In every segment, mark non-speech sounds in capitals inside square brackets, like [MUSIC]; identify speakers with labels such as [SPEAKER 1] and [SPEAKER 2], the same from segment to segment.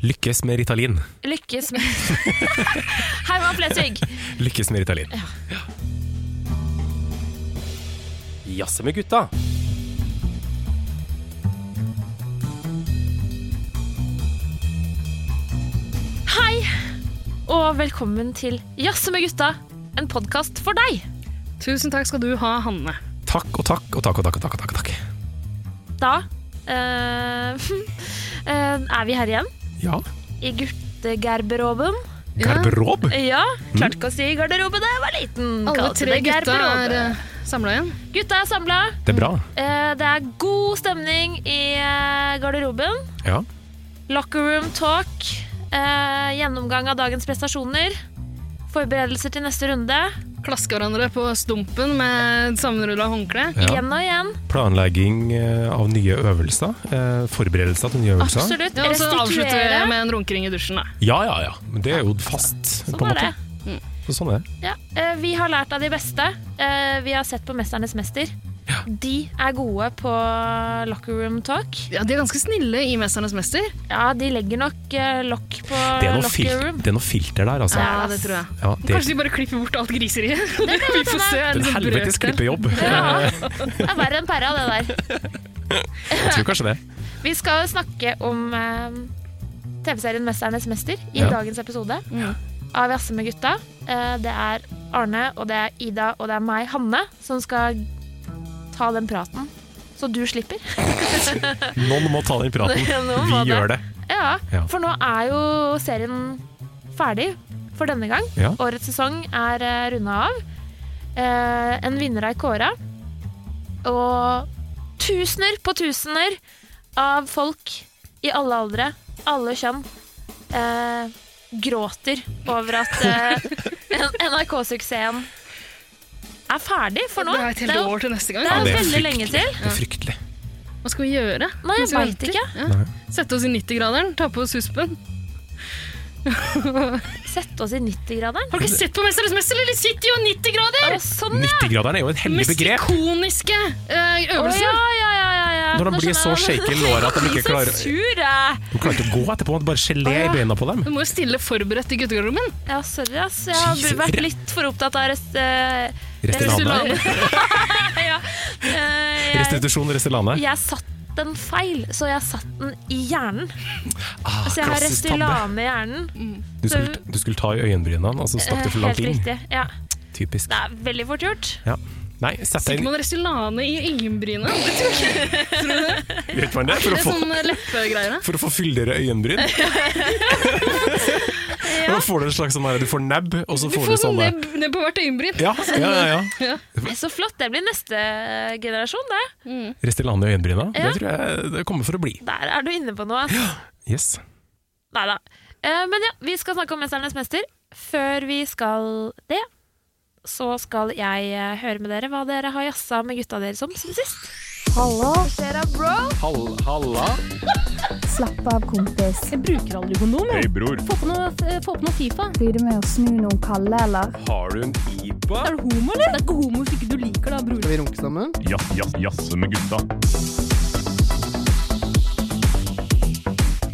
[SPEAKER 1] Lykkes med Ritalin.
[SPEAKER 2] Lykkes med [LAUGHS] Herman Flesvig.
[SPEAKER 1] Lykkes med Ritalin. Jazze med gutta.
[SPEAKER 2] Hei, og velkommen til Jazze med gutta, en podkast for deg.
[SPEAKER 3] Tusen takk skal du ha, Hanne.
[SPEAKER 1] Takk og takk og takk og takk. og takk, og takk, og takk.
[SPEAKER 2] Da eh, [LAUGHS] eh, er vi her igjen,
[SPEAKER 1] Ja.
[SPEAKER 2] i guttegarderoben.
[SPEAKER 1] Garderob?
[SPEAKER 2] Ja, klarte ikke å si garderoben da jeg var liten.
[SPEAKER 3] Alle
[SPEAKER 2] Kalte
[SPEAKER 3] tre
[SPEAKER 2] det
[SPEAKER 3] gutta
[SPEAKER 2] garderobe.
[SPEAKER 3] er uh, samla igjen.
[SPEAKER 2] Gutta er samla.
[SPEAKER 1] Det er bra.
[SPEAKER 2] det er god stemning i eh, garderoben.
[SPEAKER 1] Ja.
[SPEAKER 2] Locker room talk. eh, gjennomgang av dagens prestasjoner. Forberedelser til neste runde.
[SPEAKER 3] Klasker hverandre på stumpen med sammenrulla håndkle.
[SPEAKER 1] ja.
[SPEAKER 2] Igjen og igjen.
[SPEAKER 1] Planlegging eh, av nye øvelser. eh, Forberedelser til nye øvelser.
[SPEAKER 2] Absolutt.
[SPEAKER 3] Ja, og så avslutter
[SPEAKER 2] Restituere.
[SPEAKER 3] vi med en runkering i dusjen. Da.
[SPEAKER 1] Ja, ja, ja. Men det er jo fast.
[SPEAKER 2] Sånn
[SPEAKER 1] på en
[SPEAKER 2] er det.
[SPEAKER 1] måte. Så sånn er det.
[SPEAKER 2] Ja. eh, Vi har lært av de beste. Eh, Vi har sett på 'Mesternes mester'. De er gode på locker room talk.
[SPEAKER 3] Ja, de er ganske snille i 'Mesternes mester'.
[SPEAKER 2] Ja, de legger nok eh, lokk på
[SPEAKER 1] Det er noe,
[SPEAKER 2] locker
[SPEAKER 1] fil
[SPEAKER 2] room.
[SPEAKER 1] det er noe filter der, altså.
[SPEAKER 3] Ja, det tror jeg.
[SPEAKER 1] Ja, det
[SPEAKER 3] Kanskje de bare klipper bort alt
[SPEAKER 2] [LAUGHS]
[SPEAKER 3] griseriet. vi får se.
[SPEAKER 1] det er en
[SPEAKER 3] sånn
[SPEAKER 1] helvetes
[SPEAKER 3] brøkdel.
[SPEAKER 1] klippejobb.
[SPEAKER 2] Ja, det er verre enn pæra, det der.
[SPEAKER 1] Jeg tror kanskje det.
[SPEAKER 2] Vi skal snakke om eh, TV-serien 'Mesternes mester' i
[SPEAKER 1] Ja.
[SPEAKER 2] dagens episode av Jazze med gutta. Eh, Det er Arne, og det er Ida, og det er meg, Hanne, som skal ta den praten. Så du slipper.
[SPEAKER 1] Noen må ta den
[SPEAKER 2] [LAUGHS]
[SPEAKER 1] praten.
[SPEAKER 2] Noen
[SPEAKER 1] Vi
[SPEAKER 2] må det.
[SPEAKER 1] gjør det.
[SPEAKER 2] Ja,
[SPEAKER 1] Ja.
[SPEAKER 2] for nå er jo serien ferdig for denne gang.
[SPEAKER 1] Ja.
[SPEAKER 2] Årets sesong er uh, runda av. Eh, en vinner er kåra. Og tusener på tusener av folk i alle aldre, alle kjønn, eh, gråter over at eh, NRK-suksessen er ferdig for nå.
[SPEAKER 3] Det er et helt
[SPEAKER 2] jo-
[SPEAKER 3] år til neste gang.
[SPEAKER 2] det er
[SPEAKER 1] Ja, det er
[SPEAKER 2] veldig lenge
[SPEAKER 1] fryktelig.
[SPEAKER 2] til.
[SPEAKER 1] Det er fryktelig.
[SPEAKER 3] Hva skal vi gjøre?
[SPEAKER 2] Nei, jeg
[SPEAKER 3] mens vi
[SPEAKER 2] vet
[SPEAKER 3] venter?
[SPEAKER 2] ikke.
[SPEAKER 3] Ja.
[SPEAKER 1] Nei.
[SPEAKER 3] Sette oss i 90-graderen, ta på oss huspen.
[SPEAKER 2] Sette oss i 90-graderen.
[SPEAKER 3] Har du ikke sett på 'Mesternes mester'? eller? De sitter jo i 90-grader!
[SPEAKER 2] Å, Sånn, ja!
[SPEAKER 1] 90-graderen er jo et
[SPEAKER 3] Den
[SPEAKER 1] hellig
[SPEAKER 3] Mest
[SPEAKER 1] begrep.
[SPEAKER 3] ikoniske eh,
[SPEAKER 2] Å,
[SPEAKER 3] øvelsen.
[SPEAKER 2] ja, ja, ja, ja, ja.
[SPEAKER 1] Når de
[SPEAKER 2] Nå
[SPEAKER 1] blir så
[SPEAKER 2] skjønner jeg.
[SPEAKER 1] shaky i låret at de ikke klarer
[SPEAKER 2] Så sur, jeg.
[SPEAKER 1] De klarer ikke å gå etterpå, bare gelé i beina på dem.
[SPEAKER 3] Du må jo stille forberedt i guttegarderoben.
[SPEAKER 2] Ja, sorry, ass. Jeg har
[SPEAKER 1] Jesus.
[SPEAKER 2] vært litt for opptatt av rest... eh,
[SPEAKER 1] Restylane.
[SPEAKER 2] ja. Eh, jeg,
[SPEAKER 1] Restitusjon Restylane.
[SPEAKER 2] jeg satt den feil, så jeg satt den i hjernen.
[SPEAKER 1] Ah,
[SPEAKER 2] Så jeg har
[SPEAKER 1] klassisk tabbe.
[SPEAKER 2] Restylane i hjernen.
[SPEAKER 1] Du skulle, du skulle ta i øyenbrynene, altså og så stakk det for langt
[SPEAKER 2] Eh,
[SPEAKER 1] inn.
[SPEAKER 2] Helt riktig. Ja.
[SPEAKER 1] Typisk.
[SPEAKER 2] Det er veldig fort gjort.
[SPEAKER 1] Ja. Nei, sett deg
[SPEAKER 3] Sitter
[SPEAKER 1] inn
[SPEAKER 3] man Restylane i øyenbrynet?
[SPEAKER 1] Vet man det? For å
[SPEAKER 3] Det er
[SPEAKER 1] få,
[SPEAKER 3] sånn leppegreier. da.
[SPEAKER 1] for å få fyldigere
[SPEAKER 3] [LAUGHS]
[SPEAKER 1] øyenbryn. [LAUGHS] Da får du en slags sånn her, du får nebb, og så
[SPEAKER 3] Du
[SPEAKER 1] får du
[SPEAKER 3] får sånn
[SPEAKER 1] sånn der.
[SPEAKER 3] nebb, nebb på hvert øyenbryn.
[SPEAKER 1] Ja, ja, ja.
[SPEAKER 3] [LAUGHS]
[SPEAKER 1] ja.
[SPEAKER 2] Nei, Så flott. Det blir neste generasjon, det.
[SPEAKER 1] Restylane i øyenbryna.
[SPEAKER 2] Ja.
[SPEAKER 1] Det tror jeg det kommer for å bli.
[SPEAKER 2] Der er du inne på noe. ass.
[SPEAKER 1] Yes.
[SPEAKER 2] Nei da. Eh, men ja, vi skal snakke om 'Mesternes mester'. Før vi skal det, så skal jeg eh, høre med dere hva dere har jazza med gutta deres om siden sist.
[SPEAKER 4] Slapp av, kompis.
[SPEAKER 5] Hei, bror.
[SPEAKER 6] eh,
[SPEAKER 4] Blir du med å snu noen kalde, eller?
[SPEAKER 5] Har du en pipa?
[SPEAKER 7] Skal vi runke sammen?
[SPEAKER 5] Jass, jass, jasse med gutta.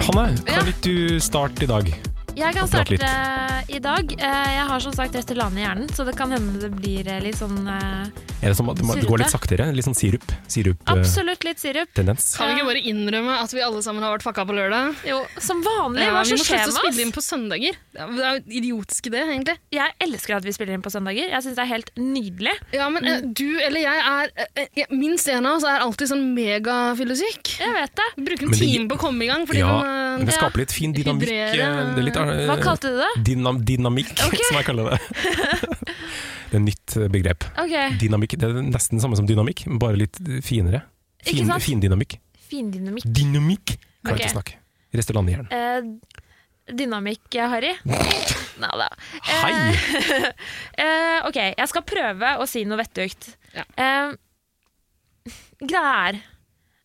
[SPEAKER 1] Hanne, kan ikke du starte i dag?
[SPEAKER 2] Jeg kan
[SPEAKER 1] Og prate
[SPEAKER 2] starte i dag. Eh, jeg har som sagt Restylane i hjernen, så det kan hende det blir eh, litt sånn eh,
[SPEAKER 1] Er det sånn at det må- det går litt saktere? Litt sånn sirup? Sirup-tendens?
[SPEAKER 2] Absolutt litt sirup.
[SPEAKER 3] Kan vi ikke bare innrømme at vi alle sammen har vært fucka på lørdag?
[SPEAKER 2] Jo, som vanlig.
[SPEAKER 3] Ja,
[SPEAKER 2] Hva er
[SPEAKER 3] vi
[SPEAKER 2] så
[SPEAKER 3] må
[SPEAKER 2] skjer
[SPEAKER 3] slutte å
[SPEAKER 2] med
[SPEAKER 3] spille
[SPEAKER 2] oss?
[SPEAKER 3] inn på søndager. Det er- det er jo en idiotisk idé, egentlig.
[SPEAKER 2] Jeg elsker at vi spiller inn på søndager. Jeg syns det er helt nydelig.
[SPEAKER 3] Ja, men
[SPEAKER 2] Mm.
[SPEAKER 3] eh, du eller jeg er eh, eh, Minst en av oss er alltid sånn megafyllesyk.
[SPEAKER 2] Jeg vet det.
[SPEAKER 3] Bruker en
[SPEAKER 1] Men det-
[SPEAKER 3] time på å komme i gang fordi
[SPEAKER 1] Ja,
[SPEAKER 3] man
[SPEAKER 1] men det
[SPEAKER 3] eh,
[SPEAKER 1] skaper litt fin dynamikk.
[SPEAKER 3] Hydrere.
[SPEAKER 1] eh, Det er litt, eh,
[SPEAKER 2] Hva kalte du det?
[SPEAKER 1] Dynam, dynamikk,
[SPEAKER 2] Ok.
[SPEAKER 1] [LAUGHS] som jeg
[SPEAKER 2] [LAUGHS]
[SPEAKER 1] kaller det. det er et nytt eh, begrep.
[SPEAKER 2] Ok,
[SPEAKER 1] Dynamikk, Det er nesten det samme som dynamikk, men bare litt finere.
[SPEAKER 2] Ikke
[SPEAKER 1] Fin,
[SPEAKER 2] sant?
[SPEAKER 1] fin dynamikk.
[SPEAKER 2] Fin dynamikk.
[SPEAKER 1] Dynamikk! Kan
[SPEAKER 2] Ok.
[SPEAKER 1] jeg ikke snakke. Restauranthjern.
[SPEAKER 2] Eh, dynamikk, Harry.
[SPEAKER 1] [LAUGHS]
[SPEAKER 2] Neida. Eh,
[SPEAKER 1] Hei!
[SPEAKER 2] Eh, ok, jeg skal prøve å si noe vettugt.
[SPEAKER 3] Ja.
[SPEAKER 2] Eh, greia er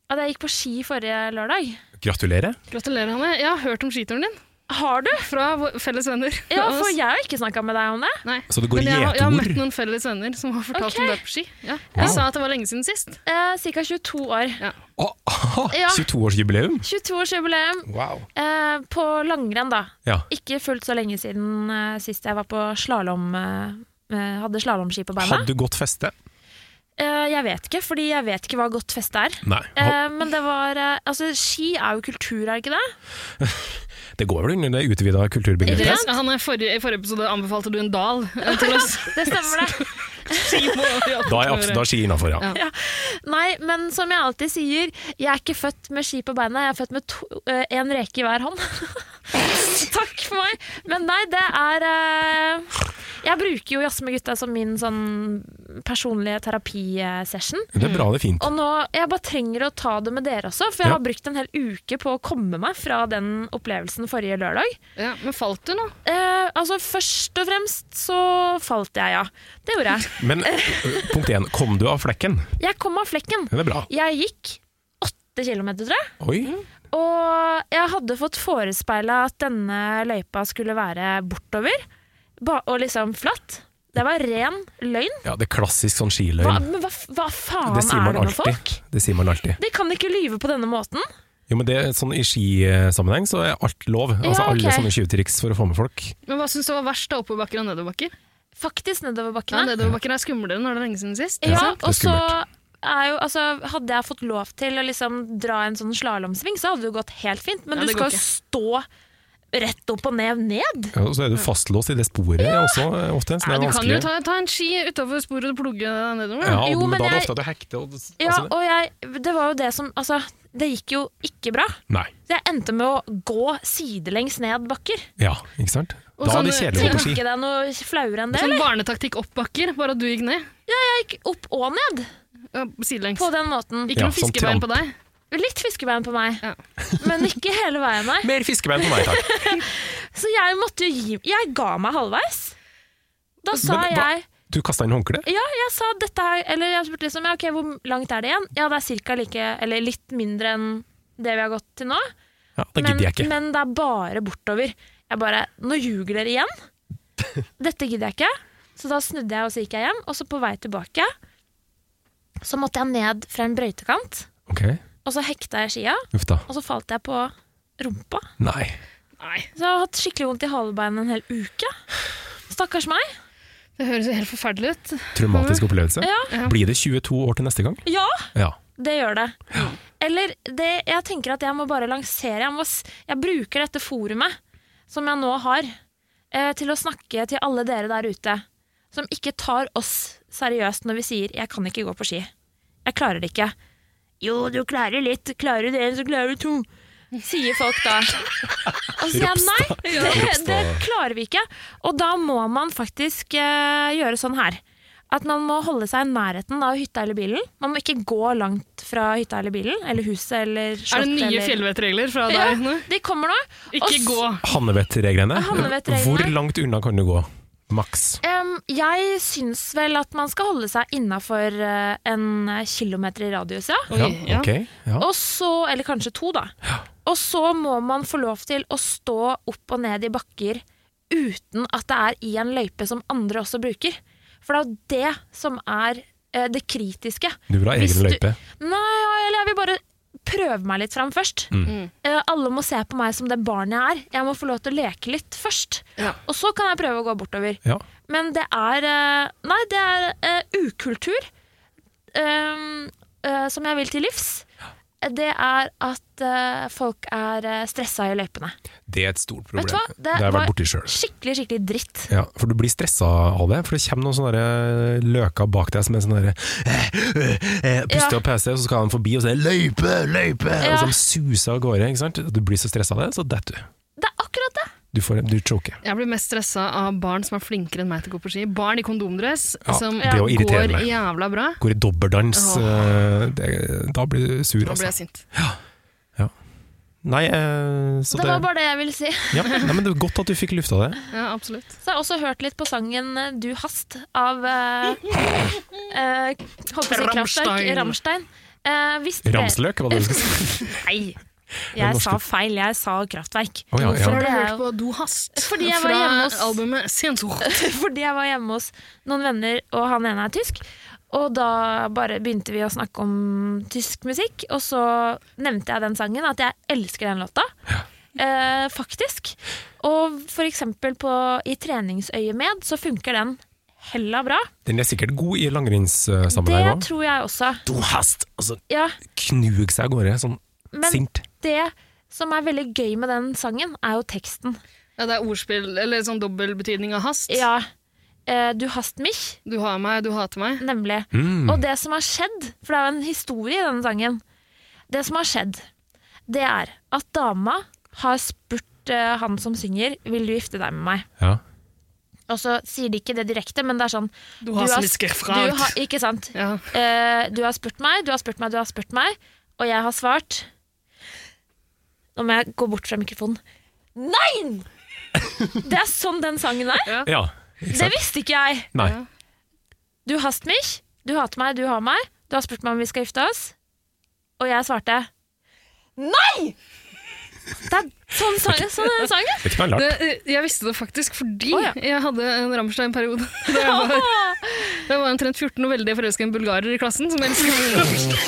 [SPEAKER 2] at jeg gikk på ski forrige lørdag.
[SPEAKER 1] Gratulerer.
[SPEAKER 3] Gratulerer, Hanne. Jeg har hørt om skituren din
[SPEAKER 2] Har du?
[SPEAKER 3] fra vår- felles venner.
[SPEAKER 2] Ja,
[SPEAKER 3] Fra
[SPEAKER 2] for
[SPEAKER 3] oss.
[SPEAKER 2] jeg har ikke snakka med deg om det.
[SPEAKER 3] Nei.
[SPEAKER 1] Så det går
[SPEAKER 3] Men
[SPEAKER 1] i
[SPEAKER 3] jeg, har- jeg har møtt
[SPEAKER 1] gjetord.
[SPEAKER 3] noen felles venner som har fortalt om
[SPEAKER 2] Ok.
[SPEAKER 3] det er på ski. Ja. De sa at det var lenge siden sist.
[SPEAKER 2] Eh, Ca. 22 år.
[SPEAKER 1] Å, aha,
[SPEAKER 2] Ja.
[SPEAKER 1] 22-årsjubileum.
[SPEAKER 2] 22-årsjubileum
[SPEAKER 1] Wow.
[SPEAKER 2] eh, på langrenn, da.
[SPEAKER 1] Ja.
[SPEAKER 2] Ikke fullt så lenge siden eh, sist jeg var på slalåm. Eh, eh, hadde slalåmski på beina.
[SPEAKER 1] Hadde du godt feste?
[SPEAKER 2] Eh, jeg vet ikke, fordi jeg vet ikke hva godt feste er.
[SPEAKER 1] Nei.
[SPEAKER 2] Eh, men det var eh, Altså, ski er jo kultur, er det ikke det?
[SPEAKER 1] Det går vel under det utvida kulturbegrepet?
[SPEAKER 3] Andreas, han er forrige, I forrige episode anbefalte du en dal eh, til oss.
[SPEAKER 2] [LAUGHS] Det stemmer,
[SPEAKER 3] [LAUGHS]
[SPEAKER 2] det.
[SPEAKER 1] Da er jeg absolutt da er ski innafor, ja.
[SPEAKER 2] Nei, men som jeg alltid sier, jeg er ikke født med ski på beina, jeg er født med to, eh, en reke i hver hånd. [LAUGHS] Takk for meg. Men nei, det er eh, Jeg bruker jo Jazz med gutta som min sånn personlige terapisession.
[SPEAKER 1] Det er bra, det er fint.
[SPEAKER 2] Og nå, jeg bare trenger å ta det med dere også, for jeg
[SPEAKER 1] Ja.
[SPEAKER 2] har brukt en hel uke på å komme meg fra den opplevelsen forrige lørdag.
[SPEAKER 3] Ja, men falt du nå?
[SPEAKER 2] Eh, altså, først og fremst så falt jeg, ja. Det gjorde jeg.
[SPEAKER 1] Men ø, punkt én, kom du av flekken?
[SPEAKER 2] Jeg kom av flekken.
[SPEAKER 1] Det er bra.
[SPEAKER 2] Jeg gikk åtte kilometer, tror jeg.
[SPEAKER 1] Oi.
[SPEAKER 2] Og jeg hadde fått forespeila at denne løypa skulle være bortover, ba og liksom flatt. Det var ren løgn.
[SPEAKER 1] Ja, det er klassisk sånn
[SPEAKER 2] Hva,
[SPEAKER 1] skiløgn.
[SPEAKER 2] men hva, hva faen
[SPEAKER 1] Det sier
[SPEAKER 2] er
[SPEAKER 1] man
[SPEAKER 2] det med folk?
[SPEAKER 1] alltid. Det sier man alltid.
[SPEAKER 2] De kan ikke lyve på denne måten.
[SPEAKER 1] Jo, men det, sånn I skisammenheng så er alt lov. Altså
[SPEAKER 2] Ja, ok.
[SPEAKER 1] Alle sånne tjuvtriks for å få med folk.
[SPEAKER 3] Men Hva syns du var verst av oppoverbakker og nedoverbakker?
[SPEAKER 2] Faktisk
[SPEAKER 3] Ja,
[SPEAKER 2] nedoverbakkene.
[SPEAKER 3] nedoverbakker er skumlere når det er lenge siden sist.
[SPEAKER 2] Ja,
[SPEAKER 1] sant? Det er
[SPEAKER 2] og så
[SPEAKER 1] skummelt.
[SPEAKER 2] er jo, altså, hadde jeg fått lov til å liksom dra en sånn slalåmsving, så hadde det jo gått helt fint. Men
[SPEAKER 3] Ja,
[SPEAKER 2] du
[SPEAKER 3] det
[SPEAKER 2] skal
[SPEAKER 3] går
[SPEAKER 2] jo stå rett opp og ned ned.
[SPEAKER 1] Ja, og så er du fastlåst i det sporet også, ø, ofte. Så
[SPEAKER 3] Nei,
[SPEAKER 1] det er
[SPEAKER 3] du kan jo
[SPEAKER 1] vanskelig.
[SPEAKER 3] ta, ta en ski utafor sporet og plugge deg nedover.
[SPEAKER 1] Ja,
[SPEAKER 3] da.
[SPEAKER 1] og,
[SPEAKER 2] Jo, men
[SPEAKER 1] men da er det
[SPEAKER 2] jeg-
[SPEAKER 1] ofte at du hekter. Og, altså,
[SPEAKER 2] Ja,
[SPEAKER 1] det-
[SPEAKER 2] og jeg, det var jo det som Altså, det gikk jo ikke bra.
[SPEAKER 1] Nei.
[SPEAKER 2] Så jeg endte med å gå sidelengs ned bakker.
[SPEAKER 1] Ja, ikke sant?
[SPEAKER 3] Og
[SPEAKER 1] Da er det
[SPEAKER 3] sånn,
[SPEAKER 1] kjedelig å gå
[SPEAKER 2] Tenker
[SPEAKER 1] på ski.
[SPEAKER 2] ikke det er noe flauere enn det?
[SPEAKER 3] Sånn
[SPEAKER 2] Eller?
[SPEAKER 3] barnetaktikk opp bakker, bare at du gikk ned.
[SPEAKER 2] Jeg gikk opp og ned
[SPEAKER 3] Ja, sidelengs.
[SPEAKER 2] på den måten.
[SPEAKER 3] Ikke
[SPEAKER 1] Ja,
[SPEAKER 3] noe
[SPEAKER 1] sånn
[SPEAKER 3] fiskebein
[SPEAKER 1] tramp.
[SPEAKER 3] på deg.
[SPEAKER 2] Litt fiskebein på meg,
[SPEAKER 3] Ja.
[SPEAKER 2] men ikke hele veien, nei.
[SPEAKER 1] Mer fiskebein på meg, takk.
[SPEAKER 2] Så jeg måtte jo gi Jeg ga meg halvveis. Da sa
[SPEAKER 1] Men hva-
[SPEAKER 2] jeg
[SPEAKER 1] Du kasta inn håndkleet?
[SPEAKER 2] Ja, jeg sa dette her Eller jeg spurte liksom ja, ok, hvor langt er det igjen? Ja, det er cirka like Eller litt mindre enn det vi har gått til nå.
[SPEAKER 1] Ja, det
[SPEAKER 2] men,
[SPEAKER 1] gidder jeg ikke.
[SPEAKER 2] men det er bare bortover. Jeg bare Nå ljuger dere
[SPEAKER 1] [LAUGHS]
[SPEAKER 2] igjen. Dette gidder jeg ikke. Så da snudde jeg, og så gikk jeg hjem. Og så på vei tilbake så måtte jeg ned fra en brøytekant.
[SPEAKER 1] Ok,
[SPEAKER 2] Og så hekta jeg skia,
[SPEAKER 1] uff da.
[SPEAKER 2] og så falt jeg på rumpa.
[SPEAKER 1] Nei.
[SPEAKER 3] Nei,
[SPEAKER 2] Så jeg har hatt skikkelig vondt i halebeinet en hel uke. Stakkars meg.
[SPEAKER 3] det høres jo helt forferdelig ut.
[SPEAKER 1] Traumatisk opplevelse.
[SPEAKER 2] Mm. Ja.
[SPEAKER 1] Blir det 22 år til neste gang?
[SPEAKER 2] Ja,
[SPEAKER 1] Ja.
[SPEAKER 2] det gjør det. Eller det, jeg tenker at jeg må bare lansere. Jeg, må, s- jeg bruker dette forumet som jeg nå har, eh, til å snakke til alle dere der ute som ikke tar oss seriøst når vi sier 'jeg kan ikke gå på ski'. Jeg klarer det ikke. Jo, du klarer litt. Klarer du det, så klarer du to. Sier folk da. Og så sier jeg nei, det, det klarer vi ikke. Og da må man faktisk eh, gjøre sånn her. At man må holde seg i nærheten av hytta eller bilen. Man må ikke gå langt fra hytta eller bilen, eller huset eller
[SPEAKER 3] Er
[SPEAKER 2] slottet.
[SPEAKER 3] det nye
[SPEAKER 2] eller-
[SPEAKER 3] fjellvettregler fra
[SPEAKER 2] Ja,
[SPEAKER 3] deg nå?
[SPEAKER 2] de kommer nå. Og
[SPEAKER 3] Ikke
[SPEAKER 2] s-
[SPEAKER 3] gå.
[SPEAKER 1] Hannevettreglene.
[SPEAKER 2] Hannevettreglene.
[SPEAKER 1] Hvor langt unna kan du gå? Maks.
[SPEAKER 2] Em, jeg syns vel at man skal holde seg innafor eh, en kilometer i radius, ja.
[SPEAKER 3] Oi, ja.
[SPEAKER 1] ok. Ja.
[SPEAKER 2] Og så, eller kanskje to, da. Og så må man få lov til å stå opp og ned i bakker uten at det er i en løype som andre også bruker. For det er jo det som er eh, det kritiske.
[SPEAKER 1] Du vil ha
[SPEAKER 2] Hvis
[SPEAKER 1] egen
[SPEAKER 2] du-
[SPEAKER 1] løype.
[SPEAKER 2] Nei, ja, eller jeg vil bare prøve meg litt fram først.
[SPEAKER 1] Mm.
[SPEAKER 2] Eh, alle må se på meg som det barnet jeg er. Jeg må få lov til å leke litt først.
[SPEAKER 3] Ja.
[SPEAKER 2] Og så kan jeg prøve å gå bortover.
[SPEAKER 1] Ja.
[SPEAKER 2] Men det er eh, Nei, det er eh, ukultur ehm, eh, som jeg vil til livs. Det er at eh, folk er eh, stressa i løypene.
[SPEAKER 1] Det er et stort problem.
[SPEAKER 2] Vet du hva? Det
[SPEAKER 1] har jeg
[SPEAKER 2] var-
[SPEAKER 1] vært borti sjøl.
[SPEAKER 2] Skikkelig, skikkelig dritt.
[SPEAKER 1] Ja, for du blir stressa av det, for det kommer noen sånne der eh, løker bak deg som er sånn derre eh, Puster
[SPEAKER 2] Ja.
[SPEAKER 1] og peser, så skal han forbi, og så er det 'løype, løype',
[SPEAKER 2] Ja.
[SPEAKER 1] og så de suser av gårde. ikke sant? Du blir så stressa av det, så detter du.
[SPEAKER 2] Det er akkurat det!
[SPEAKER 1] Du, får, du choker.
[SPEAKER 3] Jeg blir mest stressa av barn som er flinkere enn meg til å gå på ski. Barn i kondomdress
[SPEAKER 1] Ja,
[SPEAKER 3] som
[SPEAKER 1] det er jo
[SPEAKER 3] går
[SPEAKER 1] irriterende.
[SPEAKER 3] jævla bra.
[SPEAKER 1] Går i dobbeldans.
[SPEAKER 3] Åh.
[SPEAKER 1] eh, Det, da blir du sur,
[SPEAKER 3] Da blir
[SPEAKER 1] altså.
[SPEAKER 3] jeg sint.
[SPEAKER 1] Nei, eh, så
[SPEAKER 2] Det var bare det jeg ville si. [LAUGHS]
[SPEAKER 1] ja. Nei, men det var godt at du fikk lufta det.
[SPEAKER 3] Ja, absolutt.
[SPEAKER 2] Så har jeg også hørt litt på sangen eh, 'Du hast' av eh, eh, Holdt på å si Kraftverk.
[SPEAKER 3] Rammstein.
[SPEAKER 2] Rammstein. Eh, hvis dere-
[SPEAKER 1] Ramsløk, hva det du skulle si.
[SPEAKER 2] [LAUGHS] Nei,
[SPEAKER 1] Den
[SPEAKER 2] jeg
[SPEAKER 1] norske-
[SPEAKER 2] sa feil. Jeg sa Kraftverk.
[SPEAKER 1] Å, ja,
[SPEAKER 3] Hvorfor
[SPEAKER 1] ja.
[SPEAKER 3] har du
[SPEAKER 2] Det er
[SPEAKER 3] hørt på Du hast?
[SPEAKER 2] Fordi jeg var
[SPEAKER 3] Fra
[SPEAKER 2] hjemme hos-
[SPEAKER 3] albumet Sensor.
[SPEAKER 2] [LAUGHS] Fordi jeg var hjemme hos noen venner, og han ene er tysk. Og da bare begynte vi å snakke om tysk musikk, og så nevnte jeg den sangen, at jeg elsker den låta. Eh, faktisk. Og for eksempel på, i treningsøyemed så funker den hella bra.
[SPEAKER 1] Den er sikkert god i
[SPEAKER 2] Det
[SPEAKER 1] langrennssammenheng òg.
[SPEAKER 2] tror jeg også.
[SPEAKER 1] Du hast! Og så
[SPEAKER 2] Ja,
[SPEAKER 1] knug seg av gårde, sånn
[SPEAKER 2] Men-
[SPEAKER 1] sint.
[SPEAKER 2] det som er veldig gøy med den sangen, er jo teksten.
[SPEAKER 3] Ja, det er ordspill, eller sånn dobbeltbetydning av hast.
[SPEAKER 2] Ja, eh, du hast mich,
[SPEAKER 3] Du har meg, du hater meg.
[SPEAKER 2] nemlig.
[SPEAKER 1] Mm.
[SPEAKER 2] Og det som har skjedd, for det er jo en historie i denne sangen Det som har skjedd, det er at dama har spurt eh, han som synger Vil du gifte deg med meg?
[SPEAKER 1] Ja.
[SPEAKER 2] Og så sier de ikke det direkte, men det er sånn
[SPEAKER 3] Du har
[SPEAKER 2] har-
[SPEAKER 3] smisker
[SPEAKER 2] du
[SPEAKER 3] fra
[SPEAKER 2] har, Ikke sant?
[SPEAKER 3] Ja.
[SPEAKER 2] Eh, du har spurt meg, du har spurt meg, du har spurt meg, og jeg har svart Nå må jeg gå bort fra mikrofonen. Nein! Det er sånn den sangen er.
[SPEAKER 1] ja. Ikke
[SPEAKER 2] Det
[SPEAKER 1] sant?
[SPEAKER 2] visste ikke jeg.
[SPEAKER 1] Nei.
[SPEAKER 2] Du hast mich, du hater meg, du har meg. Du har spurt meg om vi skal gifte oss. Og jeg svarte Nei! Det er sånn, sang, sånn er den sangen.
[SPEAKER 1] Det er knallhardt.
[SPEAKER 3] Det, jeg visste det faktisk fordi
[SPEAKER 2] Å, ja.
[SPEAKER 3] jeg hadde en [LAUGHS] Rammstein-periode. da Jeg var, jeg var omtrent 14 og veldig forelska i en bulgarer i klassen som elsket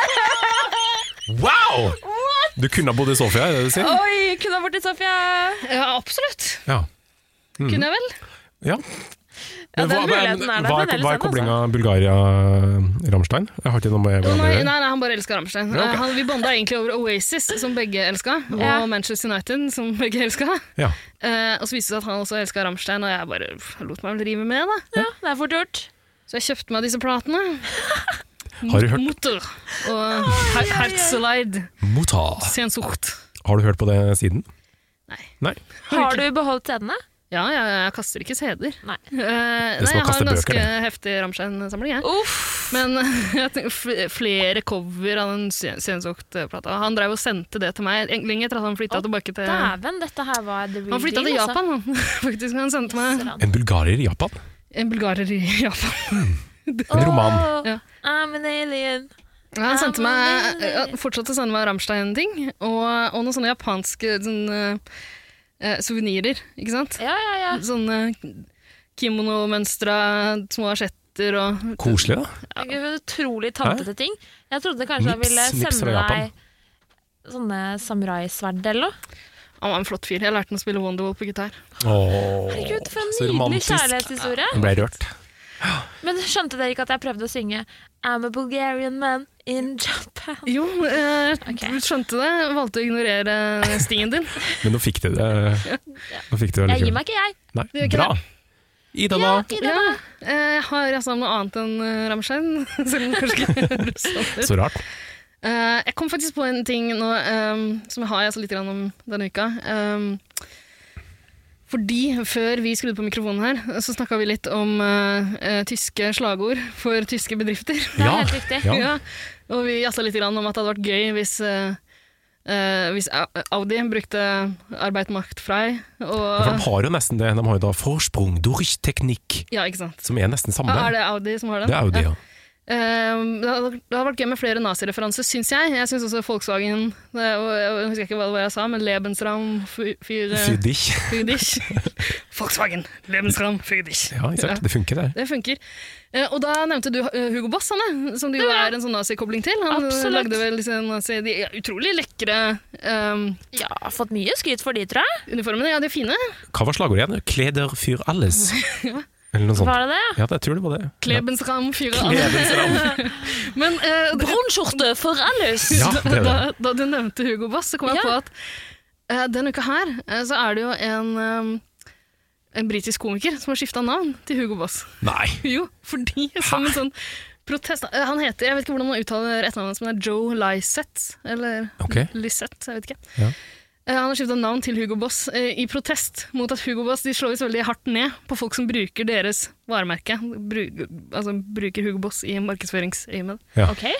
[SPEAKER 3] [LAUGHS]
[SPEAKER 1] Wow! Du kunne ha bodd i Sofia, er det det du sier?
[SPEAKER 2] Oi, kunne ha vært i Sofia.
[SPEAKER 3] Ja, absolutt.
[SPEAKER 1] Ja. Mm.
[SPEAKER 3] Kunne jeg vel?
[SPEAKER 1] ja.
[SPEAKER 2] Ja,
[SPEAKER 1] Men
[SPEAKER 2] den
[SPEAKER 1] hva,
[SPEAKER 2] muligheten er altså. der
[SPEAKER 1] hva, er-
[SPEAKER 2] fremdeles,
[SPEAKER 1] hva er
[SPEAKER 2] den,
[SPEAKER 1] koblinga Bulgaria-Ramstein? Jeg har ikke noe med
[SPEAKER 3] Å, nei,
[SPEAKER 1] hverandre å
[SPEAKER 3] nei,
[SPEAKER 1] gjøre.
[SPEAKER 3] nei, han bare elska Rammstein.
[SPEAKER 1] Ja, ok.
[SPEAKER 3] Eh, han- Vi bonda egentlig over Oasis, som begge elska, og
[SPEAKER 2] Ja.
[SPEAKER 3] Manchester United, som begge elska.
[SPEAKER 1] Ja.
[SPEAKER 3] Eh, og så viste det seg at han også elska Rammstein, og jeg bare pff, lot meg vel rive med, da.
[SPEAKER 2] Ja, det er fort gjort.
[SPEAKER 3] Så jeg kjøpte meg disse platene.
[SPEAKER 1] Har du hørt-
[SPEAKER 3] Motor og Her- Herzeleid
[SPEAKER 1] Mota.
[SPEAKER 3] Sensort.
[SPEAKER 1] Har du hørt på det siden?
[SPEAKER 3] Nei.
[SPEAKER 1] Nei?
[SPEAKER 2] Har du beholdt CD-ene?
[SPEAKER 3] Ja, jeg, jeg kaster ikke CD-er.
[SPEAKER 2] Nei.
[SPEAKER 3] Eh, nei,
[SPEAKER 1] som å
[SPEAKER 3] jeg har
[SPEAKER 1] kaste
[SPEAKER 3] en
[SPEAKER 1] bøker,
[SPEAKER 3] ganske
[SPEAKER 1] det.
[SPEAKER 3] heftig Rammstein-samling, jeg.
[SPEAKER 2] Uff.
[SPEAKER 3] Men [LAUGHS] jeg tenker, fl- flere cover av den Sen- Sensokt-plata. Han drev og sendte det til meg en- lenge etter at han flytta
[SPEAKER 2] Å,
[SPEAKER 3] tilbake til
[SPEAKER 2] Dæven, dette her var the altså. real
[SPEAKER 3] eh, Han flytta til
[SPEAKER 2] deal,
[SPEAKER 3] Japan, han. [LAUGHS] faktisk. Han sendte meg
[SPEAKER 2] altså.
[SPEAKER 1] En bulgarer i Japan?
[SPEAKER 3] en bulgarer i Japan.
[SPEAKER 1] En roman.
[SPEAKER 2] Åh,
[SPEAKER 3] Ja.
[SPEAKER 2] I'm an alien.
[SPEAKER 3] Ja, Han sendte meg,
[SPEAKER 2] men-
[SPEAKER 3] ja, fortsatte å sende meg Rammstein-ting, og, og noen sånne japanske sånn, eh, suvenirer, ikke sant?
[SPEAKER 2] Ja, ja, ja.
[SPEAKER 3] Sånne kimono-mønstra, små asjetter og
[SPEAKER 1] Koselig, da.
[SPEAKER 2] Utrolig tantete ting. Jeg trodde kanskje han
[SPEAKER 1] Nips,
[SPEAKER 2] ville
[SPEAKER 1] nips fra
[SPEAKER 2] sende
[SPEAKER 1] Japan.
[SPEAKER 2] deg sånne samuraisverd eller noe.
[SPEAKER 3] Han var en flott fyr. Jeg lærte han å spille Wonderwall på gitar.
[SPEAKER 1] Åh,
[SPEAKER 2] Herregud, for en
[SPEAKER 1] så
[SPEAKER 2] nydelig
[SPEAKER 1] romantisk.
[SPEAKER 2] kjærlighetshistorie.
[SPEAKER 1] Jeg ble rørt.
[SPEAKER 2] Men skjønte dere ikke at jeg prøvde å synge I'm a Bulgarian man in Japan?
[SPEAKER 3] Jo, eh,
[SPEAKER 2] Ok.
[SPEAKER 3] du skjønte det. Valgte å ignorere stingen din.
[SPEAKER 1] Men nå fikk du det. Nå fikk du det
[SPEAKER 2] Jeg gir
[SPEAKER 1] likevel.
[SPEAKER 2] meg ikke, jeg.
[SPEAKER 1] Nei,
[SPEAKER 3] Det gjør ikke
[SPEAKER 1] bra. Ida, da?
[SPEAKER 2] I
[SPEAKER 3] Ja,
[SPEAKER 2] denne.
[SPEAKER 3] eh, jeg har jazza om noe annet enn eh, Rammstein. [LAUGHS] Selv om det kanskje ikke høres sånn ut.
[SPEAKER 1] Så rart.
[SPEAKER 3] Eh, jeg kom faktisk på en ting nå ehm, som jeg har jazza litt grann om denne uka. Ehm, fordi før vi skrudde på mikrofonen her, så snakka vi litt om eh, eh, tyske slagord for tyske bedrifter.
[SPEAKER 2] Det er
[SPEAKER 1] Ja.
[SPEAKER 2] helt riktig.
[SPEAKER 1] Ja.
[SPEAKER 3] [LAUGHS] Ja, og vi jassa litt grann om at det hadde vært gøy hvis, eh, eh, hvis Au- Audi brukte arbeid, makt, frei.
[SPEAKER 1] For de
[SPEAKER 3] Og,
[SPEAKER 1] har jo nesten det. De har jo da forsprung durch teknikk,
[SPEAKER 3] ja, ikke sant.
[SPEAKER 1] som er nesten samme.
[SPEAKER 3] Ja, er det Audi som har den?
[SPEAKER 1] Det er Audi, ja.
[SPEAKER 3] Ehm, det hadde det hadde vært gøy med flere nazireferanser, syns jeg. Jeg syns også Volkswagen det, og Jeg husker ikke hva det var jeg sa, men Lebensraum für
[SPEAKER 1] Für dich.
[SPEAKER 3] für dich. [LAUGHS] Volkswagen, Lebensraum für dich.
[SPEAKER 1] [LAUGHS] Ja, ikke sant?
[SPEAKER 3] Ja.
[SPEAKER 1] Det funker, det.
[SPEAKER 3] Det funker. Eh, og da nevnte du eh, Hugo Boss, Hanne, som det jo er en sånn nazikobling til. Han eh,
[SPEAKER 2] Absolutt.
[SPEAKER 3] lagde vel disse nazi... De er utrolig lekre ehm,
[SPEAKER 2] Ja, har fått mye skryt for de, tror jeg.
[SPEAKER 3] uniformene. Ja, de er fine.
[SPEAKER 1] Hva var slagordet igjen? 'Kleder für alles'? Eller noe sånt.
[SPEAKER 2] Var det det?
[SPEAKER 1] Ja, jeg tror det var det.
[SPEAKER 3] Klebensraum für alle.
[SPEAKER 1] Klebensram.
[SPEAKER 3] [LAUGHS] Men eh,
[SPEAKER 2] Brunskjorte for alles!
[SPEAKER 3] [LAUGHS]
[SPEAKER 1] Ja, det er det.
[SPEAKER 3] da, da du nevnte Hugo Boss, så kom jeg
[SPEAKER 2] Ja.
[SPEAKER 3] på at eh, denne uka her eh, så er det jo en, eh, en britisk komiker som har skifta navn til Hugo Boss.
[SPEAKER 1] Nei.
[SPEAKER 3] Jo, fordi som en sånn protest eh, Han heter, jeg vet ikke hvordan man uttaler etternavnet hans, men det er Joe Lysette, eller
[SPEAKER 1] Ok.
[SPEAKER 3] Lisette, jeg vet ikke.
[SPEAKER 1] Ja.
[SPEAKER 3] Eh, Han har skifta navn til Hugo Boss eh, i protest mot at Hugo Boss de slås veldig hardt ned på folk som bruker deres varemerke. Bru, altså bruker Hugo Boss i markedsføringsøyemed.
[SPEAKER 1] Ja.
[SPEAKER 2] Ok,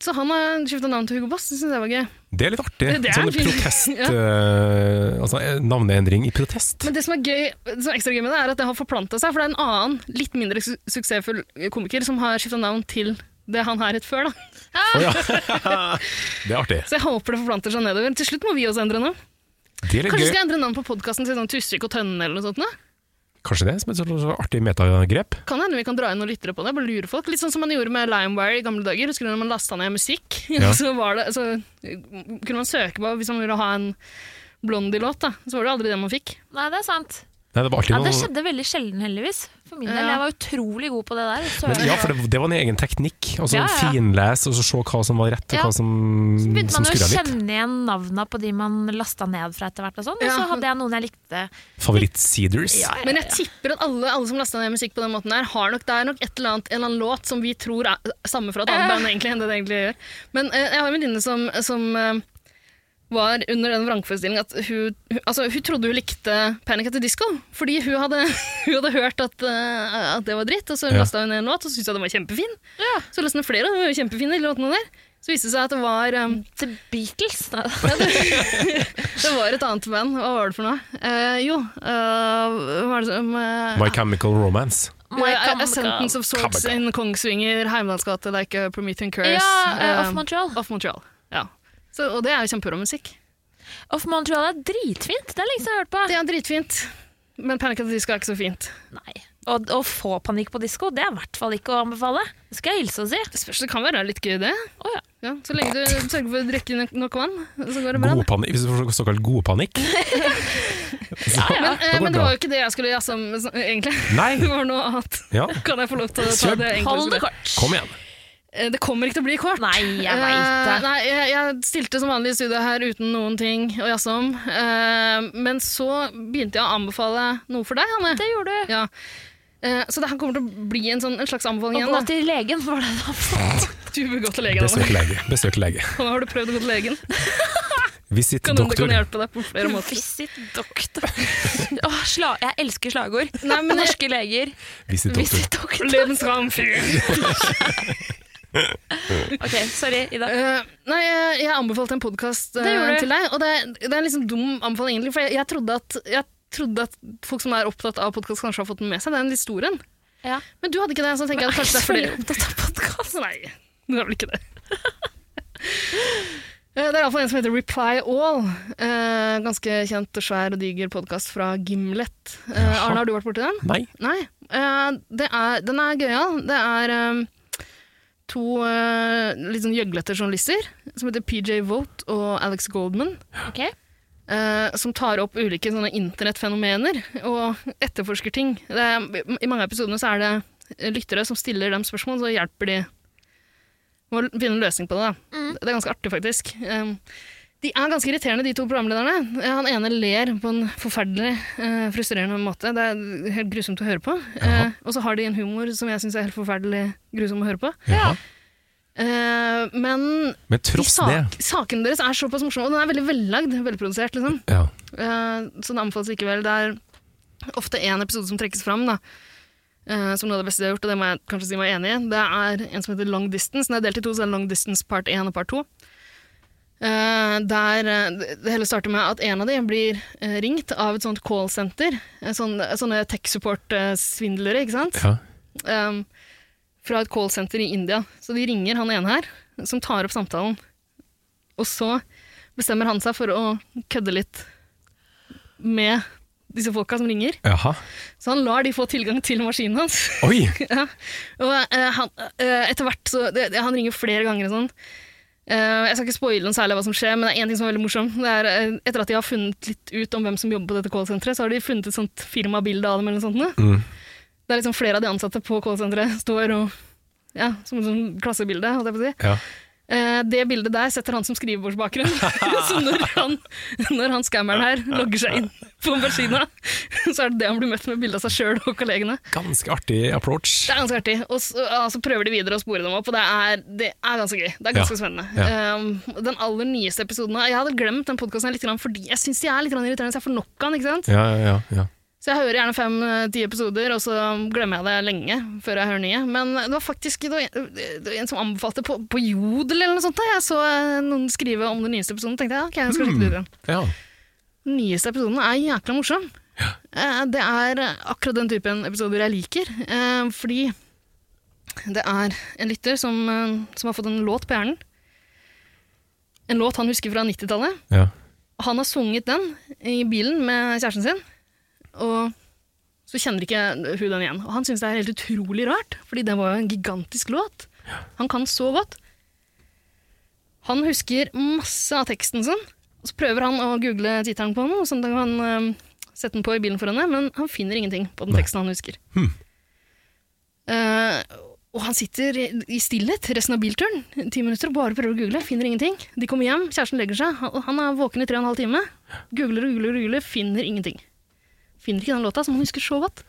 [SPEAKER 3] Så han har skifta navn til Hugo Boss. Det syns jeg var gøy.
[SPEAKER 1] Det er litt artig.
[SPEAKER 3] Det er
[SPEAKER 1] sånn
[SPEAKER 3] fint.
[SPEAKER 1] protest
[SPEAKER 3] Ja.
[SPEAKER 1] eh, Altså eh, navneendring i protest.
[SPEAKER 3] [LAUGHS] Men det som er gøy, som er ekstra gøy med det, er at det har forplanta seg. For det er en annen, litt mindre su suksessfull komiker som har skifta navn til det han har hett før. da.
[SPEAKER 1] Å ja. [LAUGHS] det er artig.
[SPEAKER 3] Så jeg håper det forplanter seg nedover. Til slutt må vi også endre navn.
[SPEAKER 1] Det er litt
[SPEAKER 3] Kanskje vi
[SPEAKER 1] gøy.
[SPEAKER 3] skal endre navn på podkasten til sånn Tusvik og Tønne eller noe sånt. Da?
[SPEAKER 1] Kanskje det, som et sånn sånn artig metagrep.
[SPEAKER 3] Kan hende vi kan dra inn noen lyttere på det. bare lure folk. Litt sånn som man gjorde med LimeWire i gamle dager. Husker du når man lasta ned musikk? [LAUGHS]
[SPEAKER 1] Ja.
[SPEAKER 3] så, var det, så kunne man søke på hvis man ville ha en Blondie-låt, da. Så var det aldri det man fikk.
[SPEAKER 2] Nei, det er sant.
[SPEAKER 1] Nei, det var alltid
[SPEAKER 2] Ja, det
[SPEAKER 1] noe
[SPEAKER 2] skjedde veldig sjelden, heldigvis. For min del.
[SPEAKER 3] Ja.
[SPEAKER 2] Jeg var utrolig god på det der. Så
[SPEAKER 1] men, ja, for det, det var en egen teknikk. Altså
[SPEAKER 2] Ja, ja.
[SPEAKER 1] Finlese og så se hva som var rett, og
[SPEAKER 2] Ja.
[SPEAKER 1] hva som,
[SPEAKER 2] Så begynte
[SPEAKER 1] som
[SPEAKER 2] man jo å
[SPEAKER 1] skurra litt.
[SPEAKER 2] kjenne igjen navna på de man lasta ned fra etter hvert. Og sånn, og
[SPEAKER 3] Ja.
[SPEAKER 2] så hadde jeg noen jeg likte.
[SPEAKER 1] Favoritt-seeders.
[SPEAKER 2] Ja,
[SPEAKER 3] Men jeg tipper at alle, alle som lasta ned musikk på den måten der, har nok, det er nok et eller annet, en eller annen låt som vi tror er samme fra et annet band egentlig, enn det det egentlig gjør. Men eh, jeg har en venninne som, som eh, var under den vrangforestillingen at hun, hun, altså, hun trodde hun likte Panic at the Disco, fordi hun hadde, [LAUGHS] hun hadde hørt at, eh, at det var dritt, og så
[SPEAKER 1] Ja.
[SPEAKER 3] lasta hun ned en låt, og så syntes hun den var kjempefin. Så lasta hun flere, og de var jo kjempefine, de låtene der. Så viste det seg at det var eh,
[SPEAKER 2] The Beatles. Nei,
[SPEAKER 3] det var et annet band. Hva var det for noe? Eh, jo, eh, hva var det som eh,
[SPEAKER 1] My Chemical Romance.
[SPEAKER 2] My
[SPEAKER 3] A- A
[SPEAKER 2] Chemical-
[SPEAKER 3] Sentence of Swords
[SPEAKER 1] Chemical.
[SPEAKER 3] in Kongsvinger, Heimdalsgate, like a Promethean Curse.
[SPEAKER 2] Ja, eh,
[SPEAKER 3] eh,
[SPEAKER 2] Off Montreal.
[SPEAKER 3] Off Montreal. Ja. Så, og det er jo kjempebra musikk.
[SPEAKER 2] Off Montreal er dritfint. Det er lenge siden jeg har hørt på.
[SPEAKER 3] Det er dritfint, men Panic at the Disco er ikke så fint.
[SPEAKER 2] Nei. Og å få panikk på disko, det er i hvert fall ikke å anbefale. Det skal jeg hilse og si.
[SPEAKER 3] Det spørs, det kan være litt gøy, det.
[SPEAKER 2] Å ja.
[SPEAKER 3] Ja, så lenge du sørger for å drikke nok- nok vann, så går det bra.
[SPEAKER 1] Godpanikk, hvis du får såkalt
[SPEAKER 3] [LAUGHS]
[SPEAKER 1] godpanikk. Så, da
[SPEAKER 3] Men,
[SPEAKER 1] går
[SPEAKER 3] eh, men det
[SPEAKER 1] bra.
[SPEAKER 3] var jo ikke det jeg skulle jazze om, så- egentlig. [LAUGHS] Det
[SPEAKER 1] Nei!
[SPEAKER 3] var noe annet.
[SPEAKER 1] Ja.
[SPEAKER 3] Kan jeg få lov til å ta
[SPEAKER 1] Kjør.
[SPEAKER 3] det? egentlig?
[SPEAKER 2] Hold det kort.
[SPEAKER 1] Kom igjen.
[SPEAKER 3] Eh, Det kommer ikke til å bli kort.
[SPEAKER 2] Nei, jeg veit
[SPEAKER 3] Eh,
[SPEAKER 2] det.
[SPEAKER 3] nei, jeg, jeg stilte som vanlig i studio her uten noen ting å jazze om. Eh, men så begynte jeg å anbefale noe for deg, Hanne.
[SPEAKER 2] Det gjorde du.
[SPEAKER 3] Ja. Eh, så det her kommer til å bli en, sånn, en slags
[SPEAKER 2] Å
[SPEAKER 3] anbefaling
[SPEAKER 2] gå
[SPEAKER 3] igjen. Da.
[SPEAKER 2] til legen, var det da?
[SPEAKER 3] Du bør gå til legen. Hanne.
[SPEAKER 1] Besøk lege. Besøk lege.
[SPEAKER 3] Har du prøvd å gå til legen?
[SPEAKER 1] Visit
[SPEAKER 3] Kan hende det
[SPEAKER 1] doktor.
[SPEAKER 3] kan hjelpe deg på flere måter.
[SPEAKER 2] Visit [LAUGHS] doktor. Åh, sla jeg elsker slagord.
[SPEAKER 3] Nei, men jeg-
[SPEAKER 2] Norske leger.
[SPEAKER 1] Visit doktor.
[SPEAKER 2] Visit doktor.
[SPEAKER 3] Lebensraum fyr.
[SPEAKER 2] Ok, sorry, Ida.
[SPEAKER 3] Eh, nei, jeg, jeg anbefalte en podkast
[SPEAKER 2] Det gjorde du.
[SPEAKER 3] til deg, og det, er- det er en liksom dum anbefaling, egentlig. For jeg, jeg, trodde at, jeg trodde at folk som er opptatt av podkast, kanskje har fått den med seg. Det er en litt stor en.
[SPEAKER 2] Ja.
[SPEAKER 3] Men du hadde ikke det, så tenker jeg at kanskje det er fordi
[SPEAKER 2] opptatt av podkast.
[SPEAKER 3] Nei, det er vel ikke det. Eh, Det er iallfall en som heter Reply All. Eh, ganske kjent, svær og diger podkast fra Gimlet. Eh,
[SPEAKER 1] Jaha.
[SPEAKER 3] Arne, har du vært borti den?
[SPEAKER 1] Nei.
[SPEAKER 3] Nei. Eh, det er, den er gøyal. Det er eh, to eh, litt sånn gjøglete journalister som heter PJ Vogt og Alex Goldman
[SPEAKER 2] Ok.
[SPEAKER 3] eh, som tar opp ulike sånne internettfenomener og etterforsker ting. Det er, I mange av episodene så er det lyttere som stiller dem spørsmål, så hjelper de med å finne en løsning på det. Da. Det er ganske artig, faktisk. Um, de er ganske irriterende, de to programlederne. Eh, Han ene ler på en forferdelig eh, frustrerende måte. Det er helt grusomt å høre på.
[SPEAKER 1] Jaha.
[SPEAKER 3] Eh, og så har de en humor som jeg syns er helt forferdelig grusom å høre på.
[SPEAKER 1] Ja.
[SPEAKER 3] Eh, men
[SPEAKER 1] Men
[SPEAKER 3] de
[SPEAKER 1] tross det
[SPEAKER 3] sak sakene deres er såpass morsomme, og den er veldig vellagd, velprodusert. liksom.
[SPEAKER 1] ja.
[SPEAKER 3] Eh, så den anbefales likevel. Det er ofte én episode som trekkes fram da, eh, som noe av det beste jeg har gjort, og det må jeg kanskje si meg enig i. Det er en som heter Long Distance. Den er delt i to, så det er Long Distance part 1 og part 2. Eh, der eh, det hele starter med at en av dem blir eh, ringt av et sånt callsenter. eh, Sånn, sånne tech support-svindlere, ikke sant?
[SPEAKER 1] ja.
[SPEAKER 3] um, fra et callsenter i India. Så de ringer han ene her, som tar opp samtalen. Og så bestemmer han seg for å kødde litt med disse folka som ringer.
[SPEAKER 1] Jaha.
[SPEAKER 3] Så han lar de få tilgang til maskinen hans. [LAUGHS]
[SPEAKER 1] Oi!
[SPEAKER 3] ja. Og eh, han, eh, etter hvert så det, det, Han ringer flere ganger og sånn. Eh, jeg skal ikke spoile noe særlig hva som skjer, men det er én ting som er veldig morsom. Det er, eh, etter at de har funnet litt ut om hvem som jobber på dette callsenteret, så har de funnet et sånt firmabilde av dem. eller noe sånt. nå.
[SPEAKER 1] Mm.
[SPEAKER 3] Det er liksom flere av de ansatte på callsenteret står og ja, som et sånt klassebilde. holdt jeg på å si.
[SPEAKER 1] Ja.
[SPEAKER 3] Eh, det bildet der setter han som skrivebordsbakgrunn. [LAUGHS] så når han, når han scammeren her logger seg inn på maskina, [LAUGHS] så er det det han blir møtt med bilde av seg sjøl og kollegene.
[SPEAKER 1] Ganske artig approach.
[SPEAKER 3] Det er ganske artig. Og så ja, så prøver de videre å spore dem opp, og det er, det er ganske gøy. Det er ganske
[SPEAKER 1] Ja.
[SPEAKER 3] spennende.
[SPEAKER 1] Ja.
[SPEAKER 3] Um, den aller nyeste episoden Jeg hadde glemt den podkasten litt grann fordi jeg syns de er litt grann irriterende, så jeg får nok av den. ikke sant?
[SPEAKER 1] Ja, ja, ja. ja.
[SPEAKER 3] Så Så jeg hører gjerne fem-ti episoder, og så glemmer jeg det lenge før jeg hører nye. Men det var faktisk det var en, det var en som anbefalte på, på Jodel eller noe sånt. da. Jeg så eh, noen skrive om den nyeste episoden, tenkte jeg. ok, jeg skal lytte
[SPEAKER 1] Hmm.
[SPEAKER 3] til den.
[SPEAKER 1] Ja.
[SPEAKER 3] Den nyeste episoden er jækla morsom. Eh, Det er akkurat den typen episoder jeg liker, eh, fordi det er en lytter som, eh, som har fått en låt på hjernen. En låt han husker fra 90-tallet.
[SPEAKER 1] ja.
[SPEAKER 3] Han har sunget den i bilen med kjæresten sin, og så kjenner ikke hun den igjen. Og han syns det er helt utrolig rart, fordi den var jo en gigantisk låt. Han kan så godt. Han husker masse av teksten sin, og så prøver han å google tittelen på den, og sånn at han kan sette den på i bilen for henne, men han finner ingenting på den teksten han husker. Eh, og han sitter i- i stillhet resten av bilturen, ti minutter, og bare prøver å google, finner ingenting. De kommer hjem, kjæresten legger seg, han- og han er våken i tre og en halv time. Googler og googler og googler, finner ingenting. Finner ikke den låta som han husker så godt.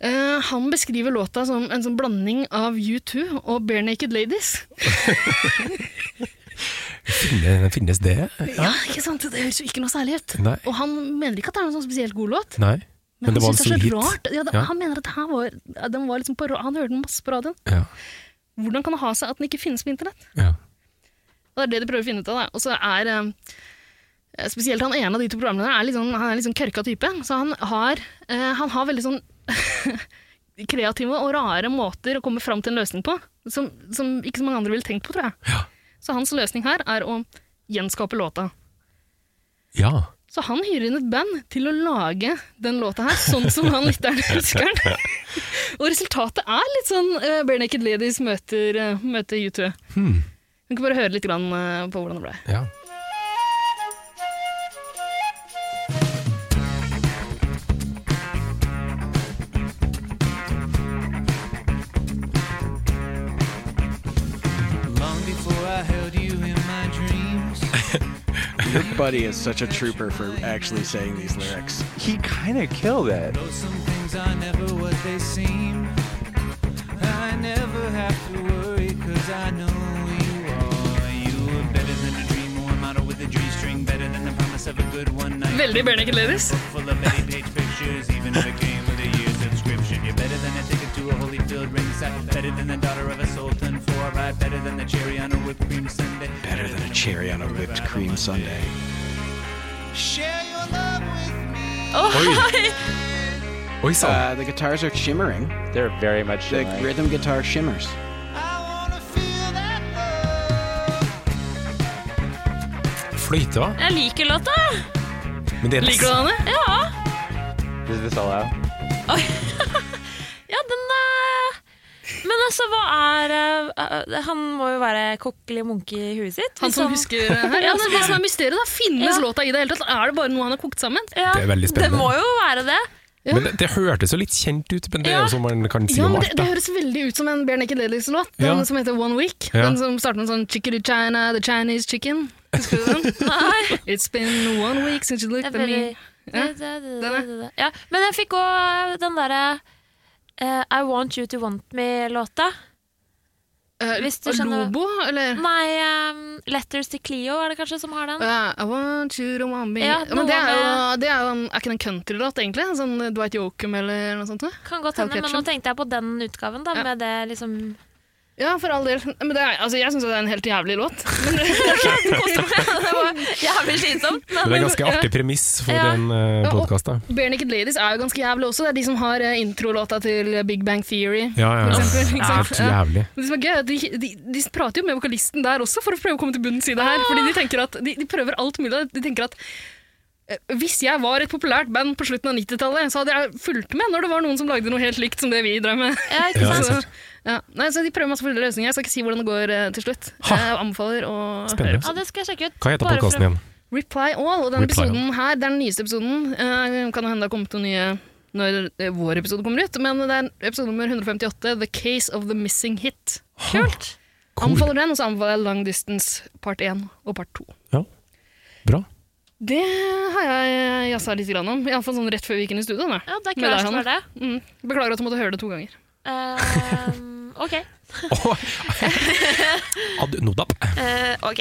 [SPEAKER 3] Eh, han beskriver låta som en sånn blanding av U2 og Bare Naked Ladies.
[SPEAKER 1] Finnes, finnes det?
[SPEAKER 3] Ja, ikke sant? Det høres jo ikke noe særlig ut.
[SPEAKER 1] Nei.
[SPEAKER 3] Og han mener ikke at det er noen sånn spesielt god låt.
[SPEAKER 1] Nei.
[SPEAKER 3] Men,
[SPEAKER 1] Men det
[SPEAKER 3] han
[SPEAKER 1] var en
[SPEAKER 3] synes det er
[SPEAKER 1] stor
[SPEAKER 3] så
[SPEAKER 1] hit.
[SPEAKER 3] rart. Ja, det,
[SPEAKER 1] Ja.
[SPEAKER 3] Han mener at det her var, den var liksom på, ra- han hørte den masse på radioen.
[SPEAKER 1] Ja.
[SPEAKER 3] Hvordan kan det ha seg at den ikke finnes på internett?
[SPEAKER 1] ja.
[SPEAKER 3] Og det er det de prøver å finne ut av. Da. Og så er eh, spesielt han ene av de to programlederne er litt sånn, han er litt sånn kørka type. Så han har, eh, han har veldig sånn [LAUGHS] kreative og rare måter å komme fram til en løsning på, som, som ikke så mange andre ville tenkt på, tror jeg.
[SPEAKER 1] Ja.
[SPEAKER 3] Så hans løsning her er å gjenskape låta.
[SPEAKER 1] ja.
[SPEAKER 3] Så han hyrer inn et band til å lage den låta her, sånn som han lytteren [LAUGHS] husker den. og resultatet er litt sånn eh, Bare Naked Ladies møter, eh, møter U2. Vi kan bare høre litt grann, eh, på hvordan det ble.
[SPEAKER 1] ja.
[SPEAKER 7] Long before I held you in my dreams.
[SPEAKER 8] Your buddy is such a trooper for actually saying these lyrics.
[SPEAKER 9] He kind of killed it.
[SPEAKER 7] Though some things are never what they seem. I never have to worry, cause I know you are. You are better than a dream or a model with a G-string. Better than the promise of a good one night.
[SPEAKER 3] Veldig Bare Naked Ladies.
[SPEAKER 7] Full of many page pictures, even if it came with a year subscription. You're better than a ticket to a holy filled ringside. Better than the daughter of a sultan for a ride. Better than the cherry on a whipped cream sundae.
[SPEAKER 8] Better than a cherry on a whipped cream sundae.
[SPEAKER 7] Share your love with me.
[SPEAKER 1] Oi sann.
[SPEAKER 8] Uh, the guitars are shimmering.
[SPEAKER 9] They're very much
[SPEAKER 8] The
[SPEAKER 9] shimmering.
[SPEAKER 8] rhythm guitar shimmers.
[SPEAKER 7] I wanna feel that love.
[SPEAKER 1] Fløyta.
[SPEAKER 2] [LAUGHS] Jeg liker låta!
[SPEAKER 1] Men det er
[SPEAKER 3] Liker du den, Anne?
[SPEAKER 2] Ja,
[SPEAKER 9] Is this all out?
[SPEAKER 2] ja den eh, Men altså, hva er eh, eh, Han må jo være kokkelig munke i huet sitt.
[SPEAKER 3] Han som
[SPEAKER 2] liksom.
[SPEAKER 3] husker her. sånn. Ja, altså, hva som er mysteriet, da? Finnes
[SPEAKER 2] Ja.
[SPEAKER 3] låta i det hele tatt? Er det bare noe han har kokt sammen?
[SPEAKER 2] Ja,
[SPEAKER 1] Det er veldig spennende.
[SPEAKER 2] Det må jo være det.
[SPEAKER 3] Ja.
[SPEAKER 1] Men det, det hørtes jo litt kjent ut, men det er
[SPEAKER 2] Ja.
[SPEAKER 1] jo som man kan si
[SPEAKER 3] Ja,
[SPEAKER 1] om
[SPEAKER 3] men det,
[SPEAKER 1] alt.
[SPEAKER 3] det
[SPEAKER 1] da.
[SPEAKER 3] høres veldig ut som en Bare Naked Ladies-låt. Den
[SPEAKER 1] Ja.
[SPEAKER 3] som heter One Week.
[SPEAKER 1] Ja.
[SPEAKER 3] Den som starter med sånn Chickadee China, The Chinese Chicken. Husker du den?
[SPEAKER 2] [LAUGHS] Nei.
[SPEAKER 3] It's been one week since you
[SPEAKER 2] Det
[SPEAKER 3] looked
[SPEAKER 2] er
[SPEAKER 3] at
[SPEAKER 2] veldig...
[SPEAKER 3] me. Ja,
[SPEAKER 2] det- det- det-
[SPEAKER 3] den er.
[SPEAKER 2] det- det- Ja, men jeg fikk òg den derre eh, I Want You To Want Me-låta.
[SPEAKER 3] Eh,
[SPEAKER 2] Hvis du skjønner-
[SPEAKER 3] Lobo, eller?
[SPEAKER 2] Nei, eh, Letters to Cleo er det kanskje som har den.
[SPEAKER 3] Ja, I want you to want me.
[SPEAKER 2] Ja,
[SPEAKER 3] Ja, men det
[SPEAKER 2] noe
[SPEAKER 3] er jo det er, jo en- er ikke det en countrylåt, egentlig? En Sånn Dwight Yoakam eller noe sånt? da?
[SPEAKER 2] Kan godt hende, men nå
[SPEAKER 3] Catchem.
[SPEAKER 2] tenkte jeg på den utgaven, da,
[SPEAKER 3] Ja.
[SPEAKER 2] med det
[SPEAKER 3] [LAUGHS]
[SPEAKER 2] liksom
[SPEAKER 3] Ja, for all del. Men det er, altså, jeg syns det er en helt jævlig låt.
[SPEAKER 2] Det var jævlig slitsomt.
[SPEAKER 1] Men det er ganske artig premiss for
[SPEAKER 2] Ja.
[SPEAKER 1] en uh,
[SPEAKER 3] Ja, og-
[SPEAKER 1] podkast.
[SPEAKER 3] Bare Naked Ladies er jo ganske jævlig også. Det er de som har eh, introlåta til Big Bang Theory.
[SPEAKER 1] Ja, ja, ja.
[SPEAKER 3] For eksempel,
[SPEAKER 1] Det
[SPEAKER 3] ikke
[SPEAKER 1] er
[SPEAKER 3] sant?
[SPEAKER 1] helt
[SPEAKER 3] Ja.
[SPEAKER 1] jævlig.
[SPEAKER 3] Men Det som er gøy, er at de, de, de prater jo med vokalisten der også for å prøve å komme til bunnens side her. Fordi de, tenker at, de, de prøver alt mulig. De tenker at eh, hvis jeg var et populært band på slutten av 90-tallet, så hadde jeg fulgt med når det var noen som lagde noe helt likt som det vi drev med.
[SPEAKER 2] Ja, ikke
[SPEAKER 1] Ja,
[SPEAKER 2] sant?
[SPEAKER 3] [LAUGHS] Så, ja. Nei, så de prøver masse forskjellige løsninger. Jeg skal ikke si hvordan det går eh, til slutt.
[SPEAKER 1] Ha.
[SPEAKER 3] Jeg anbefaler å høre.
[SPEAKER 2] Ja,
[SPEAKER 1] Spennende.
[SPEAKER 2] det skal jeg sjekke ut.
[SPEAKER 1] Hva heter
[SPEAKER 2] bare for å-
[SPEAKER 1] podkasten igjen?
[SPEAKER 3] Reply All, og denne
[SPEAKER 1] Reply All.
[SPEAKER 3] episoden her, det er den nyeste episoden. Eh, kan jo hende det har kommet noen nye når eh, vår episode kommer ut, men det er episode nummer 158, The Case of the Missing Hit.
[SPEAKER 2] Kult.
[SPEAKER 1] Cool.
[SPEAKER 3] Anbefaler den, og så anbefaler jeg Long Distance part 1 og part 2.
[SPEAKER 2] [LAUGHS]
[SPEAKER 1] Bra.
[SPEAKER 3] Det har jeg jazza litt grann om, iallfall sånn rett før vi gikk inn i studio. Da.
[SPEAKER 2] Ja, det er ikke
[SPEAKER 3] Med deg,
[SPEAKER 2] verst
[SPEAKER 3] Hanne.
[SPEAKER 2] for det.
[SPEAKER 3] Mm. Beklager at du måtte høre det to ganger.
[SPEAKER 2] Ehm, [LAUGHS] ok.
[SPEAKER 1] Oh. Ad nodap.
[SPEAKER 2] Eh, ok.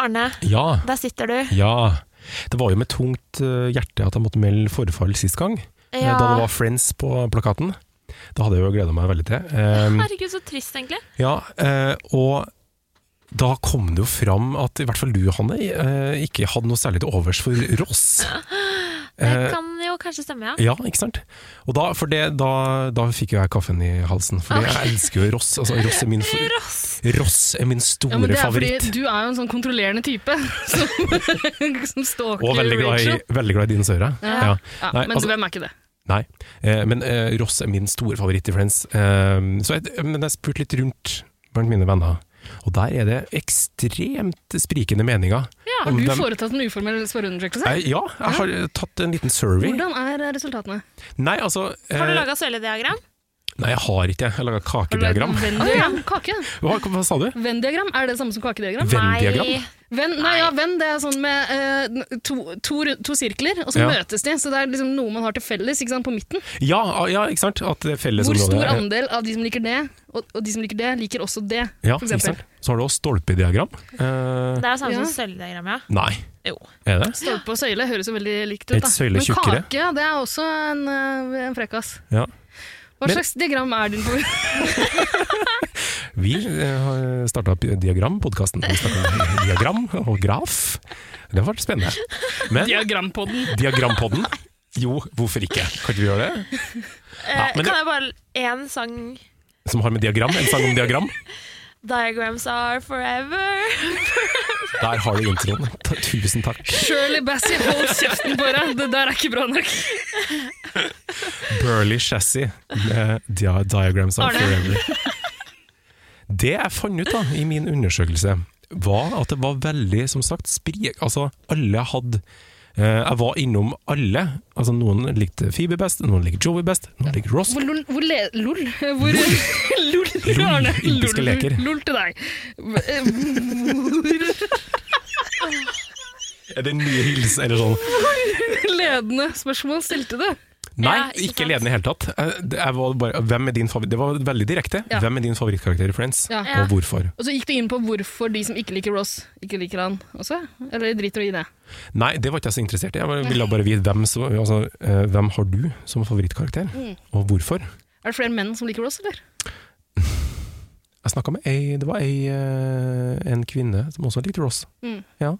[SPEAKER 2] Arne,
[SPEAKER 1] Ja.
[SPEAKER 2] der sitter du.
[SPEAKER 1] Ja. Det var jo med tungt eh, hjerte at jeg måtte melde forfall sist gang, eh,
[SPEAKER 2] Ja.
[SPEAKER 1] da det var Friends på plakaten. Det hadde jeg jo gleda meg veldig til. Eh,
[SPEAKER 2] Herregud, så trist, egentlig.
[SPEAKER 1] ja, eh, og da kom det jo fram at i hvert fall du, Hanne, eh, ikke hadde noe særlig til overs for Ross.
[SPEAKER 2] [GASPS] Det
[SPEAKER 1] Eh,
[SPEAKER 2] kan jo kanskje stemme, ja.
[SPEAKER 1] Ja, ikke sant? Og da, for det, da, da fikk jo jeg kaffen i halsen, for jeg elsker jo Ross. Altså, Ross, er min,
[SPEAKER 3] [LAUGHS]
[SPEAKER 2] Ross!
[SPEAKER 1] Ross er min store
[SPEAKER 3] Ja, men det er
[SPEAKER 1] favoritt.
[SPEAKER 3] fordi du er jo en sånn kontrollerende type [LAUGHS] som, som stalker
[SPEAKER 1] Og veldig glad i,
[SPEAKER 3] Rachel.
[SPEAKER 1] veldig glad i dinosaurer.
[SPEAKER 3] Ja.
[SPEAKER 1] Ja.
[SPEAKER 3] Ja,
[SPEAKER 1] Nei,
[SPEAKER 3] men
[SPEAKER 1] altså-
[SPEAKER 3] hvem er ikke det?
[SPEAKER 1] Nei, eh, men eh, Ross er min store favoritt i Friends. Eh, så jeg, men jeg spurte litt rundt blant mine venner, og der er det ekstremt sprikende meninger.
[SPEAKER 3] Ja,
[SPEAKER 1] Om
[SPEAKER 3] har du
[SPEAKER 1] dem-
[SPEAKER 3] foretatt en uformell spørreundersøkelse?
[SPEAKER 1] Jeg, ja, jeg har eh, tatt en liten survey.
[SPEAKER 3] Hvordan er resultatene?
[SPEAKER 1] Nei, altså
[SPEAKER 2] Har du
[SPEAKER 1] eh,
[SPEAKER 2] laga søylediagram?
[SPEAKER 1] Nei, jeg har ikke det. Jeg laga kakediagram.
[SPEAKER 3] Venn-diagram? Kake?
[SPEAKER 1] Hva, hva sa du?
[SPEAKER 3] Venn-diagram? Er det det samme som kakediagram?
[SPEAKER 1] Venn-diagram?
[SPEAKER 2] Nei.
[SPEAKER 3] Venn, nei, ja, venn det er sånn med eh, to, to, ru- to sirkler, og så
[SPEAKER 1] Ja.
[SPEAKER 3] møtes de. Så det er liksom noe man har til felles ikke sant, på midten.
[SPEAKER 1] Ja, ah, ja, ikke sant? At det er
[SPEAKER 3] Hvor
[SPEAKER 1] fellesområdet
[SPEAKER 3] stor
[SPEAKER 1] er-
[SPEAKER 3] andel av de som liker det, og, og de som liker det, liker også det,
[SPEAKER 1] Ja,
[SPEAKER 3] for
[SPEAKER 1] ikke sant?
[SPEAKER 3] eksempel.
[SPEAKER 1] Så har du også stolpediagram. Eh,
[SPEAKER 2] Det er jo samme
[SPEAKER 3] Ja.
[SPEAKER 2] som søylediagram, ja.
[SPEAKER 1] nei,
[SPEAKER 2] Jo.
[SPEAKER 1] er det?
[SPEAKER 3] Stolpe og søyle høres jo veldig likt ut.
[SPEAKER 1] Et
[SPEAKER 3] Da.
[SPEAKER 1] søyle
[SPEAKER 3] Men
[SPEAKER 1] tjukkere.
[SPEAKER 3] kake det er også en, eh, en frekkas.
[SPEAKER 1] Ja.
[SPEAKER 3] Hva
[SPEAKER 1] Men-
[SPEAKER 3] slags diagram er din for?
[SPEAKER 1] Vi eh, har starta Diagram-podkasten. Vi snakka [LAUGHS] diagram og graf. Det var spennende. Men
[SPEAKER 3] Diagrampodden.
[SPEAKER 1] Diagrampodden? Jo, hvorfor ikke? Kan ikke vi gjøre det? Ja,
[SPEAKER 2] Eh,
[SPEAKER 1] men
[SPEAKER 2] kan
[SPEAKER 1] det-
[SPEAKER 2] jeg bare én sang
[SPEAKER 1] Som har med diagram, en sang om diagram.
[SPEAKER 2] Diagrams are forever.
[SPEAKER 1] Der har du introen. Ta- Tusen takk.
[SPEAKER 3] [LAUGHS] Shirley Bassey, hold kjeften på deg! Det der er ikke bra nok.
[SPEAKER 1] Burley Chassis med dia Diagrams Are
[SPEAKER 3] Arne.
[SPEAKER 1] Forever. Det jeg fant ut da, i min undersøkelse, var at det var veldig, som sagt, sprik. Altså, alle hadde eh, Jeg var innom alle. Altså, noen likte Phoebe best, noen likte Joey best, noen likte Ross.
[SPEAKER 3] Hvor lol, hvor le, lol, hvor, [LAUGHS] lol,
[SPEAKER 1] Lol,
[SPEAKER 3] Arne,
[SPEAKER 1] olympiske
[SPEAKER 3] lol,
[SPEAKER 1] leker.
[SPEAKER 3] lol til
[SPEAKER 1] [LAUGHS]
[SPEAKER 3] deg. Eh, Hvor
[SPEAKER 1] Er det en ny hilsen eller sånn?
[SPEAKER 3] ledende spørsmål stilte du?
[SPEAKER 1] Nei,
[SPEAKER 2] Ja, ikke
[SPEAKER 1] ikke
[SPEAKER 2] sant.
[SPEAKER 1] ledende i det hele tatt. Jeg- det- Jeg var bare, hvem er din favoritt? Det var veldig direkte.
[SPEAKER 3] Ja.
[SPEAKER 1] Hvem er din favorittkarakter i Friends,
[SPEAKER 3] Ja.
[SPEAKER 1] og hvorfor?
[SPEAKER 3] Og så gikk du inn på hvorfor de som ikke liker Ross, ikke liker han også? Eller driter du i det?
[SPEAKER 1] Nei, det var ikke jeg så interessert i. Jeg bare- ville bare vite hvem, som, altså, eh, hvem har du som favorittkarakter, og hvorfor.
[SPEAKER 3] Er det flere menn som liker Ross, eller?
[SPEAKER 1] Jeg snakka med ei, det var ei, eh, en kvinne som også likte Ross.
[SPEAKER 3] Mm.
[SPEAKER 1] Ja.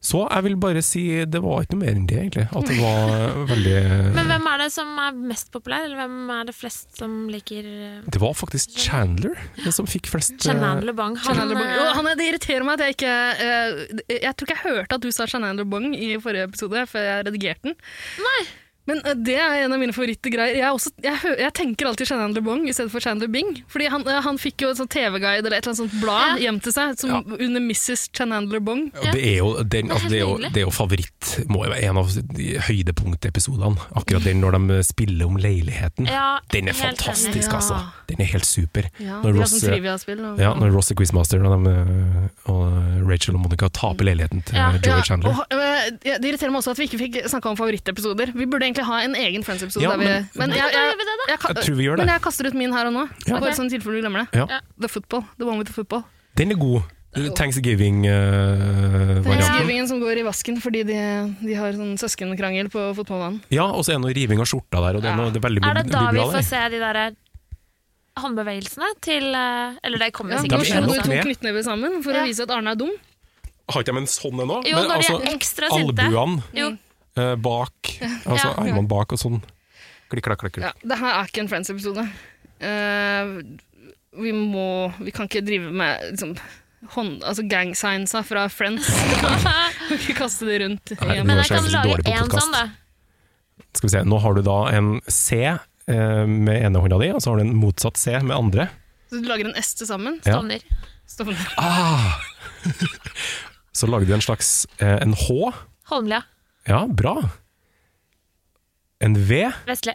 [SPEAKER 1] Så jeg vil bare si det var ikke noe mer enn det, egentlig. At det var veldig
[SPEAKER 2] Men hvem er det som er mest populær, eller hvem er det flest som liker eh,
[SPEAKER 1] Det var faktisk Chandler som fikk flest eh,
[SPEAKER 2] Chandler Bang? Han,
[SPEAKER 3] Chandler Bong.
[SPEAKER 2] eh,
[SPEAKER 3] Å, Hanne, det irriterer meg at jeg ikke eh, Jeg tror ikke jeg hørte at du sa Chanel Bong i forrige episode, før jeg redigerte den. Men eh, det er en av mine favorittgreier. Jeg, er også, jeg, hø- jeg tenker alltid Chandler Bong i stedet for Chandler Bing. Fordi han, eh, han fikk jo et sånt TV-guide eller et eller annet sånt blad hjem til seg som,
[SPEAKER 1] Ja.
[SPEAKER 3] under Mrs. Chandler Bong.
[SPEAKER 1] Og Det er jo, den, altså, det er jo,
[SPEAKER 2] nydelig.
[SPEAKER 1] det er jo favoritt, må jo være en av de høydepunktepisodene. Akkurat den når de spiller om leiligheten.
[SPEAKER 2] Ja,
[SPEAKER 1] Den er
[SPEAKER 2] helt
[SPEAKER 1] fantastisk,
[SPEAKER 2] enig.
[SPEAKER 1] altså. Den er helt super.
[SPEAKER 3] Ja,
[SPEAKER 1] Når
[SPEAKER 3] det er
[SPEAKER 1] Ross,
[SPEAKER 3] sånn triviaspill.
[SPEAKER 2] Mm.
[SPEAKER 3] og-
[SPEAKER 1] Ja, når Ross er quizmaster og, de, øh, og Rachel og Monica taper leiligheten til
[SPEAKER 2] Ja.
[SPEAKER 1] øh, Joey
[SPEAKER 3] Ja,
[SPEAKER 1] Chandler.
[SPEAKER 3] og, øh, ja, det irriterer meg også at vi ikke fikk snakka om favorittepisoder. Vi burde egentlig ha en egen Friends-episode.
[SPEAKER 1] Ja,
[SPEAKER 3] der vi-
[SPEAKER 1] men-
[SPEAKER 3] men
[SPEAKER 2] Ja, da gjør vi det, da.
[SPEAKER 3] jeg ka-
[SPEAKER 1] Jeg tror vi gjør det.
[SPEAKER 3] Men jeg kaster ut min her og nå.
[SPEAKER 1] Ja.
[SPEAKER 3] Bare sånn i tilfelle du glemmer det.
[SPEAKER 1] Ja.
[SPEAKER 2] Ja.
[SPEAKER 3] The football. The one with the football.
[SPEAKER 1] Den er god. eh, Thanksgiving-varianten.
[SPEAKER 3] Thanksgivingen som går i vasken fordi de, de har sånn søskenkrangel på fotballbanen.
[SPEAKER 1] ja, og så er det noe riving av skjorta der, og det er, noe, det er veldig mye
[SPEAKER 2] Er det da
[SPEAKER 1] mye
[SPEAKER 2] vi
[SPEAKER 1] bra
[SPEAKER 2] får
[SPEAKER 1] der.
[SPEAKER 2] se de derre håndbevegelsene til eh, Eller det kommer
[SPEAKER 3] Ja,
[SPEAKER 1] de
[SPEAKER 3] nå
[SPEAKER 1] er
[SPEAKER 2] sikkert.
[SPEAKER 3] slo
[SPEAKER 1] nok
[SPEAKER 3] de to
[SPEAKER 1] med.
[SPEAKER 3] knyttnever sammen for
[SPEAKER 2] Ja.
[SPEAKER 3] å vise at Arne er dum.
[SPEAKER 1] Har ikke de en sånn ennå?
[SPEAKER 2] Jo,
[SPEAKER 1] Men
[SPEAKER 2] når de
[SPEAKER 1] altså,
[SPEAKER 2] er ekstra sinte.
[SPEAKER 1] albuene
[SPEAKER 2] Jo,
[SPEAKER 1] øh, bak, altså
[SPEAKER 2] [LAUGHS] Ja.
[SPEAKER 1] armene bak og sånn. Klikk, klakk, klakk.
[SPEAKER 3] Ja, det her er ikke en Friends-episode. Eh, vi må Vi kan ikke drive med liksom, hånd, altså gangsignsa fra Friends. Vi kan ikke kaste det rundt.
[SPEAKER 1] Nei,
[SPEAKER 3] igjen.
[SPEAKER 2] men
[SPEAKER 1] Jonas
[SPEAKER 2] jeg
[SPEAKER 1] er
[SPEAKER 2] kan
[SPEAKER 1] så
[SPEAKER 2] lage
[SPEAKER 1] dårlig på
[SPEAKER 2] én
[SPEAKER 1] podcast.
[SPEAKER 2] sånn, da.
[SPEAKER 1] Skal vi se, nå har du da en C eh, med ene hånda di, og så har du en motsatt C med andre.
[SPEAKER 3] Så du lager en S til sammen?
[SPEAKER 1] Ja.
[SPEAKER 2] Stovner.
[SPEAKER 3] Stovner.
[SPEAKER 1] Ah! Så lager du en slags eh, en H.
[SPEAKER 2] Holmlia.
[SPEAKER 1] Ja, bra. En V.
[SPEAKER 2] Vestli.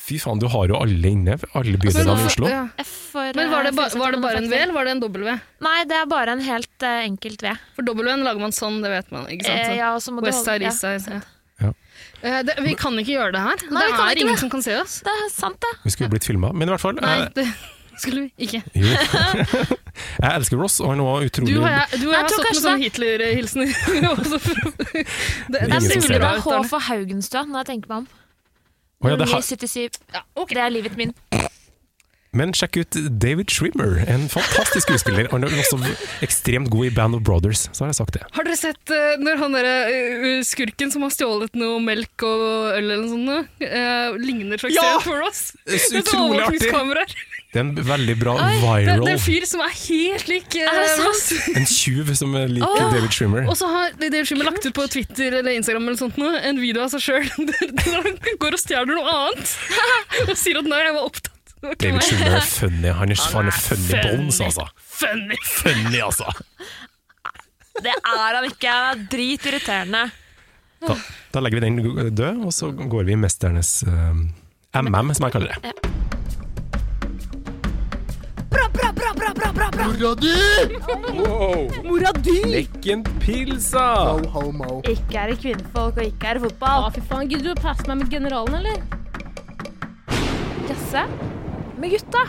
[SPEAKER 1] Fy faen, du har jo alle inne, alle bydelene i Oslo.
[SPEAKER 3] Altså, Ja.
[SPEAKER 2] F for
[SPEAKER 3] Men var det, ba,
[SPEAKER 2] eh,
[SPEAKER 3] var det bare en V, eller var det en W?
[SPEAKER 2] Nei, det er bare en helt eh, enkelt V.
[SPEAKER 3] For W-en lager man sånn, det vet man. ikke sant?
[SPEAKER 2] Eh,
[SPEAKER 3] Så.
[SPEAKER 2] ja, og så må du
[SPEAKER 3] West
[SPEAKER 2] holde-
[SPEAKER 3] side, east
[SPEAKER 2] ja,
[SPEAKER 3] side. Ja.
[SPEAKER 1] Ja.
[SPEAKER 3] Eh, det, vi kan ikke gjøre det her.
[SPEAKER 2] Nei, vi
[SPEAKER 3] det
[SPEAKER 2] kan
[SPEAKER 3] er
[SPEAKER 2] ikke
[SPEAKER 3] ingen
[SPEAKER 2] det.
[SPEAKER 3] som kan se oss.
[SPEAKER 2] Det er sant, det.
[SPEAKER 1] Vi skulle blitt filma, men i hvert fall
[SPEAKER 3] Nei,
[SPEAKER 1] eh,
[SPEAKER 3] det, Skulle vi ikke?
[SPEAKER 1] Jo. [LAUGHS] jeg elsker Ross, og han var utrolig
[SPEAKER 3] Du og jeg, du og
[SPEAKER 2] Jeg
[SPEAKER 3] jeg har
[SPEAKER 2] tror
[SPEAKER 3] stått med
[SPEAKER 2] kanskje
[SPEAKER 3] sånn
[SPEAKER 2] [LAUGHS]
[SPEAKER 3] Hitler-hilsener. også for- det, det,
[SPEAKER 1] Ingen som ser
[SPEAKER 3] ser
[SPEAKER 2] Det
[SPEAKER 1] det.
[SPEAKER 3] bra
[SPEAKER 2] var
[SPEAKER 3] ut,
[SPEAKER 2] H
[SPEAKER 3] Arne.
[SPEAKER 2] for Haugenstua, når jeg tenker meg om.
[SPEAKER 1] Å ja, det har-
[SPEAKER 2] 977.
[SPEAKER 3] Ja, ok.
[SPEAKER 2] Det er livet min.
[SPEAKER 1] Men sjekk ut David Schwimmer, en fantastisk skuespiller. Han er også ekstremt god i Band of Brothers, så har jeg sagt det.
[SPEAKER 3] Har dere sett eh, når han der eh, skurken som har stjålet noe melk og øl eller noe sånt, eh, ligner slags
[SPEAKER 1] Ja!
[SPEAKER 3] for oss?
[SPEAKER 1] Det er så
[SPEAKER 3] Med
[SPEAKER 1] utrolig
[SPEAKER 3] sånne
[SPEAKER 1] artig.
[SPEAKER 3] overvåkningskameraer.
[SPEAKER 1] Det er en veldig bra
[SPEAKER 3] Det, er-
[SPEAKER 1] viral
[SPEAKER 3] det er en fyr som er helt lik eh,
[SPEAKER 2] Er det sant?
[SPEAKER 3] Ross.
[SPEAKER 1] [LAUGHS] En tjuv som er lik
[SPEAKER 2] Åh!
[SPEAKER 1] David Schwimmer.
[SPEAKER 3] Og så har Dave Schimmer lagt ut på Twitter eller Instagram eller sånt noe, en video av seg [LAUGHS] sjøl der han går og stjeler noe annet [LAUGHS] og sier at 'nei, jeg var opptatt'. Det var
[SPEAKER 1] David
[SPEAKER 3] ikke meg.
[SPEAKER 1] Schwimmer er funny. Han er, han er funny bones, altså.
[SPEAKER 3] Funny.
[SPEAKER 1] Funny, altså.
[SPEAKER 2] Det er han ikke. Han er dritirriterende.
[SPEAKER 1] Da, da legger vi den død, og så går vi i mesternes eh, MM, som jeg kaller det.
[SPEAKER 10] Mora di!
[SPEAKER 1] Lekken pilsa!
[SPEAKER 10] Ikke er det kvinnfolk, og ikke er det fotball.
[SPEAKER 4] Å, fy faen. Gidder du å passe meg med generalen, eller?
[SPEAKER 10] Jasse? Med gutta?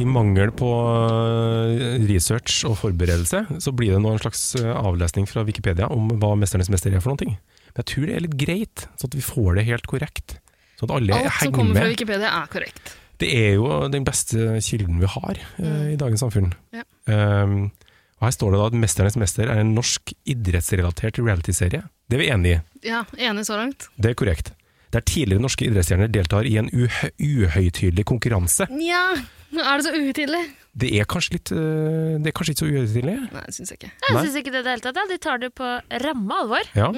[SPEAKER 1] I mangel på eh, research og forberedelse, så blir det nå en slags eh, avlesning fra Wikipedia om hva Mesternes mester er for noen ting. Men jeg tror det er litt greit, sånn at vi får det helt korrekt. Sånn at alle
[SPEAKER 3] Alt som
[SPEAKER 1] henger
[SPEAKER 3] kommer fra
[SPEAKER 1] med.
[SPEAKER 3] Wikipedia, er korrekt.
[SPEAKER 1] Det er jo den beste kilden vi har eh, i dagens samfunn.
[SPEAKER 3] Ja.
[SPEAKER 1] Ehm, og her står det da at Mesternes mester er en norsk idrettsrelatert realityserie. Det er vi enige i.
[SPEAKER 3] Ja, Enig så langt?
[SPEAKER 1] Det er korrekt. Der tidligere norske idrettsstjerner deltar i en uhe- uhøytidelig konkurranse.
[SPEAKER 3] Nja, er det så uhøytidelig?
[SPEAKER 1] Det er kanskje, litt, eh, det er kanskje ikke så uhøytidelig?
[SPEAKER 3] Nei, det syns jeg ikke.
[SPEAKER 2] Jeg
[SPEAKER 1] Nei.
[SPEAKER 2] syns ikke det i det hele tatt. ja. De tar det på ramme alvor.
[SPEAKER 1] Ja.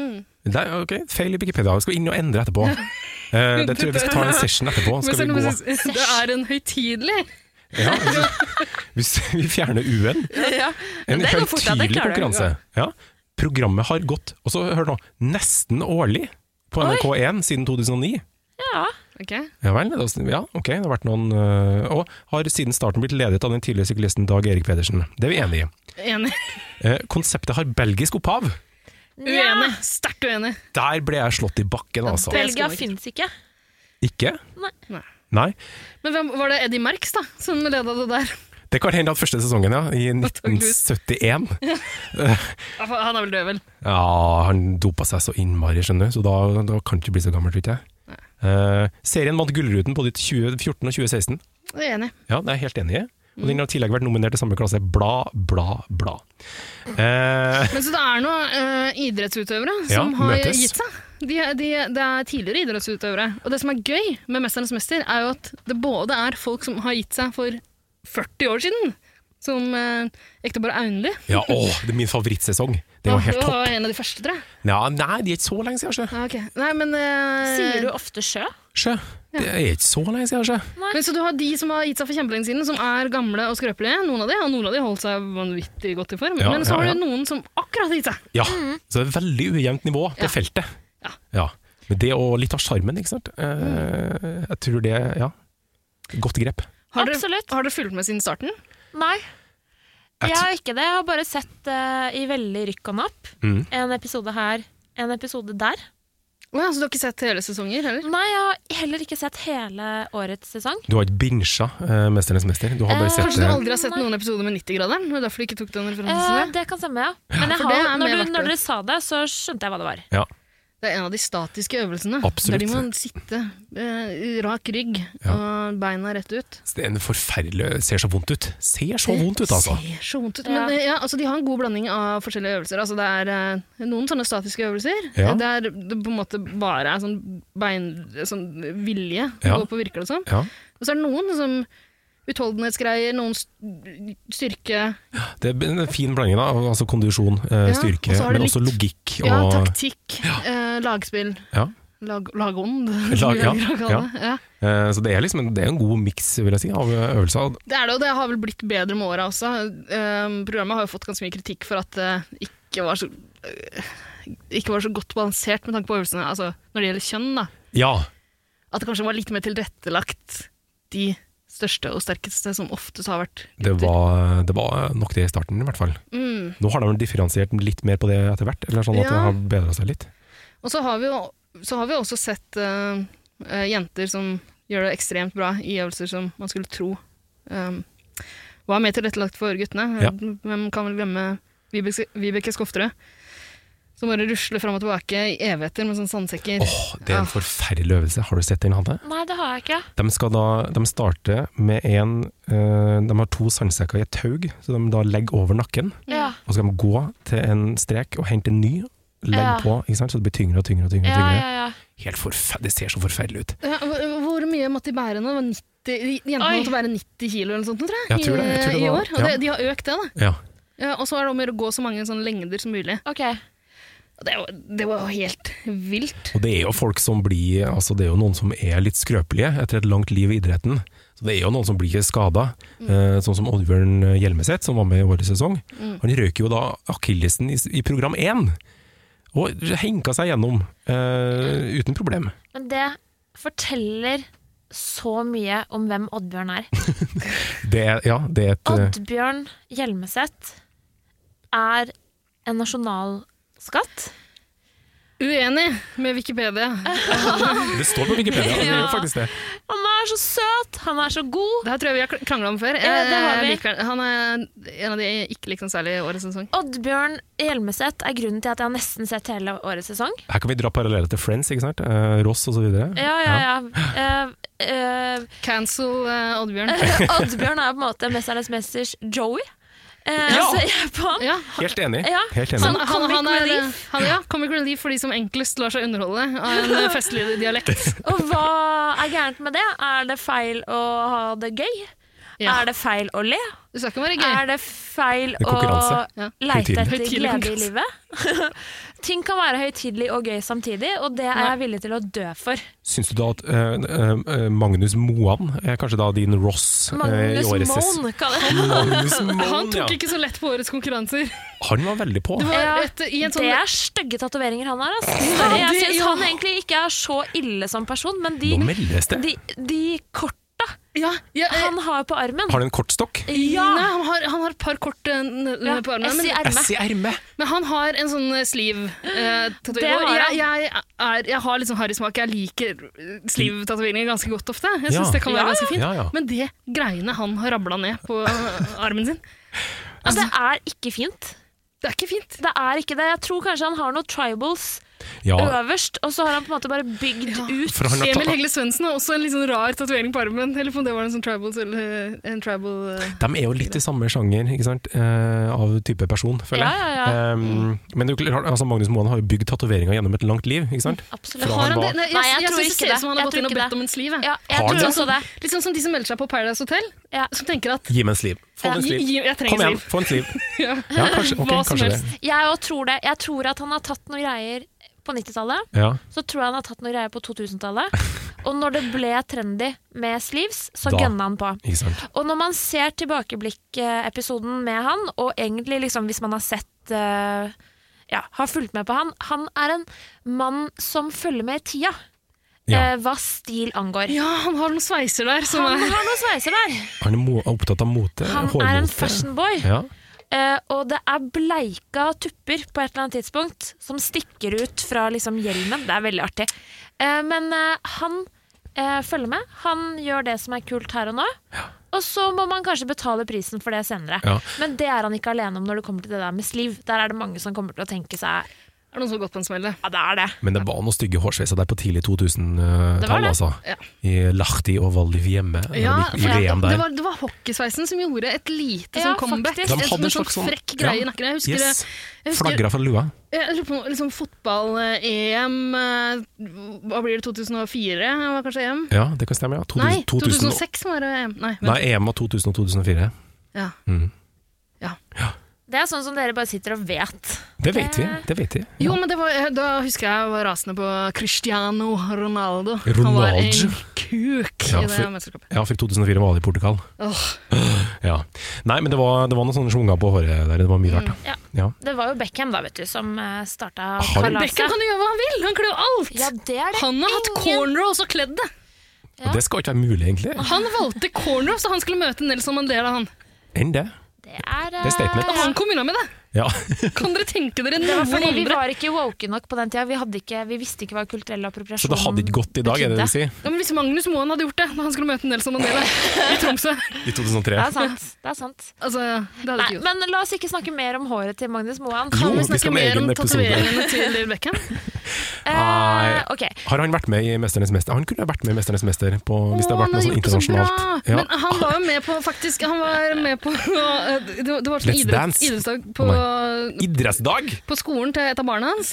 [SPEAKER 1] Det er, ok, feil i Wikipedia. Vi skal inn og endre etterpå. Eh, det tror jeg vi skal ta en session etterpå.
[SPEAKER 3] Men
[SPEAKER 1] Skal
[SPEAKER 3] selv
[SPEAKER 1] vi,
[SPEAKER 3] om
[SPEAKER 1] gå.
[SPEAKER 3] jeg synes det er en høytidelig
[SPEAKER 1] Ja, altså, [LAUGHS] hvis vi fjerner U-en. En
[SPEAKER 2] det går fort at det
[SPEAKER 1] høytidelig
[SPEAKER 2] klarer du.
[SPEAKER 1] konkurranse. Ja. Programmet har gått, og så hør nå, nesten årlig på
[SPEAKER 2] Oi.
[SPEAKER 1] NRK1 siden 2009.
[SPEAKER 2] Ja.
[SPEAKER 3] Ok,
[SPEAKER 1] Ja vel, det er også- ja, ok, det har vært noen øh, Og har siden starten blitt ledet av den tidligere syklisten Dag Erik Pedersen. Det er vi enige i.
[SPEAKER 3] Enig.
[SPEAKER 1] Eh, konseptet har belgisk opphav.
[SPEAKER 3] Uenig. Sterkt uenig.
[SPEAKER 1] Der ble jeg slått i bakken, altså.
[SPEAKER 3] det-
[SPEAKER 2] Belgia fins ikke.
[SPEAKER 1] Ikke?
[SPEAKER 2] Nei.
[SPEAKER 3] Nei.
[SPEAKER 1] Nei.
[SPEAKER 3] Men hvem, var det Eddie Merx da, som leda det der?
[SPEAKER 1] Det kan hende at første sesongen, ja,
[SPEAKER 2] [LAUGHS]
[SPEAKER 1] i
[SPEAKER 3] Antageligvis.
[SPEAKER 1] 1971
[SPEAKER 3] Ja, for Han er vel død, vel?
[SPEAKER 1] Ja, han dopa seg så innmari, skjønner du, så da, da kan det ikke bli så gammel, tror ikke jeg. Eh, serien vant Gullruten både i 2014 og 2016.
[SPEAKER 3] Jeg er Enig.
[SPEAKER 1] Ja, det er jeg helt enig i. Og
[SPEAKER 3] Mm.
[SPEAKER 1] den har i tillegg vært nominert til samme klasse. Bla, bla, bla.
[SPEAKER 3] [LAUGHS]
[SPEAKER 1] Eh,
[SPEAKER 3] Men så det er noen eh, idrettsutøvere
[SPEAKER 1] Ja,
[SPEAKER 3] som har
[SPEAKER 1] møtes.
[SPEAKER 3] gitt seg. De, de, det er tidligere idrettsutøvere. Og det som er gøy med 'Mesternes mester', er jo at det både er folk som har gitt seg for 40 år siden, som eh, ekteparet Aunli.
[SPEAKER 1] ja, åh, det er min favorittsesong. Det var helt
[SPEAKER 3] det
[SPEAKER 1] topp.
[SPEAKER 3] var en av de første, tror jeg.
[SPEAKER 1] Ja, nei, det er ikke så lenge siden, sjø.
[SPEAKER 3] Ja, ok. Nei, men, eh,
[SPEAKER 2] Sier du ofte sjø?
[SPEAKER 1] Sjø. Det er ikke så lenge siden, sjø.
[SPEAKER 3] Men så du har de som har gitt seg for kjempelenge siden, som er gamle og skrøpelige, noen av de, og noen av de holdt seg vanvittig godt i form,
[SPEAKER 1] Ja,
[SPEAKER 3] men så
[SPEAKER 1] ja,
[SPEAKER 3] har
[SPEAKER 1] ja.
[SPEAKER 3] du noen som akkurat har gitt seg.
[SPEAKER 1] Ja, så det er veldig ujevnt nivå, det feltet.
[SPEAKER 3] Mm. Ja.
[SPEAKER 1] Ja. Men det og litt av sjarmen, ikke sant.
[SPEAKER 3] Mm.
[SPEAKER 1] Eh, jeg tror det, ja. Godt grep.
[SPEAKER 3] Har dere-
[SPEAKER 2] Absolutt.
[SPEAKER 3] Har dere fulgt med siden starten?
[SPEAKER 2] Nei.
[SPEAKER 1] Jeg
[SPEAKER 2] Jeg har ikke det. Jeg har bare sett eh, i veldig rykk og napp.
[SPEAKER 1] Mm.
[SPEAKER 2] En episode her, en episode der.
[SPEAKER 3] Å ja, så du har ikke sett hele sesonger heller?
[SPEAKER 2] Nei, jeg har heller ikke sett hele årets sesong.
[SPEAKER 1] Du har ikke binsja eh, 'Mesternes mester'. Du har bare
[SPEAKER 2] Eh,
[SPEAKER 1] sett
[SPEAKER 3] Kanskje du
[SPEAKER 1] eh,
[SPEAKER 3] aldri har sett
[SPEAKER 2] Nei.
[SPEAKER 3] noen episoder med 90-graderen? og Derfor du ikke tok den
[SPEAKER 2] Eh,
[SPEAKER 3] referansen? der?
[SPEAKER 2] det kan stemme, ja. Men jeg
[SPEAKER 3] for det
[SPEAKER 2] har,
[SPEAKER 3] er med
[SPEAKER 2] når,
[SPEAKER 3] hvert
[SPEAKER 2] du,
[SPEAKER 3] år.
[SPEAKER 2] når dere sa det, så skjønte jeg hva det var.
[SPEAKER 1] ja.
[SPEAKER 3] Det er en av de statiske øvelsene.
[SPEAKER 1] Absolutt.
[SPEAKER 3] Der de må sitte eh, i rak rygg og beina rett ut.
[SPEAKER 1] Så Det er en forferdelig Ser så vondt ut. Ser så vondt ut, altså.
[SPEAKER 3] Ser så vondt ut.
[SPEAKER 2] Ja.
[SPEAKER 3] Men eh, ja, altså, de har en god blanding av forskjellige øvelser. Altså, det er eh, noen sånne statiske øvelser
[SPEAKER 1] Ja.
[SPEAKER 3] der det på en måte bare er sånn bein... Sånn vilje
[SPEAKER 1] Ja.
[SPEAKER 3] går på, virker det som.
[SPEAKER 1] Ja,
[SPEAKER 3] Og så er det noen som utholdenhetsgreier, noen st- styrke
[SPEAKER 1] det er en fin blanding, da. Altså kondisjon, eh,
[SPEAKER 3] Ja,
[SPEAKER 1] styrke,
[SPEAKER 3] og så har det
[SPEAKER 1] men også
[SPEAKER 3] litt-
[SPEAKER 1] logikk. Og,
[SPEAKER 3] Ja, taktikk, eh, lagspill,
[SPEAKER 1] Ja.
[SPEAKER 3] lag, lagånd.
[SPEAKER 1] Lag-
[SPEAKER 3] [LAUGHS] som vi
[SPEAKER 1] ja,
[SPEAKER 3] velger å kalle
[SPEAKER 1] ja.
[SPEAKER 3] det. Ja.
[SPEAKER 1] Eh, så det er liksom en, det er en god miks, vil jeg si, av eh, øvelser.
[SPEAKER 3] Det er det, og det har vel blitt bedre med åra også. Ehm, programmet har jo fått ganske mye kritikk for at det ikke var så eh, ikke var så godt balansert med tanke på øvelsene altså, når det gjelder kjønn. da.
[SPEAKER 1] Ja,
[SPEAKER 3] At det kanskje var litt mer tilrettelagt de største og sterkeste, som oftest har vært
[SPEAKER 1] det
[SPEAKER 3] gutter.
[SPEAKER 1] var, det var nok det i starten, i hvert fall.
[SPEAKER 3] Mm.
[SPEAKER 1] Nå har de vel differensiert litt mer på det etter hvert, eller sånn at det
[SPEAKER 3] Ja.
[SPEAKER 1] har bedra seg litt.
[SPEAKER 3] Og så har vi jo så har vi også sett eh, eh, jenter som gjør det ekstremt bra i øvelser som man skulle tro um, var mer tilrettelagt for guttene.
[SPEAKER 1] Ja.
[SPEAKER 3] Hvem kan vel glemme Vibeke, Vibeke Skofterud? Som bare rusler fram og tilbake i evigheter med sånne sandsekker.
[SPEAKER 1] Det er en forferdelig øvelse. Har du sett den, Hanne?
[SPEAKER 2] Nei, det har jeg ikke.
[SPEAKER 1] De, skal da, de starter med en eh, De har to sandsekker i et taug, så de da legger over nakken.
[SPEAKER 2] Ja.
[SPEAKER 1] Og så skal de gå til en strek og hente en ny, legge
[SPEAKER 3] Ja.
[SPEAKER 1] på, ikke sant? så det blir tyngre og tyngre. og tyngre. og
[SPEAKER 3] Ja,
[SPEAKER 1] tyngre.
[SPEAKER 3] ja, ja.
[SPEAKER 1] Helt forfe- det ser så forferdelig ut.
[SPEAKER 3] Ja, hvor- hvor mye måtte de bære nå? Det var 90, jentene
[SPEAKER 2] Oi.
[SPEAKER 3] måtte bære 90 kilo eller noe sånt, tror
[SPEAKER 1] Jeg
[SPEAKER 3] jeg,
[SPEAKER 1] tror det, jeg tror det
[SPEAKER 3] i, i
[SPEAKER 1] var-
[SPEAKER 3] år. Og
[SPEAKER 1] ja.
[SPEAKER 3] det, de har økt det, da.
[SPEAKER 1] Ja.
[SPEAKER 3] Ja, og så er det om å gjøre å gå så mange sånne lengder som mulig. Og det, var- det var jo helt vilt.
[SPEAKER 1] Og det er jo folk som blir altså Det er jo noen som er litt skrøpelige etter et langt liv i idretten. Så det er jo noen som blir skada,
[SPEAKER 3] Mm.
[SPEAKER 1] eh, sånn som Oddbjørn Hjelmeset, som var med i årets sesong.
[SPEAKER 5] Mm.
[SPEAKER 1] Han røk jo da akillesen i, s- i program én, og henka seg gjennom eh, uten problem.
[SPEAKER 2] Men det forteller så mye om hvem Oddbjørn er.
[SPEAKER 1] Det er, ja, det er et eh,
[SPEAKER 2] Oddbjørn Hjelmeset er en nasjonalskatt.
[SPEAKER 3] Uenig med Wikipedia.
[SPEAKER 1] Det står på
[SPEAKER 3] [LAUGHS]
[SPEAKER 1] Wikipedia, det gjør faktisk det.
[SPEAKER 2] Han er så søt, han er så god.
[SPEAKER 3] Det her tror jeg vi har krangla om før.
[SPEAKER 2] Ja, det har
[SPEAKER 3] Jeg
[SPEAKER 2] vi.
[SPEAKER 3] liker den. Han er en av de jeg ikke liker noe særlig i årets sesong.
[SPEAKER 2] Oddbjørn Hjelmeset er grunnen til at jeg har nesten sett hele årets sesong.
[SPEAKER 1] Her kan vi dra paralleller til Friends, ikke sant? Eh, Ross osv.
[SPEAKER 2] Ja, ja, ja. Eh, eh,
[SPEAKER 3] Cancel eh, Oddbjørn.
[SPEAKER 2] [LAUGHS] Oddbjørn er på en måte Mesternes mesters Joey. Eh,
[SPEAKER 3] Ja.
[SPEAKER 2] Så jeg er på han.
[SPEAKER 1] Helt enig.
[SPEAKER 2] Ja.
[SPEAKER 1] Helt
[SPEAKER 3] Han,
[SPEAKER 1] enig.
[SPEAKER 3] han, han
[SPEAKER 2] Comic
[SPEAKER 3] er
[SPEAKER 2] relief.
[SPEAKER 3] han, ja, comic relief for de som enklest lar seg underholde av en eh, festlig dialekt.
[SPEAKER 2] Og hva er gærent med det? Er det feil å ha det gøy? Er det feil å le?
[SPEAKER 3] Det skal ikke være
[SPEAKER 2] gøy. Er det feil
[SPEAKER 1] Det er
[SPEAKER 2] å
[SPEAKER 1] konkurranse. Ja.
[SPEAKER 2] leite
[SPEAKER 1] Høytidelig.
[SPEAKER 2] etter
[SPEAKER 3] Høytidelig
[SPEAKER 2] glede i livet? [LAUGHS] Ting kan være høytidelig og gøy samtidig, og det er jeg villig til å dø for.
[SPEAKER 1] Syns du da at eh, eh, Magnus Moan er kanskje da din Ross eh, i årets ses-
[SPEAKER 2] Moan, kaller jeg
[SPEAKER 3] [LAUGHS]
[SPEAKER 1] Magnus Moan,
[SPEAKER 3] Han
[SPEAKER 1] ja.
[SPEAKER 3] tok ikke så lett på årets konkurranser.
[SPEAKER 1] Han var veldig på.
[SPEAKER 2] [LAUGHS]
[SPEAKER 3] Det var
[SPEAKER 2] Ja,
[SPEAKER 3] et, i en sånn,
[SPEAKER 2] Det er stygge tatoveringer han har. Altså.
[SPEAKER 3] Ja,
[SPEAKER 2] Sorry, jeg
[SPEAKER 3] det-
[SPEAKER 2] syns
[SPEAKER 3] ja.
[SPEAKER 2] han egentlig ikke er så ille som person, men de,
[SPEAKER 1] Nå meldes det.
[SPEAKER 2] de, de korta han har på armen
[SPEAKER 1] Har han en kortstokk?
[SPEAKER 3] Ja! Nei, han har, han har et par kort eh, nødler
[SPEAKER 2] eh, Ja,
[SPEAKER 3] på armene.
[SPEAKER 2] S i
[SPEAKER 3] men-
[SPEAKER 2] ermet. S i ermet.
[SPEAKER 3] Men han har en sånn eh,
[SPEAKER 2] Det
[SPEAKER 3] sleeve-tatovering.
[SPEAKER 2] har
[SPEAKER 3] og
[SPEAKER 2] han.
[SPEAKER 3] jeg, jeg, er, jeg har litt sånn harrysmak. Jeg liker eh, sleeve-tatoveringer ganske godt ofte. Jeg
[SPEAKER 1] Ja.
[SPEAKER 3] synes det kan være
[SPEAKER 1] Ja, ja.
[SPEAKER 3] ganske fint.
[SPEAKER 1] Ja, ja.
[SPEAKER 3] Men det greiene han har rabla ned på [LAUGHS] eh, armen sin
[SPEAKER 2] Ja, Altså, det er ikke fint.
[SPEAKER 3] Det er ikke fint.
[SPEAKER 2] Det er ikke det. Jeg tror kanskje han har noen tribals
[SPEAKER 1] Ja.
[SPEAKER 2] øverst, og så har han på en måte bare bygd ut
[SPEAKER 1] For han har ta-
[SPEAKER 3] Emil Hegle Svendsen har også en litt sånn rar tatovering på armen. Eller om det var en sånn tribal, eller en tribal eh,
[SPEAKER 1] De er jo litt i samme sjanger ikke sant? Eh, av type person, føler jeg.
[SPEAKER 3] Ja, ja, ja.
[SPEAKER 1] Um, men det er jo klart, altså Magnus Moan har jo bygd tatoveringer gjennom et langt liv. Ikke sant? Fra
[SPEAKER 3] Har
[SPEAKER 1] han
[SPEAKER 3] han
[SPEAKER 1] var,
[SPEAKER 3] det? Nei, jeg,
[SPEAKER 2] Nei,
[SPEAKER 3] jeg,
[SPEAKER 2] jeg tror
[SPEAKER 3] synes det
[SPEAKER 2] ikke det.
[SPEAKER 3] ser ut som han har
[SPEAKER 2] Jeg
[SPEAKER 3] gått inn
[SPEAKER 2] tror
[SPEAKER 3] og
[SPEAKER 2] ikke
[SPEAKER 3] bedt om en sleeve. jeg.
[SPEAKER 1] jeg Har tror det?
[SPEAKER 3] Litt
[SPEAKER 1] også
[SPEAKER 3] sånn- Litt sånn som de som melder seg på Paradise Hotel, som tenker at
[SPEAKER 1] Gi meg en sliv. Få
[SPEAKER 3] Ja.
[SPEAKER 1] en sliv.
[SPEAKER 3] Gi- gi- jeg trenger
[SPEAKER 1] Kom igjen,
[SPEAKER 3] sliv.
[SPEAKER 1] få en sliv.
[SPEAKER 3] [LAUGHS] ja.
[SPEAKER 1] Ja, kanskje- ok,
[SPEAKER 3] Hva som
[SPEAKER 1] kanskje det.
[SPEAKER 3] helst.
[SPEAKER 2] Jeg også tror det. Jeg tror at han har tatt noen greier på 90-tallet.
[SPEAKER 1] Ja.
[SPEAKER 2] Så tror jeg han har tatt noen greier på
[SPEAKER 1] [LAUGHS]
[SPEAKER 2] 2000-tallet. Og når det ble trendy med sleeves, så
[SPEAKER 1] Da.
[SPEAKER 2] gønna han på.
[SPEAKER 1] Ikke sant?
[SPEAKER 2] Og når man ser tilbakeblikk-episoden med han, og egentlig liksom hvis man har sett eh, ja, har fulgt med på han, han er en mann som følger med i tida.
[SPEAKER 1] Ja.
[SPEAKER 2] eh, hva stil angår.
[SPEAKER 3] Ja, han har noen sveiser der. Som
[SPEAKER 2] Han
[SPEAKER 3] er-
[SPEAKER 2] har noen sveiser der!
[SPEAKER 1] Han er mo er opptatt av mote.
[SPEAKER 2] Han er en fashion boy.
[SPEAKER 1] Ja.
[SPEAKER 2] Eh, og det er bleika tupper på et eller annet tidspunkt som stikker ut fra liksom, hjelmen. Det er veldig artig. Eh, men eh, han eh, følger med. Han gjør det som er kult her og nå. Og så må man kanskje betale prisen for det senere.
[SPEAKER 1] Ja.
[SPEAKER 2] Men det er han ikke alene om når det kommer til det der med sliv. Der er det mange som kommer til å tenke seg
[SPEAKER 3] Er det noen som har gått på en smell?
[SPEAKER 2] Ja, det er det.
[SPEAKER 1] Men det var noen stygge hårsveiser der på tidlig
[SPEAKER 3] Det var
[SPEAKER 1] 2000-tall,
[SPEAKER 3] det.
[SPEAKER 1] altså.
[SPEAKER 3] Ja.
[SPEAKER 1] I Lahti og Valdiv hjemme. når
[SPEAKER 3] Ja,
[SPEAKER 1] de gikk
[SPEAKER 3] for
[SPEAKER 1] i
[SPEAKER 3] det,
[SPEAKER 1] VM
[SPEAKER 3] det,
[SPEAKER 1] der.
[SPEAKER 3] var, det var hockeysveisen som gjorde et lite
[SPEAKER 2] Ja,
[SPEAKER 3] sånn comeback.
[SPEAKER 1] De
[SPEAKER 2] faktisk.
[SPEAKER 3] En
[SPEAKER 1] hadde
[SPEAKER 3] sånn-
[SPEAKER 1] en
[SPEAKER 3] sånn
[SPEAKER 1] slags sånn-
[SPEAKER 3] frekk greie
[SPEAKER 1] Ja.
[SPEAKER 3] i nakken. Jeg husker,
[SPEAKER 1] Yes.
[SPEAKER 3] jeg husker
[SPEAKER 1] Flagra fra lua.
[SPEAKER 3] Jeg lurer på liksom fotball-EM eh, Hva blir det, 2004? Var kanskje EM?
[SPEAKER 1] Ja, det kan stemme, ja. 2000,
[SPEAKER 3] Nei,
[SPEAKER 1] 2000
[SPEAKER 3] 2006 var det EM. Nei, vent.
[SPEAKER 1] Nei, EM var 2000 og 2004.
[SPEAKER 3] Ja.
[SPEAKER 1] Mm.
[SPEAKER 2] Det er sånn som dere bare sitter og vet.
[SPEAKER 1] Det vet vi. det vet vi.
[SPEAKER 3] Eh, Jo, men det var, eh, da husker jeg jeg var rasende på Cristiano Ronaldo. Han var
[SPEAKER 1] Ronaldo.
[SPEAKER 3] en kuk
[SPEAKER 1] Ja,
[SPEAKER 3] i det
[SPEAKER 1] for,
[SPEAKER 3] mesterskapet.
[SPEAKER 1] ja, for 2004 var det i Portugal.
[SPEAKER 3] Åh.
[SPEAKER 1] Ja. Nei, men det var, det var noen sånne sjunger på håret der. Det var mye rart.
[SPEAKER 2] Ja.
[SPEAKER 1] Ja.
[SPEAKER 2] Det var jo Beckham da, vet du, som eh, starta
[SPEAKER 1] Har-
[SPEAKER 2] kalaset.
[SPEAKER 3] Beckham kan jo gjøre hva han vil! Han kler jo alt!
[SPEAKER 2] Ja, det er det
[SPEAKER 3] han har hatt cornrows og kledd det! Ah.
[SPEAKER 1] Og det skal ikke være mulig, egentlig.
[SPEAKER 3] Han valgte cornrows, så han skulle møte Nelson Mandela, han.
[SPEAKER 1] Enn det.
[SPEAKER 2] Det Det er, eh,
[SPEAKER 1] Det er statement.
[SPEAKER 3] Og han kom unna med det! [LAUGHS]
[SPEAKER 1] Ja.
[SPEAKER 3] Kan dere tenke dere
[SPEAKER 2] Det var
[SPEAKER 3] noen
[SPEAKER 2] fordi vi
[SPEAKER 3] andre?
[SPEAKER 2] var ikke woke nok på den tida. Vi, hadde ikke, vi visste ikke hva kulturell
[SPEAKER 1] Så
[SPEAKER 2] appropriasjon
[SPEAKER 1] det hadde ikke gått i dag, er det det du
[SPEAKER 2] betydde.
[SPEAKER 1] sier?
[SPEAKER 3] Ja, men Hvis Magnus Moen hadde gjort det da han skulle møte Nelson Mandela i Tromsø Altså,
[SPEAKER 1] I 2003.
[SPEAKER 2] Det er sant. Det er sant. Nei, men la oss ikke snakke mer om håret til Magnus Moan.
[SPEAKER 1] Kan Jo, vi vi snakke skal ha en mer om egen episode.
[SPEAKER 3] [LAUGHS]
[SPEAKER 1] tatoveringene
[SPEAKER 3] til Lill Beckham?
[SPEAKER 1] Nei.
[SPEAKER 2] eh, ok.
[SPEAKER 1] Har han vært med i Mesternes mester? Han kunne ha vært med i Mesternes mester på, hvis det hadde vært noe sånn internasjonalt.
[SPEAKER 3] Men ah, han var jo med på faktisk Han var med på [LAUGHS] Det var, det var sånn
[SPEAKER 1] Let's
[SPEAKER 3] idretts,
[SPEAKER 1] dance. Oh Å
[SPEAKER 3] idrettsdag på,
[SPEAKER 1] Idrettsdag!
[SPEAKER 3] på skolen til et av barna hans.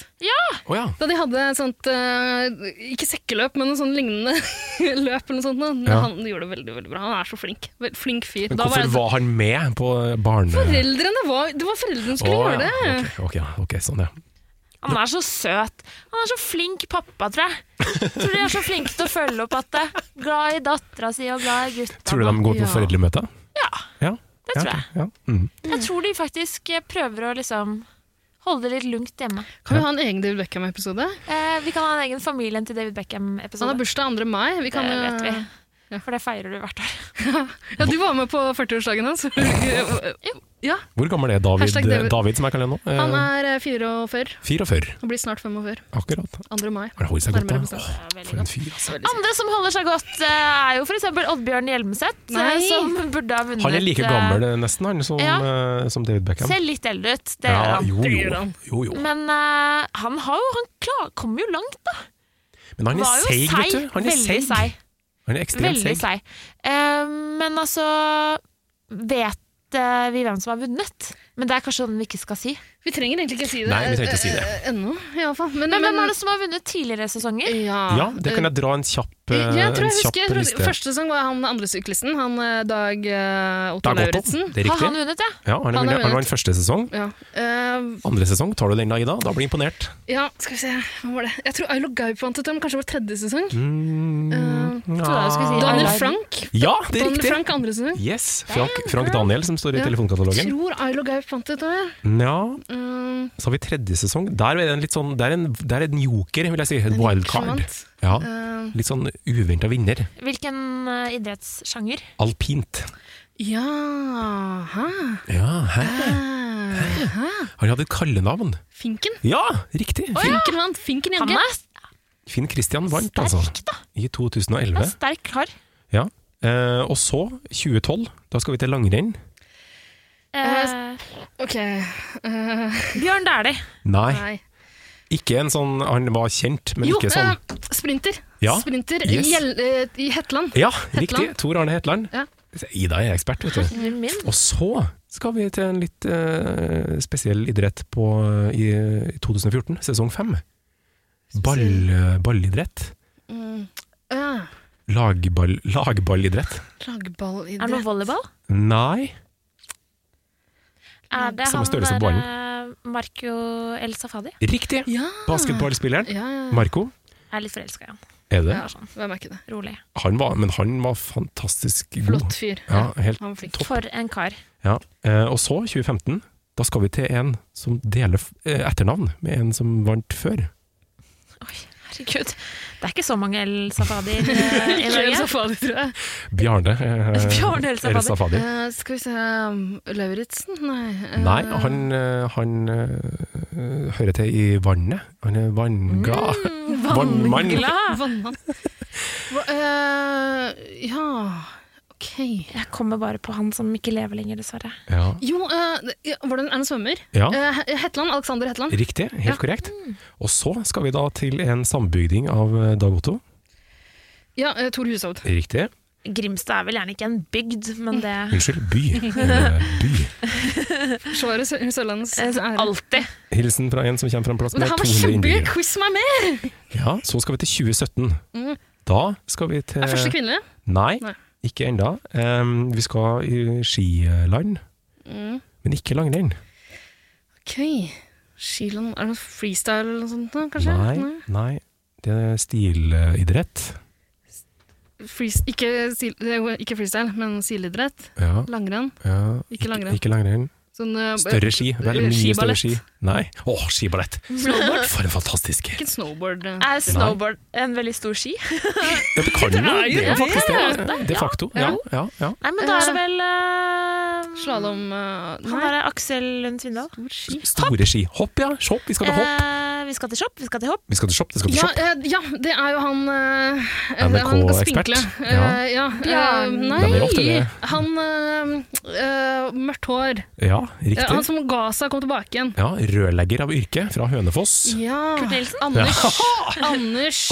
[SPEAKER 1] Å ja.
[SPEAKER 3] Da de hadde et sånt eh, Ikke sekkeløp, men noe sånn lignende [LAUGHS] løp eller noe sånt. nå.
[SPEAKER 1] Ja.
[SPEAKER 3] Han gjorde det veldig veldig bra. Han er så flink. Vel- Flink fyr.
[SPEAKER 1] Men
[SPEAKER 3] Da var
[SPEAKER 1] hvorfor
[SPEAKER 3] jeg- sånn-
[SPEAKER 1] var han med på barne...
[SPEAKER 3] Foreldrene var Det var foreldrene som skulle
[SPEAKER 1] Å,
[SPEAKER 3] gjøre det.
[SPEAKER 1] ja. Ok, ok, ja, ok, sånn, ja.
[SPEAKER 2] Han er så søt. Han er så flink pappa, tror jeg. Jeg Tror de er så flinke til å følge opp at det er glad i dattera si og glad i gutta.
[SPEAKER 1] Tror du de går på foreldremøter?
[SPEAKER 2] Ja.
[SPEAKER 1] Ja,
[SPEAKER 2] Det
[SPEAKER 1] ja,
[SPEAKER 2] tror jeg.
[SPEAKER 1] ok, Ja. Mm.
[SPEAKER 2] Jeg tror de faktisk eh, prøver å liksom holde det litt lungt hjemme.
[SPEAKER 3] Kan vi ha en egen David Beckham-episode?
[SPEAKER 2] Eh, vi kan ha en egen familien til David Beckham-episode.
[SPEAKER 3] Han har bursdag 2. mai. Vi kan
[SPEAKER 2] det
[SPEAKER 3] jo-
[SPEAKER 2] vet vi. For det feirer du hvert år.
[SPEAKER 3] Ja, du var med på 40-årsdagen hans. [LAUGHS] ja,
[SPEAKER 1] Hvor gammel er David,
[SPEAKER 3] Hashtag David.
[SPEAKER 1] David. som jeg kaller ham nå? Eh,
[SPEAKER 3] han er eh, 44
[SPEAKER 1] 44.
[SPEAKER 3] og blir snart 45.
[SPEAKER 1] Akkurat.
[SPEAKER 3] 2. mai.
[SPEAKER 1] Han holder seg godt,
[SPEAKER 3] Nærmere
[SPEAKER 1] da.
[SPEAKER 3] bestemt.
[SPEAKER 1] Åh, for en fyr, altså.
[SPEAKER 2] Andre som holder seg godt, eh, er jo f.eks. Oddbjørn Hjelmeset, eh,
[SPEAKER 3] Nei.
[SPEAKER 2] som burde ha vunnet.
[SPEAKER 1] Han er like
[SPEAKER 2] eh,
[SPEAKER 1] gammel eh, nesten, han, som,
[SPEAKER 2] ja.
[SPEAKER 1] eh, som David Beckham.
[SPEAKER 2] Ser litt eldre ut, det gjør
[SPEAKER 1] Ja,
[SPEAKER 2] han.
[SPEAKER 1] jo, jo, jo, jo.
[SPEAKER 2] Men eh, han, har jo, han klar, kom jo langt, da.
[SPEAKER 1] Men han
[SPEAKER 2] Var
[SPEAKER 1] er
[SPEAKER 2] jo
[SPEAKER 1] seig, vet du. Han er
[SPEAKER 2] veldig
[SPEAKER 1] seig. Han er ekstremt
[SPEAKER 2] Veldig
[SPEAKER 1] seig.
[SPEAKER 2] seig. Eh, men altså Vet eh, vi hvem som har vunnet? Men det er kanskje den vi ikke skal si.
[SPEAKER 3] Vi trenger egentlig ikke si det.
[SPEAKER 1] Nei, vi trenger ikke si det.
[SPEAKER 3] eh, Ennå, i alle fall.
[SPEAKER 2] Men, hvem er det som har vunnet tidligere sesonger?
[SPEAKER 3] Ja,
[SPEAKER 1] Ja, det kan jeg dra en kjapp, eh,
[SPEAKER 3] jeg tror jeg
[SPEAKER 1] en
[SPEAKER 3] husker
[SPEAKER 1] kjapp
[SPEAKER 3] jeg tror,
[SPEAKER 1] liste.
[SPEAKER 3] Første sesong var han andre syklisten, han eh, Dag eh, Otto
[SPEAKER 1] Dag Otto,
[SPEAKER 3] Lauritzen.
[SPEAKER 1] det er riktig. Har han
[SPEAKER 2] vunnet, ja?
[SPEAKER 1] Ja, han, er vunnet. han vant første sesong.
[SPEAKER 3] Ja. Eh,
[SPEAKER 1] Andre sesong tar du den, da, Ida. Da blir jeg imponert.
[SPEAKER 3] ja, skal vi se Hva var det? Jeg tror Ailo Gaup vant dette, men kanskje det var tredje sesong.
[SPEAKER 1] Mm,
[SPEAKER 3] Eh,
[SPEAKER 1] ja.
[SPEAKER 3] Daniel Frank.
[SPEAKER 1] Ja, det er
[SPEAKER 3] Daniel
[SPEAKER 1] riktig!
[SPEAKER 3] Frank andre sesong.
[SPEAKER 1] Yes, Frank, Frank Daniel som står i
[SPEAKER 3] Ja.
[SPEAKER 1] telefonkatalogen.
[SPEAKER 3] Tror Ailo Gaup vant dette òg, ja.
[SPEAKER 1] Ja,
[SPEAKER 3] Mm,
[SPEAKER 1] så har vi tredje sesong. Der er det en, litt sånn, der er en, der er en joker, vil jeg si. En wildcard.
[SPEAKER 3] vant.
[SPEAKER 1] Ja.
[SPEAKER 3] Eh.
[SPEAKER 1] Litt sånn uventa vinner.
[SPEAKER 2] Hvilken eh, idrettssjanger?
[SPEAKER 1] Alpint.
[SPEAKER 3] ja hæ?
[SPEAKER 1] Ja, hæ?
[SPEAKER 3] Eh. Hæ?
[SPEAKER 1] Han hadde et kallenavn.
[SPEAKER 3] Finken?
[SPEAKER 1] Ja, riktig! Finn,
[SPEAKER 3] Finken vant. Finken
[SPEAKER 2] Han
[SPEAKER 3] Jagge.
[SPEAKER 2] er
[SPEAKER 1] Finn Christian vant, altså. I 2011.
[SPEAKER 2] en sterk kar.
[SPEAKER 1] Ja. Eh, og så, 2012, da skal vi til langrenn.
[SPEAKER 2] Eh,
[SPEAKER 3] Ok eh,
[SPEAKER 2] Bjørn Dæhlie.
[SPEAKER 1] Nei. Ikke en sånn Han var kjent, men
[SPEAKER 3] jo,
[SPEAKER 1] ikke sånn.
[SPEAKER 3] eh, sprinter.
[SPEAKER 1] Ja,
[SPEAKER 3] Sprinter
[SPEAKER 1] yes.
[SPEAKER 3] i, Gjell- eh, i Hetland.
[SPEAKER 1] Ja,
[SPEAKER 3] Hetland.
[SPEAKER 1] riktig. Tor Arne Hetland.
[SPEAKER 3] Ja.
[SPEAKER 1] Ida er ekspert, vet du.
[SPEAKER 2] Herre min.
[SPEAKER 1] Og så skal vi til en litt eh, spesiell idrett på, eh, i, i 2014, sesong fem. Ball, eh, ballidrett.
[SPEAKER 3] Mm. Ja,
[SPEAKER 1] Lagball, lagballidrett.
[SPEAKER 3] Lagballidrett.
[SPEAKER 2] Er det noe volleyball?
[SPEAKER 1] Nei.
[SPEAKER 2] Er det
[SPEAKER 1] Samme
[SPEAKER 2] han
[SPEAKER 1] størrelse på
[SPEAKER 2] der eh, Marco El Safadi?
[SPEAKER 1] Riktig! Basketballspilleren.
[SPEAKER 3] Ja, ja, ja.
[SPEAKER 1] Marco.
[SPEAKER 2] Jeg er litt forelska i han. sånn,
[SPEAKER 1] Er det?
[SPEAKER 3] Ja, Hvem er ikke det?
[SPEAKER 2] Rolig.
[SPEAKER 1] Han var, men han var fantastisk god.
[SPEAKER 3] Flott fyr.
[SPEAKER 1] Ja, helt
[SPEAKER 3] Han var flink.
[SPEAKER 2] For en kar.
[SPEAKER 1] Ja, eh, og så, 2015, da skal vi til en som deler f- eh, etternavn med en som vant før.
[SPEAKER 2] Herregud. Det er ikke så mange El [LAUGHS] Safadier eh, i
[SPEAKER 3] Kjell
[SPEAKER 2] Norge.
[SPEAKER 3] Safadi, tror jeg.
[SPEAKER 1] Bjarne.
[SPEAKER 3] [LAUGHS]
[SPEAKER 1] Eh,
[SPEAKER 2] Bjarne El Safadi.
[SPEAKER 1] Safadi.
[SPEAKER 3] Eh, skal vi se um, Lauritzen? Nei. eh,
[SPEAKER 1] Nei, han, eh, han eh, hører til i vannet. Han er vannglad.
[SPEAKER 3] Mm,
[SPEAKER 1] [LAUGHS] Vannmann.
[SPEAKER 3] [LAUGHS]
[SPEAKER 2] Glad.
[SPEAKER 3] Vannmann. Hva- eh, ja Ok.
[SPEAKER 2] Jeg kommer bare på han som ikke lever lenger, dessverre.
[SPEAKER 1] Ja.
[SPEAKER 3] Jo, eh, ja, var det en, er det en svømmer?
[SPEAKER 1] Ja.
[SPEAKER 3] Eh, Hetland. Alexander Hetland.
[SPEAKER 1] Riktig, helt
[SPEAKER 3] Ja.
[SPEAKER 1] korrekt. Og så skal vi da til en sambygding av eh, Dag Otto.
[SPEAKER 3] Ja, eh, Tor Hushovd.
[SPEAKER 1] Riktig.
[SPEAKER 2] Grimstad er vel gjerne ikke en bygd, men det [LAUGHS]
[SPEAKER 1] Unnskyld, by.
[SPEAKER 3] [LAUGHS]
[SPEAKER 1] Eh, by.
[SPEAKER 3] Forsvaret Sø- Sørlandets
[SPEAKER 2] Eh,
[SPEAKER 3] ære.
[SPEAKER 2] Alltid.
[SPEAKER 1] Hilsen fra en som kommer fra en plass
[SPEAKER 3] Men
[SPEAKER 1] med
[SPEAKER 3] det her var
[SPEAKER 1] 200
[SPEAKER 3] kjempegøy!
[SPEAKER 1] innbyggere.
[SPEAKER 3] Quiz meg mer!
[SPEAKER 1] Ja, så skal vi til 2017.
[SPEAKER 3] Mm.
[SPEAKER 1] Da skal vi til
[SPEAKER 3] Er første kvinne?
[SPEAKER 1] Nei,
[SPEAKER 3] Nei.
[SPEAKER 1] ikke enda. Em, vi skal i skiland,
[SPEAKER 3] Mm.
[SPEAKER 1] men ikke langrenn.
[SPEAKER 3] Ok. Skiland Er det noe freestyle eller noe sånt, da, kanskje?
[SPEAKER 1] Nei, nei. Det er stilidrett.
[SPEAKER 3] Frees- ikke, stil, det er jo ikke freestyle, men silidrett.
[SPEAKER 1] Ja.
[SPEAKER 3] Langrenn.
[SPEAKER 1] Ja,
[SPEAKER 3] Ikke langrenn.
[SPEAKER 1] Ikke langrenn.
[SPEAKER 3] Sånn, eh,
[SPEAKER 1] Større ski. Vel, mye større
[SPEAKER 3] skiballett.
[SPEAKER 1] ski. Nei. Å, skiballett!
[SPEAKER 2] Snowboard.
[SPEAKER 1] For en fantastisk
[SPEAKER 3] Ikke snowboard. eh.
[SPEAKER 2] Er snowboard en veldig stor ski?
[SPEAKER 1] Ja, det kan jo
[SPEAKER 2] er jo
[SPEAKER 1] det. er jo
[SPEAKER 2] det.
[SPEAKER 1] faktisk
[SPEAKER 2] Det er
[SPEAKER 1] det.
[SPEAKER 2] det.
[SPEAKER 1] De facto. Ja, ja, ja.
[SPEAKER 2] Nei, men da er det Eh, vel eh,
[SPEAKER 3] Slalåm
[SPEAKER 2] Han derre Aksel Lund Svindal. Stor ski.
[SPEAKER 1] Store ski. Hopp, ja. Hopp. Vi skal til hopp.
[SPEAKER 2] Eh, vi skal til shop, vi skal til hopp.
[SPEAKER 1] Vi skal til shop, det skal til
[SPEAKER 3] Ja,
[SPEAKER 1] shop.
[SPEAKER 3] eh, ja, det er jo han eh,
[SPEAKER 1] NRK
[SPEAKER 3] det er han spinkle.
[SPEAKER 1] ekspert.
[SPEAKER 3] Eh,
[SPEAKER 1] Ja.
[SPEAKER 3] ja. eh,
[SPEAKER 2] Bjarne.
[SPEAKER 1] Nei, men ofte
[SPEAKER 3] nei!
[SPEAKER 1] det.
[SPEAKER 3] Han eh, eh, Mørkt hår.
[SPEAKER 1] Ja,
[SPEAKER 3] Eh, han
[SPEAKER 1] riktig.
[SPEAKER 3] som ga seg og kom tilbake igjen.
[SPEAKER 1] Ja, Rørlegger av yrke fra Hønefoss.
[SPEAKER 3] Ja. Anders. Anders.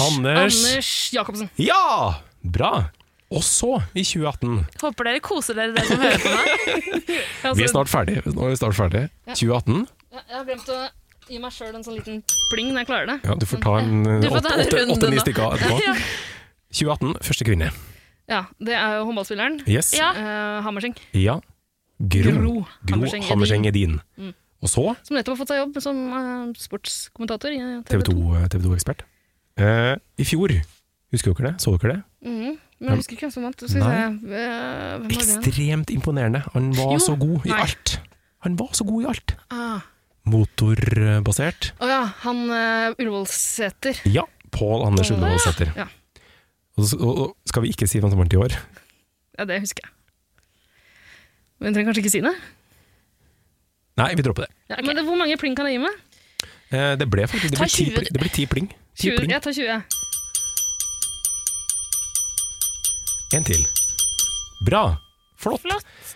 [SPEAKER 1] Anders.
[SPEAKER 3] Anders Jacobsen.
[SPEAKER 1] Ja! Bra! Og så, i 2018
[SPEAKER 2] Håper dere koser dere, dere som hører på meg.
[SPEAKER 3] Altså,
[SPEAKER 1] Vi er snart ferdig. Nå er vi snart ferdig.
[SPEAKER 3] Ja.
[SPEAKER 1] 2018.
[SPEAKER 3] Ja, Jeg har glemt å gi meg sjøl en sånn liten pling når jeg klarer det.
[SPEAKER 1] Ja, du får ta en
[SPEAKER 3] Du får ta en runde
[SPEAKER 1] åtte-ni
[SPEAKER 3] nå.
[SPEAKER 1] stykker etterpå.
[SPEAKER 3] [LAUGHS] Ja.
[SPEAKER 1] 2018, første kvinne.
[SPEAKER 3] Ja, det er jo håndballspilleren.
[SPEAKER 1] Yes. Ja.
[SPEAKER 3] Eh, Hammerseng.
[SPEAKER 1] Ja. Gro.
[SPEAKER 3] Gro
[SPEAKER 1] Gro
[SPEAKER 3] Hammerseng Edin.
[SPEAKER 1] Hammerseng Edin.
[SPEAKER 3] Mm.
[SPEAKER 1] Og så
[SPEAKER 3] Som nettopp har fått seg jobb som eh, sportskommentator i eh,
[SPEAKER 1] TV 2-ekspert. I fjor, husker dere det? Så dere det?
[SPEAKER 3] Mhm, Men jeg husker ikke hvem som vant. Skal vi se.
[SPEAKER 1] Nei.
[SPEAKER 3] eh, Hvem var det?
[SPEAKER 1] Ekstremt imponerende. Han var
[SPEAKER 3] Jo,
[SPEAKER 1] så god i
[SPEAKER 3] nei.
[SPEAKER 1] alt. Han var så god i alt.
[SPEAKER 3] Ah.
[SPEAKER 1] Motorbasert.
[SPEAKER 3] Å ja, han uh, Ullevålseter.
[SPEAKER 1] Ja, Pål Anders Ullevålseter.
[SPEAKER 3] Ja.
[SPEAKER 1] Og så- og- og skal vi ikke si hvem som vant i år?
[SPEAKER 3] ja, det husker jeg. Men jeg trenger kanskje ikke si det?
[SPEAKER 1] Nei, vi dropper det.
[SPEAKER 3] Ja, Men det, hvor mange pling kan jeg gi meg?
[SPEAKER 1] Eh, Det ble faktisk Det
[SPEAKER 3] Ta
[SPEAKER 1] ble ti
[SPEAKER 3] 20.
[SPEAKER 1] pling. Det ble ti pling. Ti
[SPEAKER 3] 20,
[SPEAKER 1] pling.
[SPEAKER 3] jeg tar 20.
[SPEAKER 1] En til. Bra! Flott.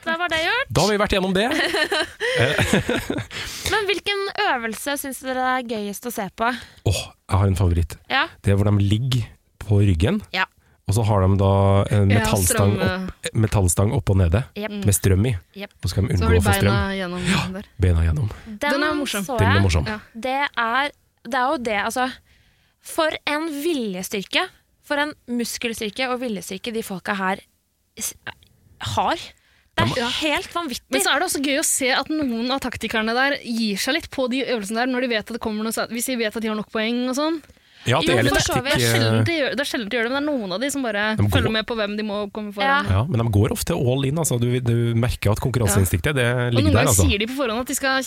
[SPEAKER 2] Da var det gjort.
[SPEAKER 1] Da har vi vært gjennom det.
[SPEAKER 3] [LAUGHS]
[SPEAKER 2] Men hvilken øvelse syns dere er gøyest å se på?
[SPEAKER 1] Jeg har en favoritt.
[SPEAKER 2] Ja.
[SPEAKER 1] Det er hvor de ligger på ryggen,
[SPEAKER 2] Ja.
[SPEAKER 1] og så har de da en
[SPEAKER 3] Ja,
[SPEAKER 1] metallstang,
[SPEAKER 3] strøm, Mm.
[SPEAKER 1] opp, metallstang opp og nede,
[SPEAKER 2] Jep.
[SPEAKER 1] med strøm i.
[SPEAKER 2] Jep.
[SPEAKER 1] Og så skal de
[SPEAKER 3] Så har
[SPEAKER 1] unngå
[SPEAKER 3] de
[SPEAKER 1] å få
[SPEAKER 3] beina
[SPEAKER 1] strøm.
[SPEAKER 3] gjennom der.
[SPEAKER 1] Beina gjennom.
[SPEAKER 2] Den,
[SPEAKER 3] Den er morsom.
[SPEAKER 2] Så jeg.
[SPEAKER 1] Den er morsom.
[SPEAKER 3] Ja.
[SPEAKER 2] Det, er, det er jo det, altså. For en viljestyrke. For en muskelstyrke og viljestyrke de folka her s- har. Det er helt vanvittig.
[SPEAKER 3] Men så er det også gøy å se at noen av taktikerne der gir seg litt på de øvelsene der, når de vet at det kommer noe, sånn- hvis de vet at de har nok poeng og sånn.
[SPEAKER 1] Ja, at det
[SPEAKER 3] Jo,
[SPEAKER 1] er litt
[SPEAKER 3] for så vidt. Det er
[SPEAKER 1] taktikk, eh,
[SPEAKER 3] sjelden de gjør- det er sjelden de gjør det, men det er noen av de som bare
[SPEAKER 1] De går-
[SPEAKER 3] følger med på hvem de må komme foran.
[SPEAKER 1] Ja, men de går ofte all in. Altså. Du, du merker at konkurranseinstinktet det
[SPEAKER 3] Og noen
[SPEAKER 1] ligger der.
[SPEAKER 3] ganger
[SPEAKER 1] Altså.
[SPEAKER 3] sier de på forhånd at de skal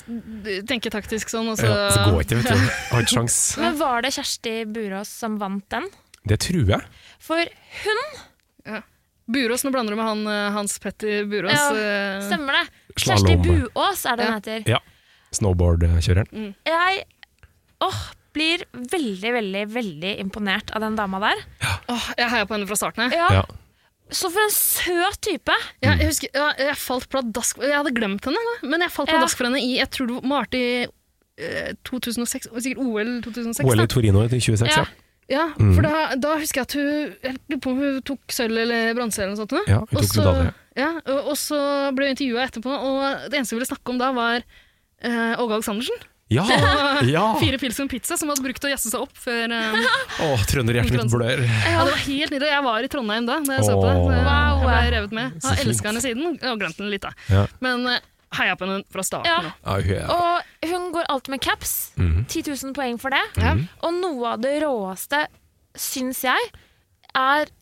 [SPEAKER 3] tenke taktisk sånn, og så
[SPEAKER 1] ja, altså så går ikke, vet du. Har ikke sjans.
[SPEAKER 3] [LAUGHS]
[SPEAKER 2] Men var det Kjersti Burås som vant den?
[SPEAKER 1] Det tror jeg.
[SPEAKER 2] For
[SPEAKER 3] Eh,
[SPEAKER 2] hun
[SPEAKER 3] Ja. Burås, nå blander du med han eh, Hans Petter Burås.
[SPEAKER 2] ja,
[SPEAKER 3] eh,
[SPEAKER 2] Stemmer det? Kjersti
[SPEAKER 1] Slalom.
[SPEAKER 2] Buås er det hun heter.
[SPEAKER 1] Ja. Snowboardkjøreren.
[SPEAKER 2] Jeg åh, blir veldig, veldig, veldig imponert av den dama der.
[SPEAKER 3] Åh, jeg heia på henne fra starten. Jeg,
[SPEAKER 2] Ja.
[SPEAKER 1] Ja.
[SPEAKER 2] Så for en søt type!
[SPEAKER 3] Ja, jeg, husker, ja, jeg falt pladask Jeg hadde glemt henne, da, men jeg falt
[SPEAKER 2] Ja.
[SPEAKER 3] pladask for henne i jeg tror det var Marte i eh, 2006, og sikkert OL 2006.
[SPEAKER 1] OL i
[SPEAKER 3] da.
[SPEAKER 1] Torino i 26, ja.
[SPEAKER 3] Ja,
[SPEAKER 1] Mm.
[SPEAKER 3] for da, da husker jeg at hun Jeg lurer på om hun tok sølv eller bronse eller noe sånt.
[SPEAKER 1] Ja, hun
[SPEAKER 3] Og
[SPEAKER 1] tok
[SPEAKER 3] så-
[SPEAKER 1] medalje.
[SPEAKER 3] Ja, og, og så ble hun intervjua etterpå, og det eneste hun ville snakke om da, var eh, Åge Aleksandersen.
[SPEAKER 1] Ja!
[SPEAKER 3] Og
[SPEAKER 1] ja.
[SPEAKER 3] [LAUGHS] Fire pils og en pizza, som hadde brukt å jazze seg opp før eh,
[SPEAKER 1] Å, trønderhjertet mitt blør.
[SPEAKER 3] Ja, det var helt nydelig. Jeg var i Trondheim da da jeg så på det.
[SPEAKER 1] Åh.
[SPEAKER 3] så Jeg
[SPEAKER 2] Wow.
[SPEAKER 3] ble revet med.
[SPEAKER 1] Så
[SPEAKER 3] Har
[SPEAKER 1] fint.
[SPEAKER 3] elska henne siden, og glemt henne litt, da.
[SPEAKER 1] Ja.
[SPEAKER 3] Men eh, heia på henne fra starten.
[SPEAKER 2] Ja.
[SPEAKER 3] nå.
[SPEAKER 1] Ja, hun er-
[SPEAKER 2] Og hun går alltid med caps. 10 000 poeng for det. Og noe av det råeste, syns jeg, er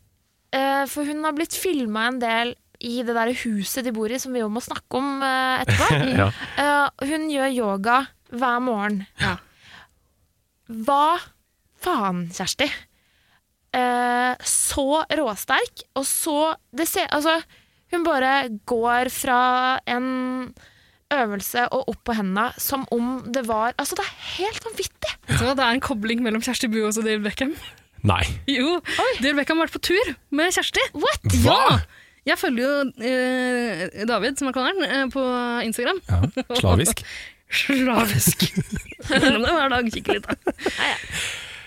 [SPEAKER 2] eh, For hun har blitt filma en del i det der huset de bor i, som vi jo må snakke om eh, etterpå.
[SPEAKER 1] [LAUGHS] Ja.
[SPEAKER 2] Eh, hun gjør yoga hver morgen.
[SPEAKER 3] Ja.
[SPEAKER 2] Hva faen, Kjersti? Eh, så råsterk, og så det ser, Altså, hun bare går fra en øvelse og opp på henda som om det var Altså, det er helt vanvittig!
[SPEAKER 3] Vet du hva, det er en kobling mellom Kjersti Buås og Dale Beckham. [LAUGHS]
[SPEAKER 1] Nei.
[SPEAKER 3] Jo, Dale Beckham har vært på tur med Kjersti.
[SPEAKER 2] What?
[SPEAKER 3] Ja!
[SPEAKER 1] Hva?!
[SPEAKER 3] Jeg følger jo eh, David, som jeg kaller han, eh, på Instagram.
[SPEAKER 1] Ja, slavisk.
[SPEAKER 3] [LAUGHS] Slavisk. Innom det hver dag, kikker litt. da.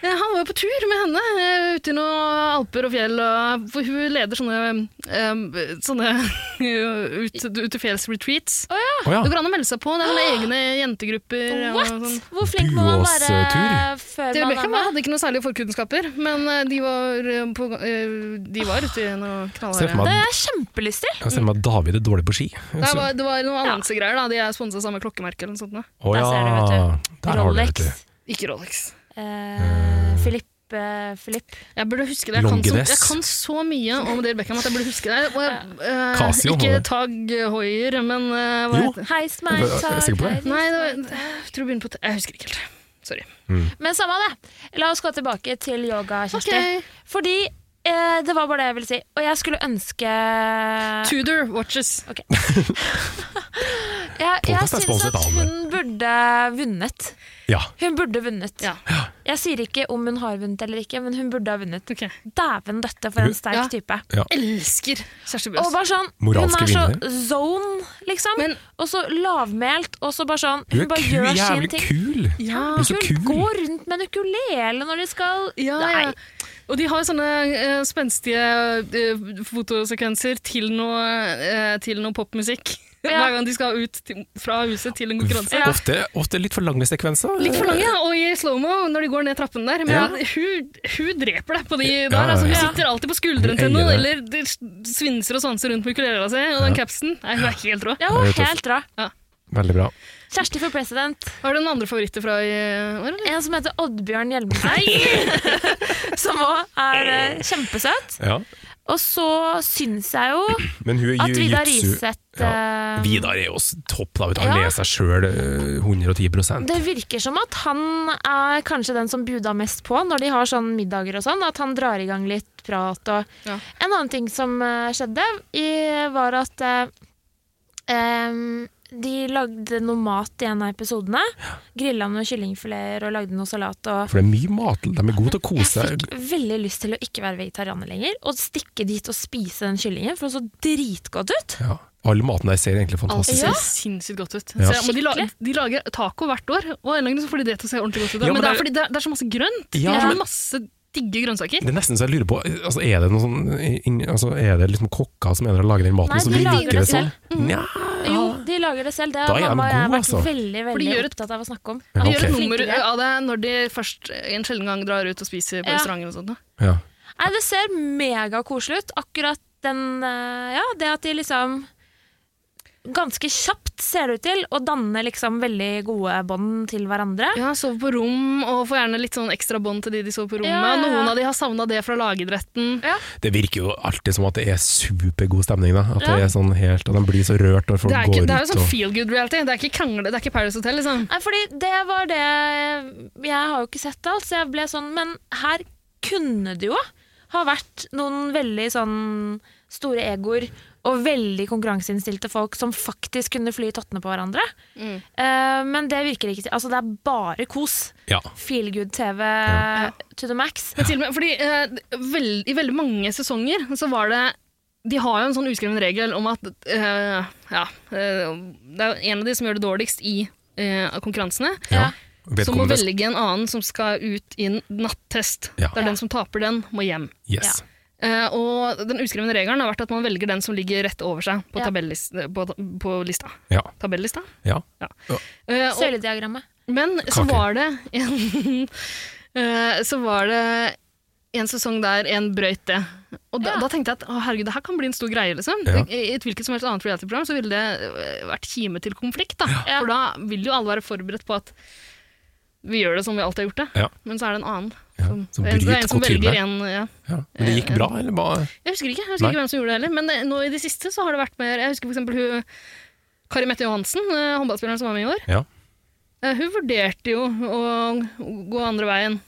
[SPEAKER 3] Eh, Han var jo på tur med henne eh, ute i noen alper og fjell. Og, for hun leder sånne, eh, sånne [LAUGHS] ut, ut til fjells retreats.
[SPEAKER 1] Å ja.
[SPEAKER 3] Det går an å melde seg på. Det er sånne egne jentegrupper. og
[SPEAKER 2] What?
[SPEAKER 3] sånn.
[SPEAKER 2] Hvor flink må man
[SPEAKER 1] Buås,
[SPEAKER 2] være
[SPEAKER 1] eh, tur.
[SPEAKER 2] før
[SPEAKER 3] Dale
[SPEAKER 2] man er
[SPEAKER 3] Beckham
[SPEAKER 2] med?
[SPEAKER 3] hadde ikke noe særlige forkunnskaper, men eh, de var, eh, på, eh, de var ute i noe
[SPEAKER 1] Se for meg
[SPEAKER 3] knallharde
[SPEAKER 1] at-
[SPEAKER 2] Det er kjempelystig!
[SPEAKER 1] jeg ser for meg at David er dårlig på ski.
[SPEAKER 3] det var, det var noen annonsegreier, da. De er sponsa samme klokkemerke eller noe sånt. Da.
[SPEAKER 1] Å ja.
[SPEAKER 2] Der ser du, vet
[SPEAKER 1] Der har du det, vet du.
[SPEAKER 2] Rolex.
[SPEAKER 3] Ikke Rolex.
[SPEAKER 2] Eh, Philips eh, Philip.
[SPEAKER 3] Jeg burde huske det. Jeg kan, så,
[SPEAKER 1] Longines.
[SPEAKER 3] jeg kan så mye om Dale Beckham at jeg burde huske det. Og jeg, eh,
[SPEAKER 1] Casio,
[SPEAKER 3] ikke
[SPEAKER 1] var det.
[SPEAKER 3] Tag Hoier, men eh, hva
[SPEAKER 1] Jo.
[SPEAKER 3] heter det?
[SPEAKER 2] Heis meg,
[SPEAKER 1] Jeg er sikker på det.
[SPEAKER 3] Nei, det var, jeg tror jeg begynner på T. Jeg husker ikke helt. Sorry.
[SPEAKER 2] Men samme av det. La oss gå tilbake til yoga, Kjersti.
[SPEAKER 3] Ok.
[SPEAKER 2] Fordi eh, det var bare det jeg ville si. Og jeg skulle ønske jeg,
[SPEAKER 3] Tudor Watches.
[SPEAKER 2] jeg
[SPEAKER 1] Podcast er
[SPEAKER 2] syns
[SPEAKER 1] sponset
[SPEAKER 2] at
[SPEAKER 1] av
[SPEAKER 2] hun burde vunnet.
[SPEAKER 1] Ja.
[SPEAKER 2] Hun burde vunnet.
[SPEAKER 3] Ja.
[SPEAKER 2] Jeg sier ikke om hun har vunnet eller ikke, men hun burde ha vunnet.
[SPEAKER 3] Ok.
[SPEAKER 2] Dæven døtte for
[SPEAKER 1] Hun-
[SPEAKER 2] en sterk
[SPEAKER 3] Ja.
[SPEAKER 2] type.
[SPEAKER 1] ja.
[SPEAKER 3] Elsker Kjersti
[SPEAKER 2] Og
[SPEAKER 3] Bjøs.
[SPEAKER 2] bare sånn, Hun
[SPEAKER 1] Moralske
[SPEAKER 2] er så
[SPEAKER 1] vinner.
[SPEAKER 2] zone, liksom.
[SPEAKER 3] Men-
[SPEAKER 2] og så lavmælt, og så bare sånn
[SPEAKER 1] Hun
[SPEAKER 2] Hun,
[SPEAKER 1] er
[SPEAKER 2] bare
[SPEAKER 1] ku,
[SPEAKER 2] gjør sin
[SPEAKER 1] jævlig
[SPEAKER 2] ting.
[SPEAKER 1] kul.
[SPEAKER 3] Ja.
[SPEAKER 1] Hun er så
[SPEAKER 2] Hun
[SPEAKER 1] kul.
[SPEAKER 2] går rundt med en ukulele når de skal
[SPEAKER 3] Ja,
[SPEAKER 2] Nei.
[SPEAKER 3] ja. Og de har sånne eh, spenstige eh, fotosekvenser til noe, eh, til noe popmusikk.
[SPEAKER 2] Ja.
[SPEAKER 3] [LAUGHS] Hver gang de skal ut til, fra huset til en konkurranse.
[SPEAKER 1] Ofte, ofte litt for lange sekvenser.
[SPEAKER 3] Litt for lange, ja, og i slow-mo når de går ned trappen der. Men
[SPEAKER 1] Ja.
[SPEAKER 3] hun, hun dreper deg på de der.
[SPEAKER 1] Ja, ja,
[SPEAKER 3] Altså, hun
[SPEAKER 1] ja.
[SPEAKER 3] sitter alltid på skuldrene til
[SPEAKER 1] Hun eier
[SPEAKER 3] noen,
[SPEAKER 1] det.
[SPEAKER 3] eller de svinser og svanser rundt med ukulelen sin, og den capsen. Nei, hun er helt rå.
[SPEAKER 2] Ja, hun
[SPEAKER 1] Det
[SPEAKER 2] er
[SPEAKER 1] er jo
[SPEAKER 2] helt rå.
[SPEAKER 1] Veldig bra.
[SPEAKER 2] Kjersti for president.
[SPEAKER 3] Har du noen andre favoritter fra i år, eller?
[SPEAKER 2] En som heter Oddbjørn Hjelmeseid.
[SPEAKER 3] [LAUGHS]
[SPEAKER 2] som òg er eh, kjempesøt.
[SPEAKER 1] Ja.
[SPEAKER 2] Og så syns jeg jo
[SPEAKER 1] Men hun er
[SPEAKER 2] at Vidar
[SPEAKER 1] jiu-jitsu
[SPEAKER 2] Riseth
[SPEAKER 1] Ja.
[SPEAKER 2] eh,
[SPEAKER 1] Vidar er jo s- topp, da. vet du. Han
[SPEAKER 2] Ja.
[SPEAKER 1] er seg eh, sjøl 110
[SPEAKER 2] Det virker som at han er kanskje den som buda mest på når de har sånn middager og sånn. At han drar i gang litt prat og
[SPEAKER 3] Ja.
[SPEAKER 2] En annen ting som eh, skjedde, i, var at eh, em, de lagde noe mat i en av episodene. Grilla noen kyllingfileter og lagde noe salat. og
[SPEAKER 1] For det er mye mat. De er gode til å kose
[SPEAKER 2] Jeg
[SPEAKER 1] seg.
[SPEAKER 2] fikk veldig lyst til å ikke være vegetarianer lenger, og stikke dit og spise den kyllingen, for det så dritgodt ut.
[SPEAKER 1] Ja. All maten der ser egentlig
[SPEAKER 3] Alt
[SPEAKER 1] fantastisk
[SPEAKER 3] ser
[SPEAKER 2] Ja.
[SPEAKER 3] sinnssykt godt ut.
[SPEAKER 1] Ja.
[SPEAKER 3] Så, men de, la, de lager taco hvert år, og en eller annen så får de det til å se ordentlig godt ut.
[SPEAKER 1] Ja,
[SPEAKER 3] men
[SPEAKER 1] men
[SPEAKER 3] det er
[SPEAKER 1] det-
[SPEAKER 3] fordi det er, det er så masse grønt.
[SPEAKER 1] Ja,
[SPEAKER 3] det er
[SPEAKER 1] men-
[SPEAKER 3] så masse digge grønnsaker.
[SPEAKER 1] Det er nesten så jeg lurer på altså, Er det noe sånn inn- altså, Er det liksom kokker som mener å lage den maten,
[SPEAKER 2] Nei,
[SPEAKER 1] så
[SPEAKER 2] de lager
[SPEAKER 1] virker det
[SPEAKER 2] det
[SPEAKER 1] sånn?
[SPEAKER 2] selv.
[SPEAKER 1] Nja
[SPEAKER 2] Jo, de lager det selv. Det
[SPEAKER 1] Da
[SPEAKER 2] har
[SPEAKER 1] er de
[SPEAKER 2] mamma og jeg
[SPEAKER 1] gode,
[SPEAKER 2] vært
[SPEAKER 1] altså.
[SPEAKER 2] veldig
[SPEAKER 3] For de
[SPEAKER 2] veldig
[SPEAKER 3] gjør et-
[SPEAKER 2] opptatt av å snakke om.
[SPEAKER 1] Ja,
[SPEAKER 3] De gjør
[SPEAKER 1] ok.
[SPEAKER 3] et nummer
[SPEAKER 2] Flinkere.
[SPEAKER 3] av det når de først en sjelden gang drar ut og spiser på
[SPEAKER 2] Ja.
[SPEAKER 3] restauranter og sånt. da.
[SPEAKER 1] Ja.
[SPEAKER 2] Nei, det ser megakoselig ut. Akkurat den eh, Ja, det at de liksom Ganske kjapt ser det ut til, og danner liksom veldig gode bånd til hverandre.
[SPEAKER 3] Ja, Sover på rom, og får gjerne litt sånn ekstra bånd til de de sover på rommet.
[SPEAKER 2] Ja, ja, ja.
[SPEAKER 3] Noen av de har savna det fra lagidretten.
[SPEAKER 1] Det virker jo alltid som at det er supergod stemning. Da. At
[SPEAKER 2] Ja.
[SPEAKER 1] det er sånn helt At de blir så rørt når folk
[SPEAKER 3] Det er, ikke,
[SPEAKER 1] går
[SPEAKER 3] det er jo
[SPEAKER 1] ut
[SPEAKER 3] sånn
[SPEAKER 1] og
[SPEAKER 3] feel good reality. Det er ikke krangle, det er ikke Paris Hotel, liksom.
[SPEAKER 2] Nei, fordi det var det Jeg har jo ikke sett alt, så jeg ble sånn Men her kunne det jo ha vært noen veldig sånn store egoer og veldig konkurranseinnstilte folk som faktisk kunne fly tottene på hverandre. Eh, men det virker ikke til. Altså, det er bare kos.
[SPEAKER 1] Ja.
[SPEAKER 2] Feel good TV to the max.
[SPEAKER 3] Men til og med, fordi eh, vel- I veldig mange sesonger så var det De har jo en sånn uskreven regel om at eh, Ja, eh, det er jo en av de som gjør det dårligst i eh, konkurransene.
[SPEAKER 1] Ja.
[SPEAKER 3] Så må
[SPEAKER 1] Vedkommende
[SPEAKER 3] velge en annen som skal ut i en nattest.
[SPEAKER 1] Ja.
[SPEAKER 3] Det er den som taper den, må hjem.
[SPEAKER 1] Yes.
[SPEAKER 3] Eh, og den uskrevne regelen har vært at man velger den som ligger rett over seg på,
[SPEAKER 2] Ja.
[SPEAKER 3] tabellis- på, på lista.
[SPEAKER 1] Ja.
[SPEAKER 3] Tabellista?
[SPEAKER 1] ja.
[SPEAKER 3] Eh, og-
[SPEAKER 2] Søylediagrammet.
[SPEAKER 3] men så
[SPEAKER 1] Kake.
[SPEAKER 3] var det en [LAUGHS] eh, Så var det en sesong der en brøyt det. Og da,
[SPEAKER 2] Ja.
[SPEAKER 3] da tenkte jeg at å, herregud, det her kan bli en stor greie. liksom.
[SPEAKER 1] Ja.
[SPEAKER 3] I et hvilket som helst annet reality-program så ville det eh, vært kime til konflikt. da.
[SPEAKER 2] Ja.
[SPEAKER 3] For da vil jo alle være forberedt på at vi gjør det som vi alltid har gjort det.
[SPEAKER 1] Ja.
[SPEAKER 3] Men så er det en annen.
[SPEAKER 1] Ja, som
[SPEAKER 3] det er en- det er
[SPEAKER 1] bryter
[SPEAKER 3] en som velger
[SPEAKER 1] kutyme.
[SPEAKER 3] en, ja.
[SPEAKER 1] Ja. Men det gikk bra, eller bare
[SPEAKER 3] Jeg husker ikke jeg husker
[SPEAKER 1] Nei.
[SPEAKER 3] ikke hvem som gjorde det heller, men eh, nå i det siste så har det vært mer Jeg husker for eksempel hun Kari Mette Johansen, eh, håndballspilleren som var med i år.
[SPEAKER 1] Ja.
[SPEAKER 3] Eh, Hun vurderte jo å gå andre veien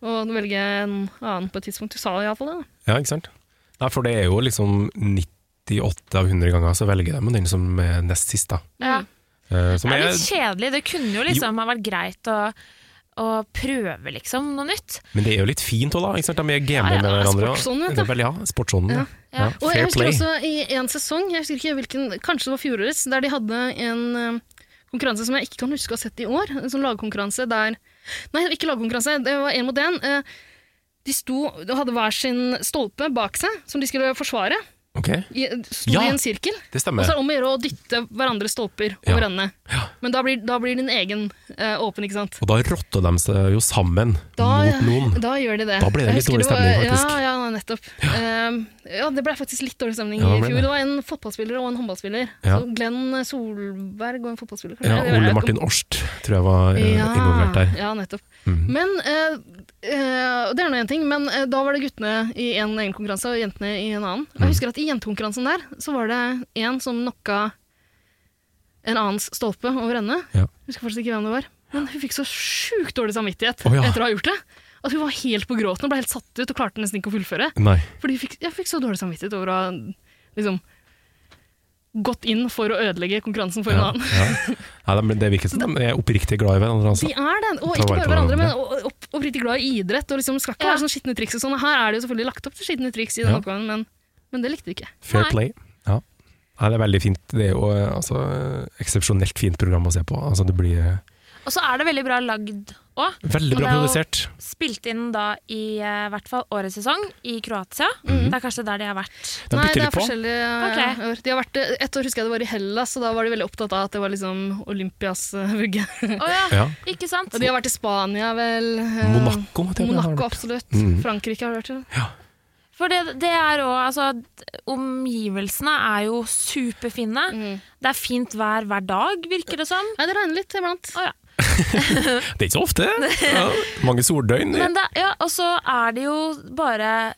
[SPEAKER 3] og velge en annen på et tidspunkt. Du sa iallfall det. da.
[SPEAKER 1] ja, ikke sant? Nei, for det er jo liksom 98 av 100 ganger så velger de den som er nest sist, da.
[SPEAKER 2] Ja.
[SPEAKER 1] Eh, Som
[SPEAKER 2] Det
[SPEAKER 1] er
[SPEAKER 2] er litt kjedelig. Det kunne jo liksom ha vært greit å, å prøve liksom noe nytt.
[SPEAKER 1] Men det er jo litt fint òg, da. Ikke sant? De er gamer
[SPEAKER 3] Ja, ja,
[SPEAKER 1] med hverandre.
[SPEAKER 3] sportsånden, vet du.
[SPEAKER 1] Det er veldig- ja, sportsånden. Ja.
[SPEAKER 2] Ja.
[SPEAKER 1] Ja.
[SPEAKER 3] Og jeg
[SPEAKER 1] Fair
[SPEAKER 3] husker
[SPEAKER 1] play.
[SPEAKER 3] også i en sesong, jeg husker ikke hvilken, kanskje det var fjorårets, der de hadde en eh, konkurranse som jeg ikke kan huske å ha sett i år. En sånn lagkonkurranse der Nei, ikke lagkonkurranse, det var én mot én. Eh, De sto og hadde hver sin stolpe bak seg som de skulle forsvare.
[SPEAKER 1] Ok,
[SPEAKER 3] I, sto
[SPEAKER 1] Ja.
[SPEAKER 3] i en sirkel.
[SPEAKER 1] det
[SPEAKER 3] Og så er
[SPEAKER 1] stemmer.
[SPEAKER 3] det om å gjøre å dytte hverandres stolper
[SPEAKER 1] Ja.
[SPEAKER 3] over ende.
[SPEAKER 1] Ja.
[SPEAKER 3] Men da blir, da blir din egen eh, åpen, ikke sant?
[SPEAKER 1] Og da rotter de seg jo sammen mot noen.
[SPEAKER 3] Da gjør de det.
[SPEAKER 1] Da ble det
[SPEAKER 3] Jeg
[SPEAKER 1] litt
[SPEAKER 3] husker
[SPEAKER 1] dårlig
[SPEAKER 3] var-
[SPEAKER 1] stemning, faktisk.
[SPEAKER 3] Ja, ja, nettopp. Ehm, ja, det ble faktisk litt dårlig stemning
[SPEAKER 1] Ja, det
[SPEAKER 3] i
[SPEAKER 1] ble
[SPEAKER 3] fjor.
[SPEAKER 1] det.
[SPEAKER 3] Det var en fotballspiller og en håndballspiller.
[SPEAKER 1] Ja.
[SPEAKER 3] Så Glenn Solberg og en fotballspiller. kanskje?
[SPEAKER 1] Ja,
[SPEAKER 3] Jeg vet
[SPEAKER 1] Ole
[SPEAKER 3] ikke.
[SPEAKER 1] Martin Årst tror jeg var eh, involvert eh, der.
[SPEAKER 3] Ja, nettopp.
[SPEAKER 1] Mhm.
[SPEAKER 3] Men eh, Eh, og det er nå én ting, men eh, da var det guttene i en egen konkurranse og jentene i en annen.
[SPEAKER 1] Mm.
[SPEAKER 3] Og jeg husker at i jentekonkurransen der, så var det en som knocka en annens stolpe over ende.
[SPEAKER 1] Ja.
[SPEAKER 3] Jeg husker fortsatt ikke hvem det var. Men hun fikk så sjukt dårlig samvittighet
[SPEAKER 1] Å, ja.
[SPEAKER 3] etter å ha gjort det. At hun var helt på gråten og ble helt satt ut og klarte nesten ikke å fullføre.
[SPEAKER 1] Nei.
[SPEAKER 3] Fordi hun fikk, jeg fikk så dårlig samvittighet over å ha liksom, gått inn for å ødelegge konkurransen for en annen.
[SPEAKER 1] Ja. Nei, de- det virker som de er oppriktig glad i hverandre. Altså.
[SPEAKER 3] De er det, og
[SPEAKER 1] Ta
[SPEAKER 3] ikke
[SPEAKER 1] vare
[SPEAKER 3] bare
[SPEAKER 1] på
[SPEAKER 3] hverandre, men
[SPEAKER 1] hverandre.
[SPEAKER 3] og- og- oppriktig glad i idrett. Og liksom skal ikke være sånn skitne triks og sånn. og Her er det jo selvfølgelig lagt opp til skitne triks i den
[SPEAKER 1] Ja.
[SPEAKER 3] oppgaven, men, men det likte vi ikke.
[SPEAKER 1] Fair
[SPEAKER 3] Nei.
[SPEAKER 1] play. Ja. Nei, det er veldig fint. Det er jo eh, altså, eksepsjonelt fint program å se på. Altså, det blir eh,
[SPEAKER 2] Og så er det veldig bra lagd òg.
[SPEAKER 1] Veldig bra produsert.
[SPEAKER 2] Spilt inn da i eh, hvert fall årets sesong i Kroatia. Det er kanskje der de har vært.
[SPEAKER 1] Den
[SPEAKER 3] Nei,
[SPEAKER 1] bytter
[SPEAKER 3] det er
[SPEAKER 1] litt på.
[SPEAKER 3] forskjellige eh,
[SPEAKER 2] Ok.
[SPEAKER 3] år. De har vært, et år husker jeg det var i Hellas, og da var de veldig opptatt av at det var liksom Olympias eh, vugge. [LAUGHS]
[SPEAKER 1] Ja.
[SPEAKER 2] Ikke sant?
[SPEAKER 3] Og de har vært i Spania, vel. eh,
[SPEAKER 1] Monaco, måtte jeg- har
[SPEAKER 3] Monaco,
[SPEAKER 1] vært.
[SPEAKER 3] absolutt.
[SPEAKER 1] Mm.
[SPEAKER 3] Frankrike har vært det.
[SPEAKER 2] For det, det er òg Altså, d- omgivelsene er jo superfine.
[SPEAKER 3] Mhm.
[SPEAKER 2] Det er fint vær hver dag, virker det som.
[SPEAKER 3] Nei, det regner litt iblant.
[SPEAKER 2] Å, ja.
[SPEAKER 1] Det er ikke så
[SPEAKER 3] [LAUGHS]
[SPEAKER 1] ofte. Ja. Mange soldøgn.
[SPEAKER 2] Men det, ja, og så er de jo bare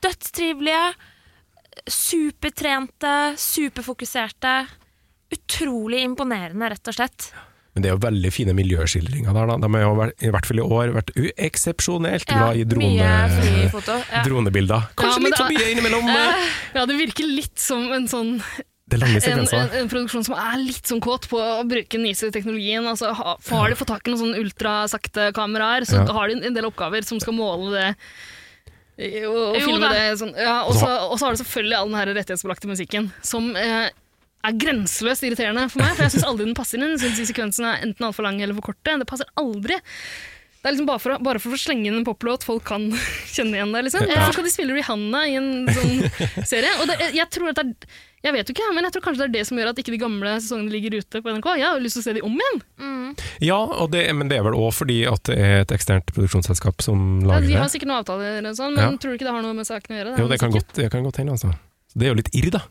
[SPEAKER 2] dødstrivelige, supertrente, superfokuserte. Utrolig imponerende, rett og slett.
[SPEAKER 1] Men det er jo veldig fine miljøskildringer der. Da. De har jo vært, i hvert fall i år vært u- eksepsjonelt
[SPEAKER 2] Ja,
[SPEAKER 1] glad i drone,
[SPEAKER 2] mye
[SPEAKER 1] [LAUGHS]
[SPEAKER 2] frie foto, ja.
[SPEAKER 1] dronebilder. Kanskje
[SPEAKER 3] men
[SPEAKER 1] litt for
[SPEAKER 3] det
[SPEAKER 1] mye
[SPEAKER 3] er-
[SPEAKER 1] innimellom. eh,
[SPEAKER 3] [LAUGHS] Ja, det virker litt som en sånn
[SPEAKER 1] Det er lange
[SPEAKER 3] en, en,
[SPEAKER 1] sekvenser.
[SPEAKER 3] en produksjon som er litt sånn kåt på å bruke den nyeste teknologien. Altså, ha, for har de fått tak i noen sånn ultrasakte kameraer, så
[SPEAKER 1] Ja.
[SPEAKER 3] har de en- en del oppgaver som skal måle det. eh, Og, og
[SPEAKER 2] Jo
[SPEAKER 3] filme
[SPEAKER 2] da.
[SPEAKER 3] det sånn. Ja, og så og så har du selvfølgelig all den her rettighetsbelagte musikken, som eh, er grenseløst irriterende for meg. For jeg syns aldri den passer inn. Jeg synes de sekvensene er enten altfor lange eller for korte. Det passer aldri. Det er liksom bare for, å- bare for å slenge inn en poplåt folk kan [LAUGHS] kjenne igjen der, liksom.
[SPEAKER 2] Ja.
[SPEAKER 3] Hvorfor skal de spille Rihanna i en sånn [LAUGHS] serie? Og det, jeg tror at det er Jeg vet jo ikke, men jeg tror kanskje det er det som gjør at ikke de gamle sesongene ligger ute på NRK. Jeg har jo lyst til å se de om igjen.
[SPEAKER 1] Ja, og det, men det er vel òg fordi at det er et eksternt produksjonsselskap som
[SPEAKER 3] Ja,
[SPEAKER 1] lager
[SPEAKER 3] Altså, de har
[SPEAKER 1] det.
[SPEAKER 3] sikkert noen avtaler og sånn,
[SPEAKER 1] Ja.
[SPEAKER 3] men tror du ikke det har noe med saken å gjøre?
[SPEAKER 1] Jo, det kan godt, det kan godt hende, altså. Så Det er jo litt irr, da.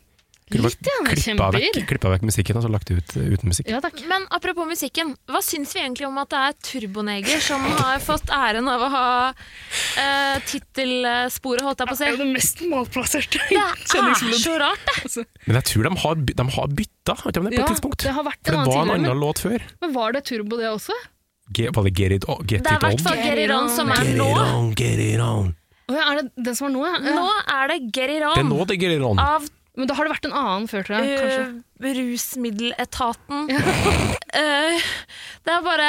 [SPEAKER 1] Kunne
[SPEAKER 3] Litt, ja,
[SPEAKER 1] bare klippa vekk,
[SPEAKER 2] kjempeirr.
[SPEAKER 1] klippa vekk musikken og så lagt det ut eh, uten musikk.
[SPEAKER 2] Men apropos musikken, hva syns vi egentlig om at det er Turboneger som har fått æren av å ha eh, tittelsporet, holdt jeg på å si? Det
[SPEAKER 3] er det mest malplasserte
[SPEAKER 2] Det er så rart, det!
[SPEAKER 1] Men jeg tror de har, by- de har bytta, har ikke de det, på
[SPEAKER 3] Ja,
[SPEAKER 1] et tidspunkt?
[SPEAKER 3] det har vært
[SPEAKER 1] For
[SPEAKER 3] en
[SPEAKER 1] det
[SPEAKER 3] annen
[SPEAKER 1] var en
[SPEAKER 3] tidligere,
[SPEAKER 1] annen låt før.
[SPEAKER 3] Men var det Turbo det også?
[SPEAKER 1] Ge- Var det Get It On? Get
[SPEAKER 2] Det er i
[SPEAKER 1] It
[SPEAKER 2] hvert fall
[SPEAKER 1] On?
[SPEAKER 2] Get It On som er
[SPEAKER 1] Get
[SPEAKER 2] nå.
[SPEAKER 1] It On, Get It On.
[SPEAKER 3] Å ja, er det den som var nå? Ja.
[SPEAKER 2] Nå er det Get It On.
[SPEAKER 1] Det er nå det Get It On.
[SPEAKER 2] Av
[SPEAKER 3] Men da har det vært en annen før, tror jeg. Kanskje.
[SPEAKER 2] eh, rusmiddeletaten. [LAUGHS] Eh, det er bare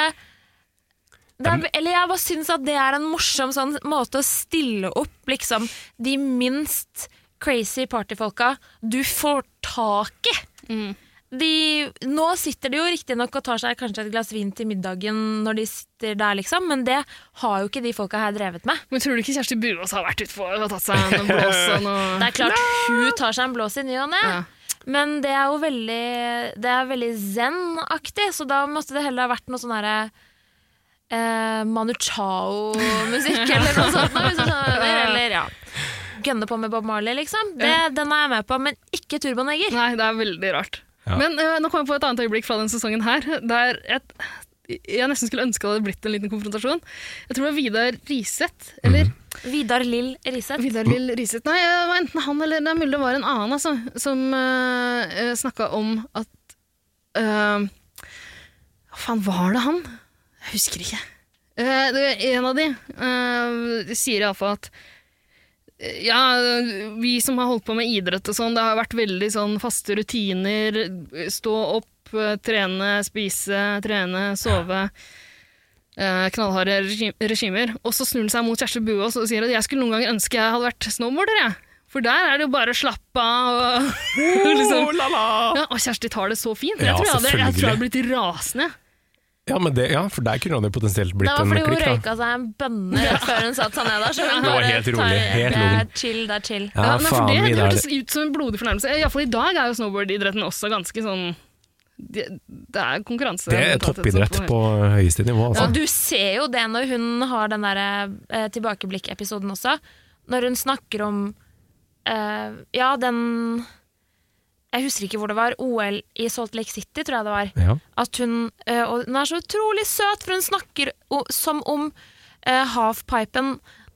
[SPEAKER 2] det er, eller jeg bare syns at det er en morsom sånn måte å stille opp liksom, de minst crazy partyfolka du får tak i. De, nå sitter de jo riktignok og tar seg kanskje et glass vin til middagen når de sitter der, liksom, men det har jo ikke de folka her drevet med.
[SPEAKER 3] Men tror du ikke Kjersti Burås har vært utfor og tatt seg en blås og noe
[SPEAKER 2] Det er klart hun tar seg en blås i ny og ne. Men det er jo veldig Det er veldig zen-aktig, så da måtte det heller ha vært noe sånn herre eh, Manu
[SPEAKER 1] [LAUGHS]
[SPEAKER 2] Chao-musikk eller noe sånt. noe sånt eller, eller ja. Gønne på med Bob Marley, liksom. Det, Den er jeg med på, men ikke Turboneger.
[SPEAKER 3] Nei, det er veldig rart. Men eh, nå kom jeg på et annet øyeblikk fra denne sesongen her, der jeg, jeg nesten skulle ønske det hadde blitt en liten konfrontasjon. Jeg tror det var Vidar Riseth, eller
[SPEAKER 2] Vidar Lill Riseth.
[SPEAKER 3] Vidar Lill Riseth. Nei, det var enten han eller det er mulig det var en annen, altså, som uh, snakka om at eh, Hva faen var det han? Jeg husker ikke. Eh, det, en av de eh, sier iallfall at eh, ja, vi som har holdt på med idrett og sånn, det har vært veldig sånn faste rutiner. Stå opp, eh, trene, spise, trene, sove. Eh, knallharde regi- regimer. Og så snur han seg mot Kjersti Buås og sier at jeg skulle noen ganger ønske jeg hadde vært snowboarder, jeg. For der er det jo bare å slappe av og [LAUGHS] liksom.
[SPEAKER 1] la, la.
[SPEAKER 3] Ja, og Kjersti tar det så fint. Jeg
[SPEAKER 1] Ja,
[SPEAKER 3] tror jeg hadde, jeg tror jeg hadde
[SPEAKER 1] selvfølgelig.
[SPEAKER 3] blitt rasende.
[SPEAKER 1] Ja, men det, ja, for der kunne han jo potensielt
[SPEAKER 2] Det
[SPEAKER 1] blitt
[SPEAKER 2] var
[SPEAKER 1] en
[SPEAKER 2] fordi hun
[SPEAKER 1] klikk. da.
[SPEAKER 2] røyka seg en bønne rett før hun satte seg ned der. Så hun
[SPEAKER 1] Det var
[SPEAKER 2] bare
[SPEAKER 1] helt rolig,
[SPEAKER 2] tar-
[SPEAKER 1] helt
[SPEAKER 2] det er
[SPEAKER 1] rolig.
[SPEAKER 2] chill, det er chill.
[SPEAKER 1] Ja,
[SPEAKER 3] Ja, nei, for
[SPEAKER 1] faen,
[SPEAKER 3] det, det
[SPEAKER 1] Vidar.
[SPEAKER 3] hørtes ut som en blodig fornærmelse. Eh, Iallfall i dag er jo snowboardidretten også ganske sånn Det, det er konkurranse.
[SPEAKER 1] Det er toppidrett på høyeste nivå, altså.
[SPEAKER 2] Og du ser jo det når hun har den der eh, tilbakeblikk-episoden også. Når hun snakker om eh, Ja, den Jeg husker ikke hvor det var. OL i Salt Lake City, tror jeg det var.
[SPEAKER 1] Ja.
[SPEAKER 2] At hun, eh, og hun er så utrolig søt, for hun snakker o som om eh, halfpipen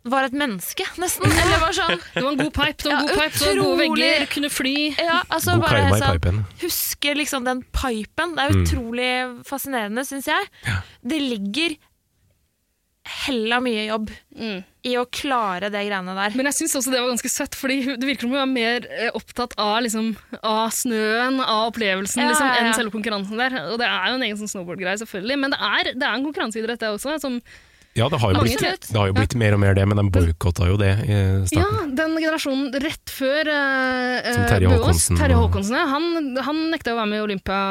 [SPEAKER 2] var et menneske, nesten. Eller var sånn.
[SPEAKER 3] Det var en god pipe, det var en god pipe, det var gode vegger, kunne fly.
[SPEAKER 2] Ja, altså
[SPEAKER 1] God
[SPEAKER 2] bare
[SPEAKER 1] karma i
[SPEAKER 2] sånn,
[SPEAKER 1] pipen.
[SPEAKER 2] Husker liksom den pipen. Det er
[SPEAKER 1] Mm.
[SPEAKER 2] utrolig fascinerende, syns jeg. Det ligger hella mye jobb i å klare det greiene der.
[SPEAKER 3] Men jeg syns også det var ganske søtt, fordi hun- det virker som hun var mer eh, opptatt av, liksom, av snøen, av opplevelsen,
[SPEAKER 2] Ja,
[SPEAKER 3] liksom,
[SPEAKER 2] ja, ja.
[SPEAKER 3] enn selve konkurransen der. Og det er jo en egen sånn snowboardgreie, selvfølgelig, men det er, det er en konkurranseidrett, det også. Som,
[SPEAKER 1] Ja, det har jo
[SPEAKER 3] Mange
[SPEAKER 1] blitt,
[SPEAKER 3] vet.
[SPEAKER 1] det har jo blitt mer og mer det, men de boikotta jo det i
[SPEAKER 3] ja,
[SPEAKER 1] starten.
[SPEAKER 3] den generasjonen rett før eh,
[SPEAKER 1] Som
[SPEAKER 3] eh,
[SPEAKER 1] Terje
[SPEAKER 3] Bøås,
[SPEAKER 1] Håkonsen
[SPEAKER 3] Terje
[SPEAKER 1] og-
[SPEAKER 3] Håkonsen ja, han, han nekta å være med i Olympia.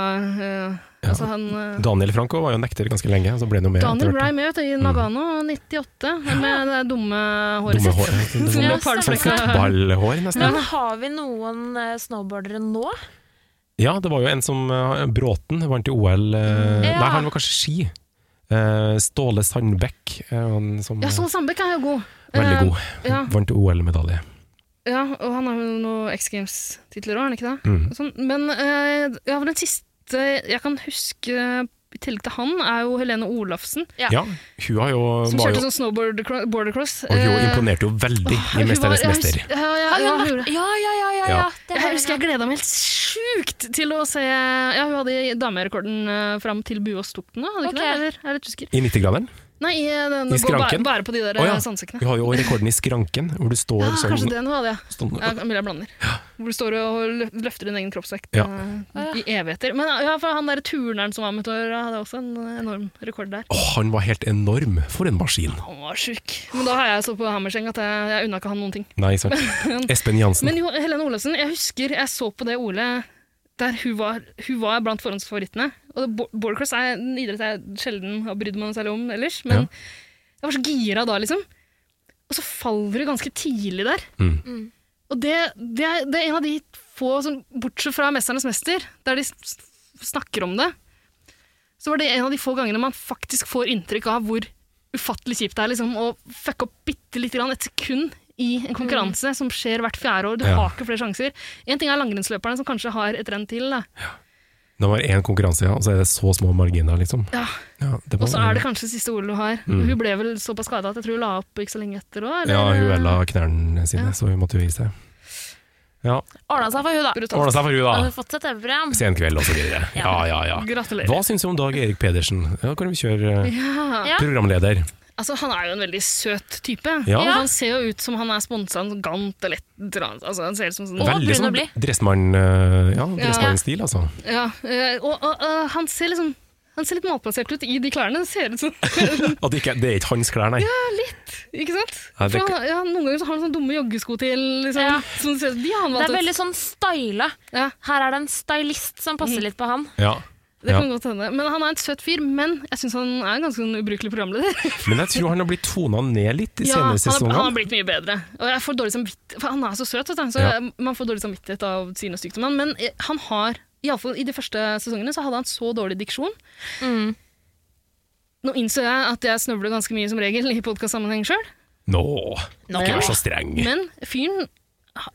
[SPEAKER 3] eh, altså, han, eh,
[SPEAKER 1] Daniel Franco var jo nekter ganske lenge, så ble han jo med
[SPEAKER 3] Daniel
[SPEAKER 1] etter hvert.
[SPEAKER 3] Rhyme i Nagano 98, med det dumme
[SPEAKER 1] Mm.
[SPEAKER 3] håret
[SPEAKER 1] Dumme
[SPEAKER 3] sitt.
[SPEAKER 1] hår, sånn-
[SPEAKER 3] Som
[SPEAKER 1] sånn-
[SPEAKER 3] var
[SPEAKER 1] sånn
[SPEAKER 3] palflekka.
[SPEAKER 1] fotballhår, nesten.
[SPEAKER 2] Men har vi noen eh, snowboardere nå?
[SPEAKER 1] Ja, det var jo en som eh, Bråten vant i OL eh,
[SPEAKER 2] Ja.
[SPEAKER 1] Nei, han var kanskje ski. Eh, Ståle Sandbekk. eh, han som,
[SPEAKER 3] Ja, Ståle Sandbekk er jo god.
[SPEAKER 1] Veldig god.
[SPEAKER 3] Eh, ja.
[SPEAKER 1] Vant OL-medalje.
[SPEAKER 3] Ja, og han har jo noen X Games-titler òg, har han ikke det?
[SPEAKER 1] Mm.
[SPEAKER 3] Sånn, men eh, ja, for den siste jeg kan huske i tillegg til han, er jo Helene Olafsen.
[SPEAKER 1] Ja. hun har jo,
[SPEAKER 3] Som
[SPEAKER 1] var
[SPEAKER 3] kjørte
[SPEAKER 1] jo
[SPEAKER 3] sånn snowboard cro- border cross.
[SPEAKER 1] Og hun
[SPEAKER 3] Eh,
[SPEAKER 1] imponerte jo veldig i
[SPEAKER 3] hun var-
[SPEAKER 1] 'Mesternes
[SPEAKER 3] jeg
[SPEAKER 1] mester'.
[SPEAKER 3] husker- Ja, ja,
[SPEAKER 2] Har hun
[SPEAKER 3] ja, hun
[SPEAKER 2] vært-
[SPEAKER 3] gjorde det.
[SPEAKER 2] ja, ja, ja, ja,
[SPEAKER 1] Ja.
[SPEAKER 2] ja. Det har
[SPEAKER 3] Jeg husker jeg gleda meg helt sjukt til å se Ja, hun hadde damerekorden eh, fram til Buås tok den, da, hadde hun
[SPEAKER 2] Ok.
[SPEAKER 3] ikke det? Eller, jeg er litt usker.
[SPEAKER 1] I 90-graderen?
[SPEAKER 3] Nei, i, eh, den,
[SPEAKER 1] I skranken?
[SPEAKER 3] Bare, bare på de der
[SPEAKER 1] Å ja.
[SPEAKER 3] eh, sandsekkene.
[SPEAKER 1] Hun har jo også rekorden i skranken, hvor du står
[SPEAKER 3] Ja,
[SPEAKER 1] sånn
[SPEAKER 3] kanskje den hadde jeg.
[SPEAKER 1] Stående-
[SPEAKER 3] Ja, mulig jeg blander. Hvor du står og lø- løfter din egen kroppsvekt
[SPEAKER 1] Ja.
[SPEAKER 3] eh, i evigheter. Men ja, for han derre turneren som var med et år, hadde også en eh, enorm rekord der.
[SPEAKER 1] Å, han var helt enorm! For en maskin!
[SPEAKER 3] Han var sjuk. Men da har jeg så på Hammerseng at jeg, jeg unna ikke han noen ting.
[SPEAKER 1] Nei, sant.
[SPEAKER 3] [LAUGHS] Men-
[SPEAKER 1] Espen Jansen.
[SPEAKER 3] Men jo, Helene Olesen, jeg husker jeg så på det Ole der hun var, hun var blant forhåndsfavorittene. Og det- bo- boardcross er en idrett jeg sjelden har brydd meg noe særlig om ellers, men jeg var så gira da, liksom. Og så faller hun ganske tidlig der.
[SPEAKER 1] Mm.
[SPEAKER 3] Og det, det, er, det er en av de få, som, bortsett fra 'Mesternes mester', der de s- s- snakker om det, så var det en av de få gangene man faktisk får inntrykk av hvor ufattelig kjipt det er liksom, å fucke opp bitte lite grann, et sekund, i en konkurranse som skjer hvert fjerde år. Du
[SPEAKER 1] Ja.
[SPEAKER 3] har ikke flere sjanser. En ting er langrennsløperne, som kanskje har et renn til. Da.
[SPEAKER 1] Det var én konkurranse, ja, og så er det så små marginer, liksom.
[SPEAKER 3] Ja.
[SPEAKER 1] Ja, det var-
[SPEAKER 3] Og så er det kanskje siste ordet du har.
[SPEAKER 1] Mm.
[SPEAKER 3] Hun ble vel såpass skada at jeg tror hun la opp ikke så lenge etter òg.
[SPEAKER 1] Ja, hun ødela knærne sine, så hun måtte jo gi seg. Ja,
[SPEAKER 2] Ordna seg for hun da.
[SPEAKER 1] Ordna seg for hun, da.
[SPEAKER 2] Hadde fått seg TV-program.
[SPEAKER 1] senkveld og så videre. Ja, ja, ja.
[SPEAKER 3] Gratulerer.
[SPEAKER 1] Hva syns du om Dag Erik Pedersen? Ja, kan vi kjøre eh,
[SPEAKER 3] Ja.
[SPEAKER 1] programleder?
[SPEAKER 3] Altså, han er jo en veldig søt type.
[SPEAKER 1] Ja.
[SPEAKER 3] Og Han ser jo ut som han er sponsa en gant eller et eller annet. Altså, han ser ut som sånn...
[SPEAKER 1] Veldig sånn dressmann, eh, ja, dressmannstil, altså.
[SPEAKER 3] Ja, eh, og, og, og han ser liksom han ser litt malplassert ut i de klærne. Det ser ut som [LAUGHS]
[SPEAKER 1] At det, ikke, det er ikke hans klær, nei.
[SPEAKER 3] Ja, litt, ikke sant?
[SPEAKER 1] Nei, det er
[SPEAKER 3] For han, ja, noen ganger så har han sånne dumme joggesko til. Liksom, som ser, de har han
[SPEAKER 2] Det
[SPEAKER 3] valgt
[SPEAKER 2] er
[SPEAKER 3] ut.
[SPEAKER 2] veldig sånn styla. Her er det en stylist som passer litt på han.
[SPEAKER 1] Ja.
[SPEAKER 3] Det
[SPEAKER 1] ja.
[SPEAKER 3] kan godt hende. Men han er en søt fyr, men jeg syns han er en ganske sånn ubrukelig programleder.
[SPEAKER 1] Men jeg tror han har blitt tona ned litt i
[SPEAKER 3] Ja, han,
[SPEAKER 1] senere
[SPEAKER 3] er, han har
[SPEAKER 1] sesonger.
[SPEAKER 3] blitt mye bedre. Og jeg får dårlig samvittighet, for han er så søt, vet du, så
[SPEAKER 1] Ja.
[SPEAKER 3] jeg- man får dårlig samvittighet av sine stykter. Men, men eh, han har, iallfall i de første sesongene, så hadde han så dårlig diksjon.
[SPEAKER 2] Mm.
[SPEAKER 3] Nå innså jeg at jeg snøvler ganske mye som regel i podkastsammenheng sjøl,
[SPEAKER 1] Nå,
[SPEAKER 3] Nå.
[SPEAKER 1] ikke vær så streng.
[SPEAKER 3] men fyren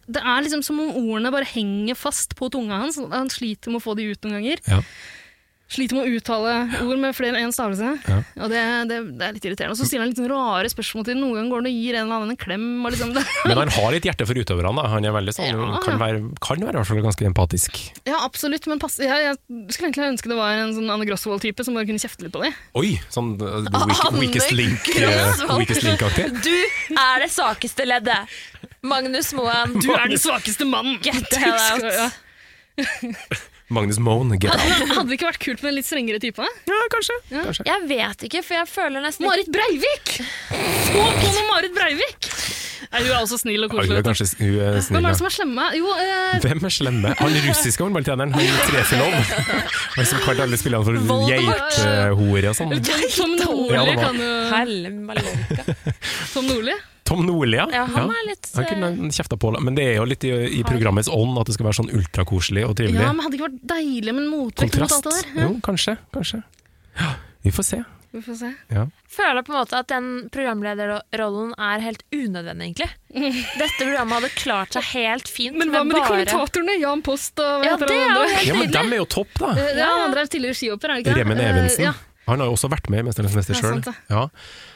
[SPEAKER 3] Det er liksom som om ordene bare henger fast på tunga hans. Han sliter med å få de ut noen ganger.
[SPEAKER 1] Ja.
[SPEAKER 3] Sliter med å uttale ord med flere enn én stavelse.
[SPEAKER 1] Ja.
[SPEAKER 3] Og det, det, det er litt irriterende. Og så stiller han litt sånn rare spørsmål til. Noen ganger går han og gir en eller annen en klem. Og liksom det.
[SPEAKER 1] Men han har litt hjerte for utøverne. da. Han er veldig sånn,
[SPEAKER 3] Ja.
[SPEAKER 1] kan, være, kan være i hvert fall ganske empatisk.
[SPEAKER 3] Ja, absolutt, men pass, jeg, jeg skulle egentlig ønske det var en sånn Anne Grosvold-type som bare kunne kjefte litt på dem.
[SPEAKER 1] Oi, sånn uh,
[SPEAKER 3] Ah,
[SPEAKER 1] weak, weakest link, eh, weakest link-aktig.
[SPEAKER 2] Du er det svakeste leddet. Magnus Moen.
[SPEAKER 3] Du er den svakeste mannen!
[SPEAKER 2] Get
[SPEAKER 3] Du
[SPEAKER 2] the hell
[SPEAKER 3] skal-
[SPEAKER 2] out.
[SPEAKER 3] ja.
[SPEAKER 1] Magnus Moen, get out.
[SPEAKER 3] Hadde hadde det ikke vært kult med en litt strengere type?
[SPEAKER 1] Ja, kanskje.
[SPEAKER 2] Jeg vet ikke, for jeg føler nesten
[SPEAKER 3] Marit Breivik! Få på med Marit Breivik! Nei, hun er også snill
[SPEAKER 1] Oi,
[SPEAKER 3] og
[SPEAKER 1] hun
[SPEAKER 3] koselig.
[SPEAKER 1] er kanskje s- hun er
[SPEAKER 3] Hvem
[SPEAKER 1] snill.
[SPEAKER 3] er det
[SPEAKER 1] ja.
[SPEAKER 3] som er slemme? Jo, eh,
[SPEAKER 1] Hvem er slemme? Han russiske håndballtreneren, han Trefilov. Han som kalte alle spillerne for geithore og sånn.
[SPEAKER 3] Tom, Tom
[SPEAKER 1] Ja, det
[SPEAKER 3] Nordli
[SPEAKER 1] var-
[SPEAKER 3] kan jo Tom Nordli?
[SPEAKER 1] Tom Nordli, ja.
[SPEAKER 3] Ja, han er litt,
[SPEAKER 2] eh,
[SPEAKER 1] Han kunne kjefta på, men det er jo litt i, i programmets ånd at det skal være sånn ultrakoselig og trivelig.
[SPEAKER 3] Ja, men Hadde det ikke vært deilig med en motvekt mot alt
[SPEAKER 1] Kontrast.
[SPEAKER 3] det der? Ja.
[SPEAKER 1] Jo, kanskje. kanskje. Ja, vi får se.
[SPEAKER 3] Vi får se.
[SPEAKER 1] Ja.
[SPEAKER 2] føler på en måte at den programlederrollen er helt unødvendig, egentlig. Dette programmet hadde klart seg helt fint.
[SPEAKER 3] Men hva med de
[SPEAKER 2] bare-
[SPEAKER 3] kommentatorene? Jan Post og hva
[SPEAKER 2] Ja,
[SPEAKER 3] heter
[SPEAKER 2] det er
[SPEAKER 3] han
[SPEAKER 2] jo
[SPEAKER 3] andre?
[SPEAKER 2] helt
[SPEAKER 1] ja, men dem er jo topp, da.
[SPEAKER 3] Eh, Ja, han andre er tidligere skihopper, er det ikke det?
[SPEAKER 1] Remmen
[SPEAKER 3] Eh,
[SPEAKER 1] Evensen.
[SPEAKER 3] Ja.
[SPEAKER 1] Han har jo også vært med i 'Mesternes mester'
[SPEAKER 3] Det er
[SPEAKER 1] sjøl.
[SPEAKER 3] sant, det.
[SPEAKER 1] Ja.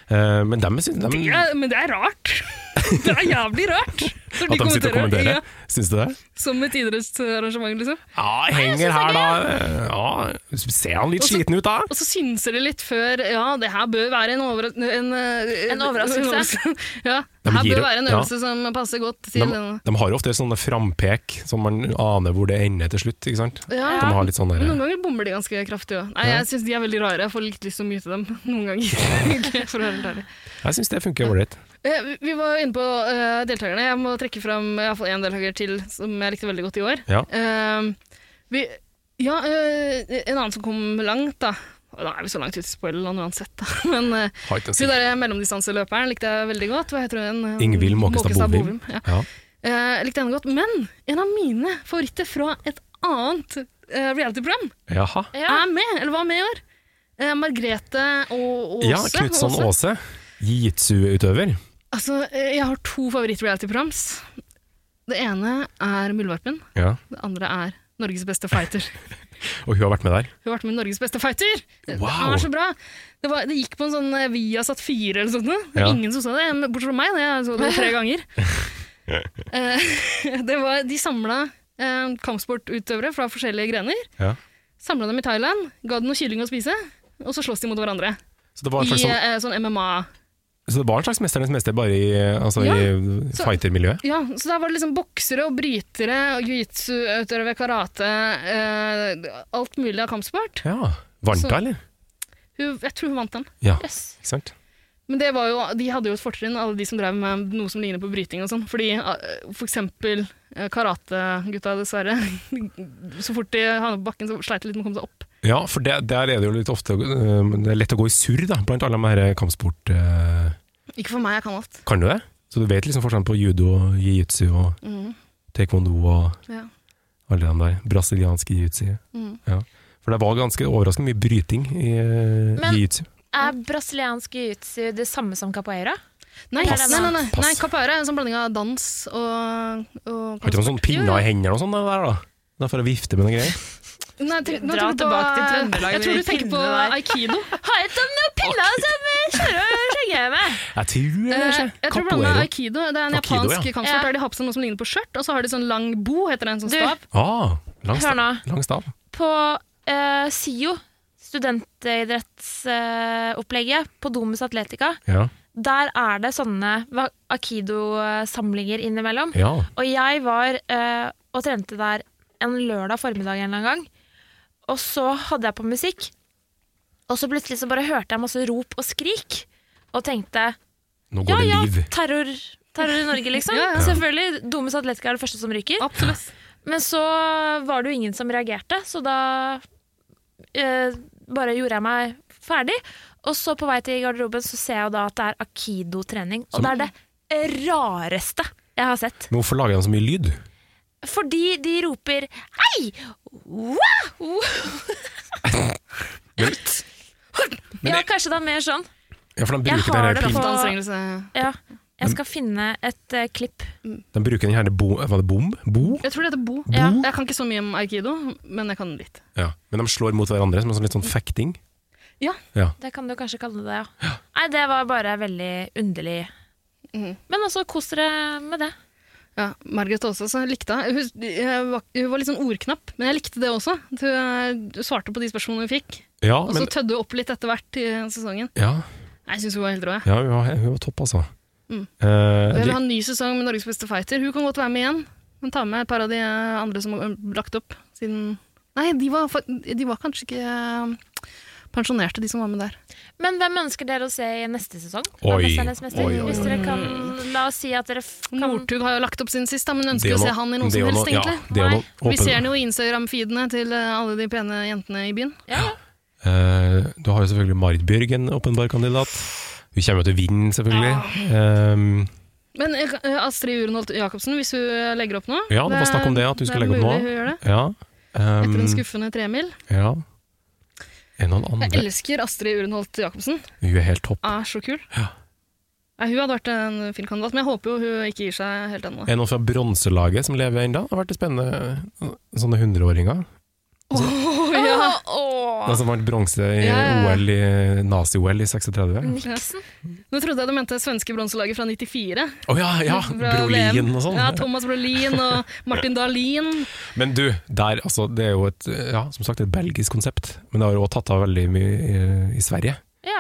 [SPEAKER 1] Eh, men dem syns dem,
[SPEAKER 3] Det er, men det er rart. [LAUGHS] Det er jævlig rart. Når
[SPEAKER 1] At de sitter og kommenterer?
[SPEAKER 3] Ja,
[SPEAKER 1] Syns du det?
[SPEAKER 3] som et idrettsarrangement, liksom.
[SPEAKER 1] Ja, henger her, da. Ja, ser han litt
[SPEAKER 3] Og så-
[SPEAKER 1] sliten ut, da?
[SPEAKER 3] Og så synser det litt før Ja, det her bør være en, overras en, eh,
[SPEAKER 2] En overraskelse.
[SPEAKER 3] [LAUGHS]
[SPEAKER 1] Nei,
[SPEAKER 3] ja, det
[SPEAKER 1] men
[SPEAKER 3] her
[SPEAKER 1] gir
[SPEAKER 3] bør
[SPEAKER 1] det-
[SPEAKER 3] være en
[SPEAKER 1] ja.
[SPEAKER 3] øvelse som passer godt til
[SPEAKER 1] De,
[SPEAKER 3] denne.
[SPEAKER 1] de har jo ofte sånne frampek, som man aner hvor det ender til slutt. ikke sant?
[SPEAKER 3] Ja.
[SPEAKER 1] De har litt sånn
[SPEAKER 3] Men
[SPEAKER 1] der,
[SPEAKER 3] Noen ganger bommer de ganske kraftig òg. Nei,
[SPEAKER 1] Ja.
[SPEAKER 3] jeg syns de er veldig rare. Jeg får litt lyst til å mute dem [LAUGHS] noen ganger. [LAUGHS] for å være helt ærlig.
[SPEAKER 1] Jeg syns det funker ålreit.
[SPEAKER 3] Eh, vi- Vi var inne på eh, deltakerne. Jeg må trekke fram eh, iallfall én deltaker til som jeg likte veldig godt i år.
[SPEAKER 1] Ja.
[SPEAKER 3] Eh, vi, ja eh, en annen som kom langt, da. Og Da er vi så langt ute i spoileren uansett, da. [LAUGHS] Men eh,
[SPEAKER 1] Har ikke å si.
[SPEAKER 3] hun derre mellomdistanseløperen likte jeg veldig godt. Hva heter hun? Eh,
[SPEAKER 1] Ingvild Måkestad Bovim.
[SPEAKER 3] Ja.
[SPEAKER 1] Ja.
[SPEAKER 3] Eh, likte henne godt. Men en av mine favoritter fra et annet eh, reality-program
[SPEAKER 1] Jaha.
[SPEAKER 3] er med, eller var med i år. Eh, Margrethe og Åse.
[SPEAKER 1] Ja, Knutson Aase. Jitsu-utøver.
[SPEAKER 3] Altså, eh, jeg har to favoritt-reality-proms. Det ene er Muldvarpen.
[SPEAKER 1] Ja.
[SPEAKER 3] Det andre er Norges beste
[SPEAKER 1] [LAUGHS]
[SPEAKER 3] fighter.
[SPEAKER 1] Og hun har vært med der.
[SPEAKER 3] Hun har vært med i Norges beste fighter! Det-
[SPEAKER 1] Wow.
[SPEAKER 3] Det er så bra! Det, var, det gikk på en sånn eh, Viasat 4 eller sånt. Det var
[SPEAKER 1] Ja.
[SPEAKER 3] Ingen som så det, men bortsett fra meg. da. Jeg så det
[SPEAKER 1] [LAUGHS]
[SPEAKER 3] tre ganger. Eh, [LAUGHS] det var, de samla eh, kampsportutøvere fra forskjellige grener.
[SPEAKER 1] Ja.
[SPEAKER 3] Samla dem i Thailand, ga dem noe kylling å spise, og så slåss de mot hverandre.
[SPEAKER 1] Så det var en
[SPEAKER 3] I
[SPEAKER 1] slags, sånn,
[SPEAKER 3] eh, sånn MMA.
[SPEAKER 1] så det var en slags Mesternes mester, bare i, altså, i
[SPEAKER 3] så-
[SPEAKER 1] fightermiljøet?
[SPEAKER 3] Ja, så der var det liksom boksere og brytere og jiu-jitsu-utøvere, karate, eh, alt mulig av kampsport.
[SPEAKER 1] Ja. Vant
[SPEAKER 3] Så-
[SPEAKER 1] hun, eller?
[SPEAKER 3] Hun, jeg tror hun vant den.
[SPEAKER 1] Ja.
[SPEAKER 3] Yes.
[SPEAKER 1] Ikke sant?
[SPEAKER 3] Men det var jo, de hadde jo et fortrinn, alle de som drev med noe som ligner på bryting og sånn. Fordi eh, for eksempel eh, karategutta, dessverre. [LAUGHS] Så fort de havnet på bakken, så sleit de litt med å komme seg opp.
[SPEAKER 1] Ja, for det, der er det jo litt ofte øh, Det er lett å gå i surr, da, blant alle de her eh, kampsport... øh,
[SPEAKER 3] Ikke for meg, jeg kan alt.
[SPEAKER 1] Kan du det? Så du vet liksom forskjellen på judo, og jiu-jitsu og
[SPEAKER 3] Mhm.
[SPEAKER 1] taekwondo og
[SPEAKER 3] Ja. Mm.
[SPEAKER 1] alle de der. Brasiliansk jiu-jitsu.
[SPEAKER 2] Mhm.
[SPEAKER 1] Ja. For det var ganske overraskende mye bryting i eh,
[SPEAKER 2] Men-
[SPEAKER 1] jiu-jitsu.
[SPEAKER 2] Er brasiliansk jiu-jitsu det samme som capoeira?
[SPEAKER 3] Nei,
[SPEAKER 2] Pass.
[SPEAKER 3] nei, nei, nei.
[SPEAKER 1] Pass.
[SPEAKER 3] nei capoeira er en sånn blanding av dans og, og
[SPEAKER 1] Har ikke noen sånne pinner i hendene og sånn det der, da? Da får jeg vifte med noen greier.
[SPEAKER 3] Nei, tenk, nå
[SPEAKER 2] Dra
[SPEAKER 3] tenker jeg på-
[SPEAKER 2] tilbake til Trøndelag
[SPEAKER 3] Jeg
[SPEAKER 2] med
[SPEAKER 3] tror
[SPEAKER 2] de
[SPEAKER 3] du tenker på
[SPEAKER 2] pinnene der.
[SPEAKER 3] aikido.
[SPEAKER 2] Har jeg tatt noen pinner som eh, kjører og skjegger med?
[SPEAKER 1] Jeg tror det
[SPEAKER 3] Eh,
[SPEAKER 1] er
[SPEAKER 3] Jeg tror blant annet aikido. Det er en
[SPEAKER 1] Aikido,
[SPEAKER 3] japansk
[SPEAKER 1] ja.
[SPEAKER 3] kampsport
[SPEAKER 2] Ja.
[SPEAKER 3] der de har på seg noe som ligner på skjørt, og så har de sånn lang bo, heter det, en sånn
[SPEAKER 2] Du.
[SPEAKER 3] stav.
[SPEAKER 1] Ah, lang,
[SPEAKER 2] Hør
[SPEAKER 1] stav,
[SPEAKER 2] nå.
[SPEAKER 1] lang stav.
[SPEAKER 2] På eh, SIO, studentidrettsopplegget på Domus Atletica,
[SPEAKER 1] Ja.
[SPEAKER 2] der er det sånne va- Aikido-samlinger innimellom.
[SPEAKER 1] ja.
[SPEAKER 2] Og jeg var eh, og trente der en lørdag formiddag en eller annen gang. Og så hadde jeg på musikk, og så plutselig så bare hørte jeg masse rop og skrik, og tenkte
[SPEAKER 1] Nå
[SPEAKER 2] ja,
[SPEAKER 1] går
[SPEAKER 2] ja,
[SPEAKER 1] det liv.
[SPEAKER 2] terror, terror i Norge, liksom.
[SPEAKER 3] [LAUGHS] Ja, ja.
[SPEAKER 2] Selvfølgelig. Domus Atletica er det første som ryker.
[SPEAKER 3] Absolutt.
[SPEAKER 2] Men så var det jo ingen som reagerte, så da eh, bare gjorde jeg meg ferdig. Og så på vei til garderoben så ser jeg jo da at det er akido-trening. Og
[SPEAKER 1] Som-
[SPEAKER 2] det er det rareste jeg har sett.
[SPEAKER 1] Men hvorfor lager de så mye lyd?
[SPEAKER 2] Fordi de roper hei! Wow! Ja, kanskje det er mer sånn.
[SPEAKER 1] Ja, for de
[SPEAKER 2] Jeg
[SPEAKER 1] bruker,
[SPEAKER 2] har
[SPEAKER 1] den
[SPEAKER 2] det
[SPEAKER 1] her
[SPEAKER 2] på-
[SPEAKER 1] pin-
[SPEAKER 3] Anstrengelse.
[SPEAKER 2] Ja. Jeg skal finne et eh, klipp.
[SPEAKER 1] de bruker den her bo, Var det bom? Bo?
[SPEAKER 3] Jeg tror det heter bo.
[SPEAKER 2] Ja.
[SPEAKER 3] Jeg kan ikke så mye om aikido, men jeg kan litt.
[SPEAKER 1] Ja. Men de slår mot hverandre som en sånn litt sånn fekting.
[SPEAKER 3] Ja.
[SPEAKER 1] Ja.
[SPEAKER 2] Det kan du kanskje kalle det, ja. Nei, det var bare veldig underlig.
[SPEAKER 3] Mhm.
[SPEAKER 2] Men altså, kos dere med det.
[SPEAKER 3] Ja, Margaret Aase også likte jeg. Hun, jeg var, hun var litt sånn ordknapp, men jeg likte det også. Hun eh, svarte på de spørsmålene hun fikk,
[SPEAKER 1] Ja,
[SPEAKER 3] og så
[SPEAKER 1] men
[SPEAKER 3] tødde hun opp litt etter hvert i sesongen.
[SPEAKER 1] ja,
[SPEAKER 3] Jeg syns hun var helt rå. jeg.
[SPEAKER 1] ja, hun var, hun var topp, altså.
[SPEAKER 3] Mm.
[SPEAKER 1] Eh,
[SPEAKER 3] Og Jeg vil
[SPEAKER 1] li-
[SPEAKER 3] ha en ny sesong med Norges beste fighter. Hun kan godt være med igjen, men ta med et par av de eh, andre som har lagt opp siden Nei, de var, fa- de var kanskje ikke eh, pensjonerte, de som var med der.
[SPEAKER 2] Men hvem ønsker dere å se i neste sesong? av
[SPEAKER 1] Oi,
[SPEAKER 2] Mesternes mester?
[SPEAKER 1] oi, oi, oi.
[SPEAKER 2] Hvis dere kan, la oss si at dere f- kan
[SPEAKER 3] Northug har jo lagt opp sin sist, da, men ønsker
[SPEAKER 1] Det er
[SPEAKER 3] å se
[SPEAKER 1] noe-
[SPEAKER 3] han i noe
[SPEAKER 1] det er
[SPEAKER 3] som
[SPEAKER 1] noe-
[SPEAKER 3] helst,
[SPEAKER 1] ja, det
[SPEAKER 3] egentlig.
[SPEAKER 1] er
[SPEAKER 3] Nei.
[SPEAKER 1] noe åpen-
[SPEAKER 3] Vi ser han jo i Instagram-feedene til eh, alle de pene jentene i byen.
[SPEAKER 1] Eh, du har jo selvfølgelig Marit Bjørg, en åpenbar kandidat. Hun kommer jo til å vinne, selvfølgelig. Ehm,
[SPEAKER 3] Men eh, Astrid Urenholt Jacobsen, hvis hun eh, legger opp nå
[SPEAKER 1] ja, det var snakk om det, at hun skulle legge opp nå.
[SPEAKER 3] Det er mulig hun gjør det.
[SPEAKER 1] Ja. ehm,
[SPEAKER 3] Etter en skuffende tremil.
[SPEAKER 1] ja. Er det noen
[SPEAKER 3] Jeg
[SPEAKER 1] andre?
[SPEAKER 3] elsker Astrid Urenholt Jacobsen.
[SPEAKER 1] Hun er helt topp.
[SPEAKER 3] Er så kul.
[SPEAKER 1] Ja.
[SPEAKER 3] Nei, hun hadde vært en fin kandidat, men jeg håper jo hun ikke gir seg helt ennå.
[SPEAKER 1] Er det noen fra eh, bronselaget som lever ennå? Det har vært spennende sånne hundreåringer.
[SPEAKER 3] Åh,
[SPEAKER 2] Å,
[SPEAKER 3] [LAUGHS] ja.
[SPEAKER 1] Den som vant bronse i
[SPEAKER 3] Ja, ja, Mm. ja.
[SPEAKER 1] OL i nazi-OL i 36.
[SPEAKER 3] Nå trodde jeg du mente svenske bronselaget fra 94.
[SPEAKER 1] Å ja, ja!
[SPEAKER 3] Fra
[SPEAKER 1] Ah, Brolin
[SPEAKER 3] VM.
[SPEAKER 1] og sånn.
[SPEAKER 3] Ja, Thomas Brolin og Martin Dahlin.
[SPEAKER 1] Men du, der, altså, det er jo et, ja, som sagt, et belgisk konsept, men det har jo også tatt av veldig mye i, i Sverige.
[SPEAKER 2] Ja.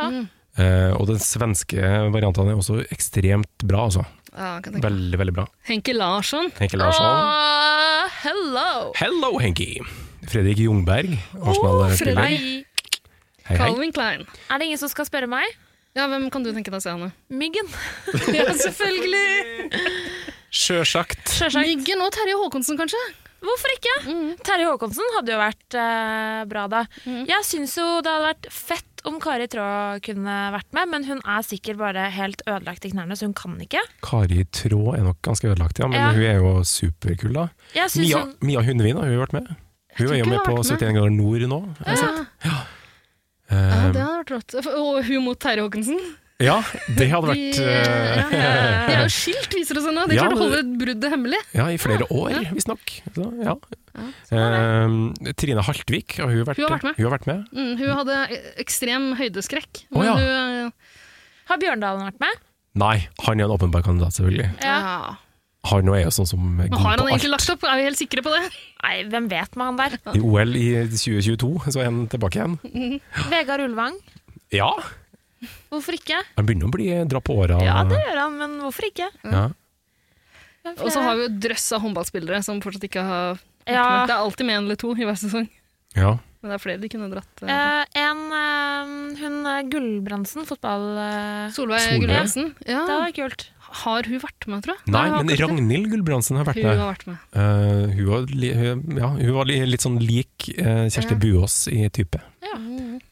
[SPEAKER 1] Eh, og den svenske varianten er også ekstremt bra, altså.
[SPEAKER 3] Ja, kan tenke.
[SPEAKER 1] Veldig, veldig bra.
[SPEAKER 3] Henke Larsson.
[SPEAKER 1] Henke Larsson.
[SPEAKER 3] Åh, hello!
[SPEAKER 1] Hello, Henki! Fredrik Jungberg, Arsenal-spiller.
[SPEAKER 2] Hei.
[SPEAKER 1] hei, hei.
[SPEAKER 3] Klein.
[SPEAKER 2] Er det ingen som skal spørre meg?
[SPEAKER 3] Ja, hvem kan du tenke deg å se, Anne?
[SPEAKER 2] Myggen.
[SPEAKER 3] [LAUGHS] Ja, selvfølgelig!
[SPEAKER 1] Sjøsagt.
[SPEAKER 3] Myggen og Terje Håkonsen, kanskje?
[SPEAKER 2] Hvorfor ikke?
[SPEAKER 3] Mm.
[SPEAKER 2] Terje Håkonsen hadde jo vært eh, bra da. Jeg syns jo det hadde vært fett om Kari Traa kunne vært med, men hun er sikkert bare helt ødelagt i knærne, så hun kan ikke.
[SPEAKER 1] Kari Trå er nok ganske ødelagt, ja, men
[SPEAKER 2] Ja.
[SPEAKER 1] hun er jo superkul, da.
[SPEAKER 2] Jeg synes
[SPEAKER 1] Mia,
[SPEAKER 2] hun-
[SPEAKER 1] Mia Hundvin har jo vært med. Hun er jo
[SPEAKER 3] ikke
[SPEAKER 1] med
[SPEAKER 3] hun har
[SPEAKER 1] på
[SPEAKER 3] vært med.
[SPEAKER 1] 71 grader nord nå.
[SPEAKER 3] Ja,
[SPEAKER 1] har jeg sett.
[SPEAKER 3] ja,
[SPEAKER 1] Eh,
[SPEAKER 3] det hadde vært rått. Og hun mot Terje Håkonsen.
[SPEAKER 1] Ehm, ja, det hadde
[SPEAKER 3] De,
[SPEAKER 1] vært
[SPEAKER 3] ja,
[SPEAKER 1] eh,
[SPEAKER 3] De
[SPEAKER 1] [LAUGHS]
[SPEAKER 3] er jo skilt, viser det seg nå. De
[SPEAKER 1] Ja,
[SPEAKER 3] klarte å holde
[SPEAKER 1] det-
[SPEAKER 3] bruddet hemmelig.
[SPEAKER 1] Ja, i flere år,
[SPEAKER 3] Ja.
[SPEAKER 1] visstnok. Så, Ja. Eh, Trine Haltvik har hun vært,
[SPEAKER 3] Hun har vært med.
[SPEAKER 1] Hun har vært med.
[SPEAKER 3] Mm, hun hadde e- ekstrem høydeskrekk.
[SPEAKER 1] Å, ja.
[SPEAKER 3] hun,
[SPEAKER 2] Har Bjørndalen vært med?
[SPEAKER 1] Nei, han er en åpenbar kandidat, selvfølgelig.
[SPEAKER 3] Ja.
[SPEAKER 1] Han nå er jo sånn som er
[SPEAKER 3] Men
[SPEAKER 1] god
[SPEAKER 3] har
[SPEAKER 1] på
[SPEAKER 3] han egentlig
[SPEAKER 1] alt.
[SPEAKER 3] lagt opp? Er vi helt sikre på det?
[SPEAKER 2] Nei, hvem vet med han der?
[SPEAKER 1] I OL i 2022 så er han tilbake igjen.
[SPEAKER 2] Vegard Ulvang.
[SPEAKER 1] Ja,
[SPEAKER 2] Hvorfor ikke?
[SPEAKER 1] han begynner å bli eh, dra på åra.
[SPEAKER 2] Ja, det gjør han, men hvorfor ikke?
[SPEAKER 1] Ja.
[SPEAKER 3] Og så har vi jo drøss av håndballspillere som fortsatt ikke har vært
[SPEAKER 2] Ja.
[SPEAKER 3] med. Det er alltid med en eller to i hver sesong.
[SPEAKER 1] Ja.
[SPEAKER 3] Men det er flere de kunne dratt. eh.
[SPEAKER 2] Eh, en eh, hun eh, Gulbrandsen, fotball... eh,
[SPEAKER 3] Solveig Gulbrandsen. Ja.
[SPEAKER 2] Det var kult.
[SPEAKER 3] Har hun vært med, tror jeg?
[SPEAKER 1] Nei,
[SPEAKER 3] Har hun
[SPEAKER 1] men
[SPEAKER 3] vært med?
[SPEAKER 1] Ragnhild Gulbrandsen har vært
[SPEAKER 3] Hun
[SPEAKER 1] med.
[SPEAKER 3] har vært med.
[SPEAKER 1] Eh, hun, var li, hun, ja, hun var li, litt sånn lik eh, Kjersti
[SPEAKER 3] Ja.
[SPEAKER 1] Buås i type.
[SPEAKER 3] Ja.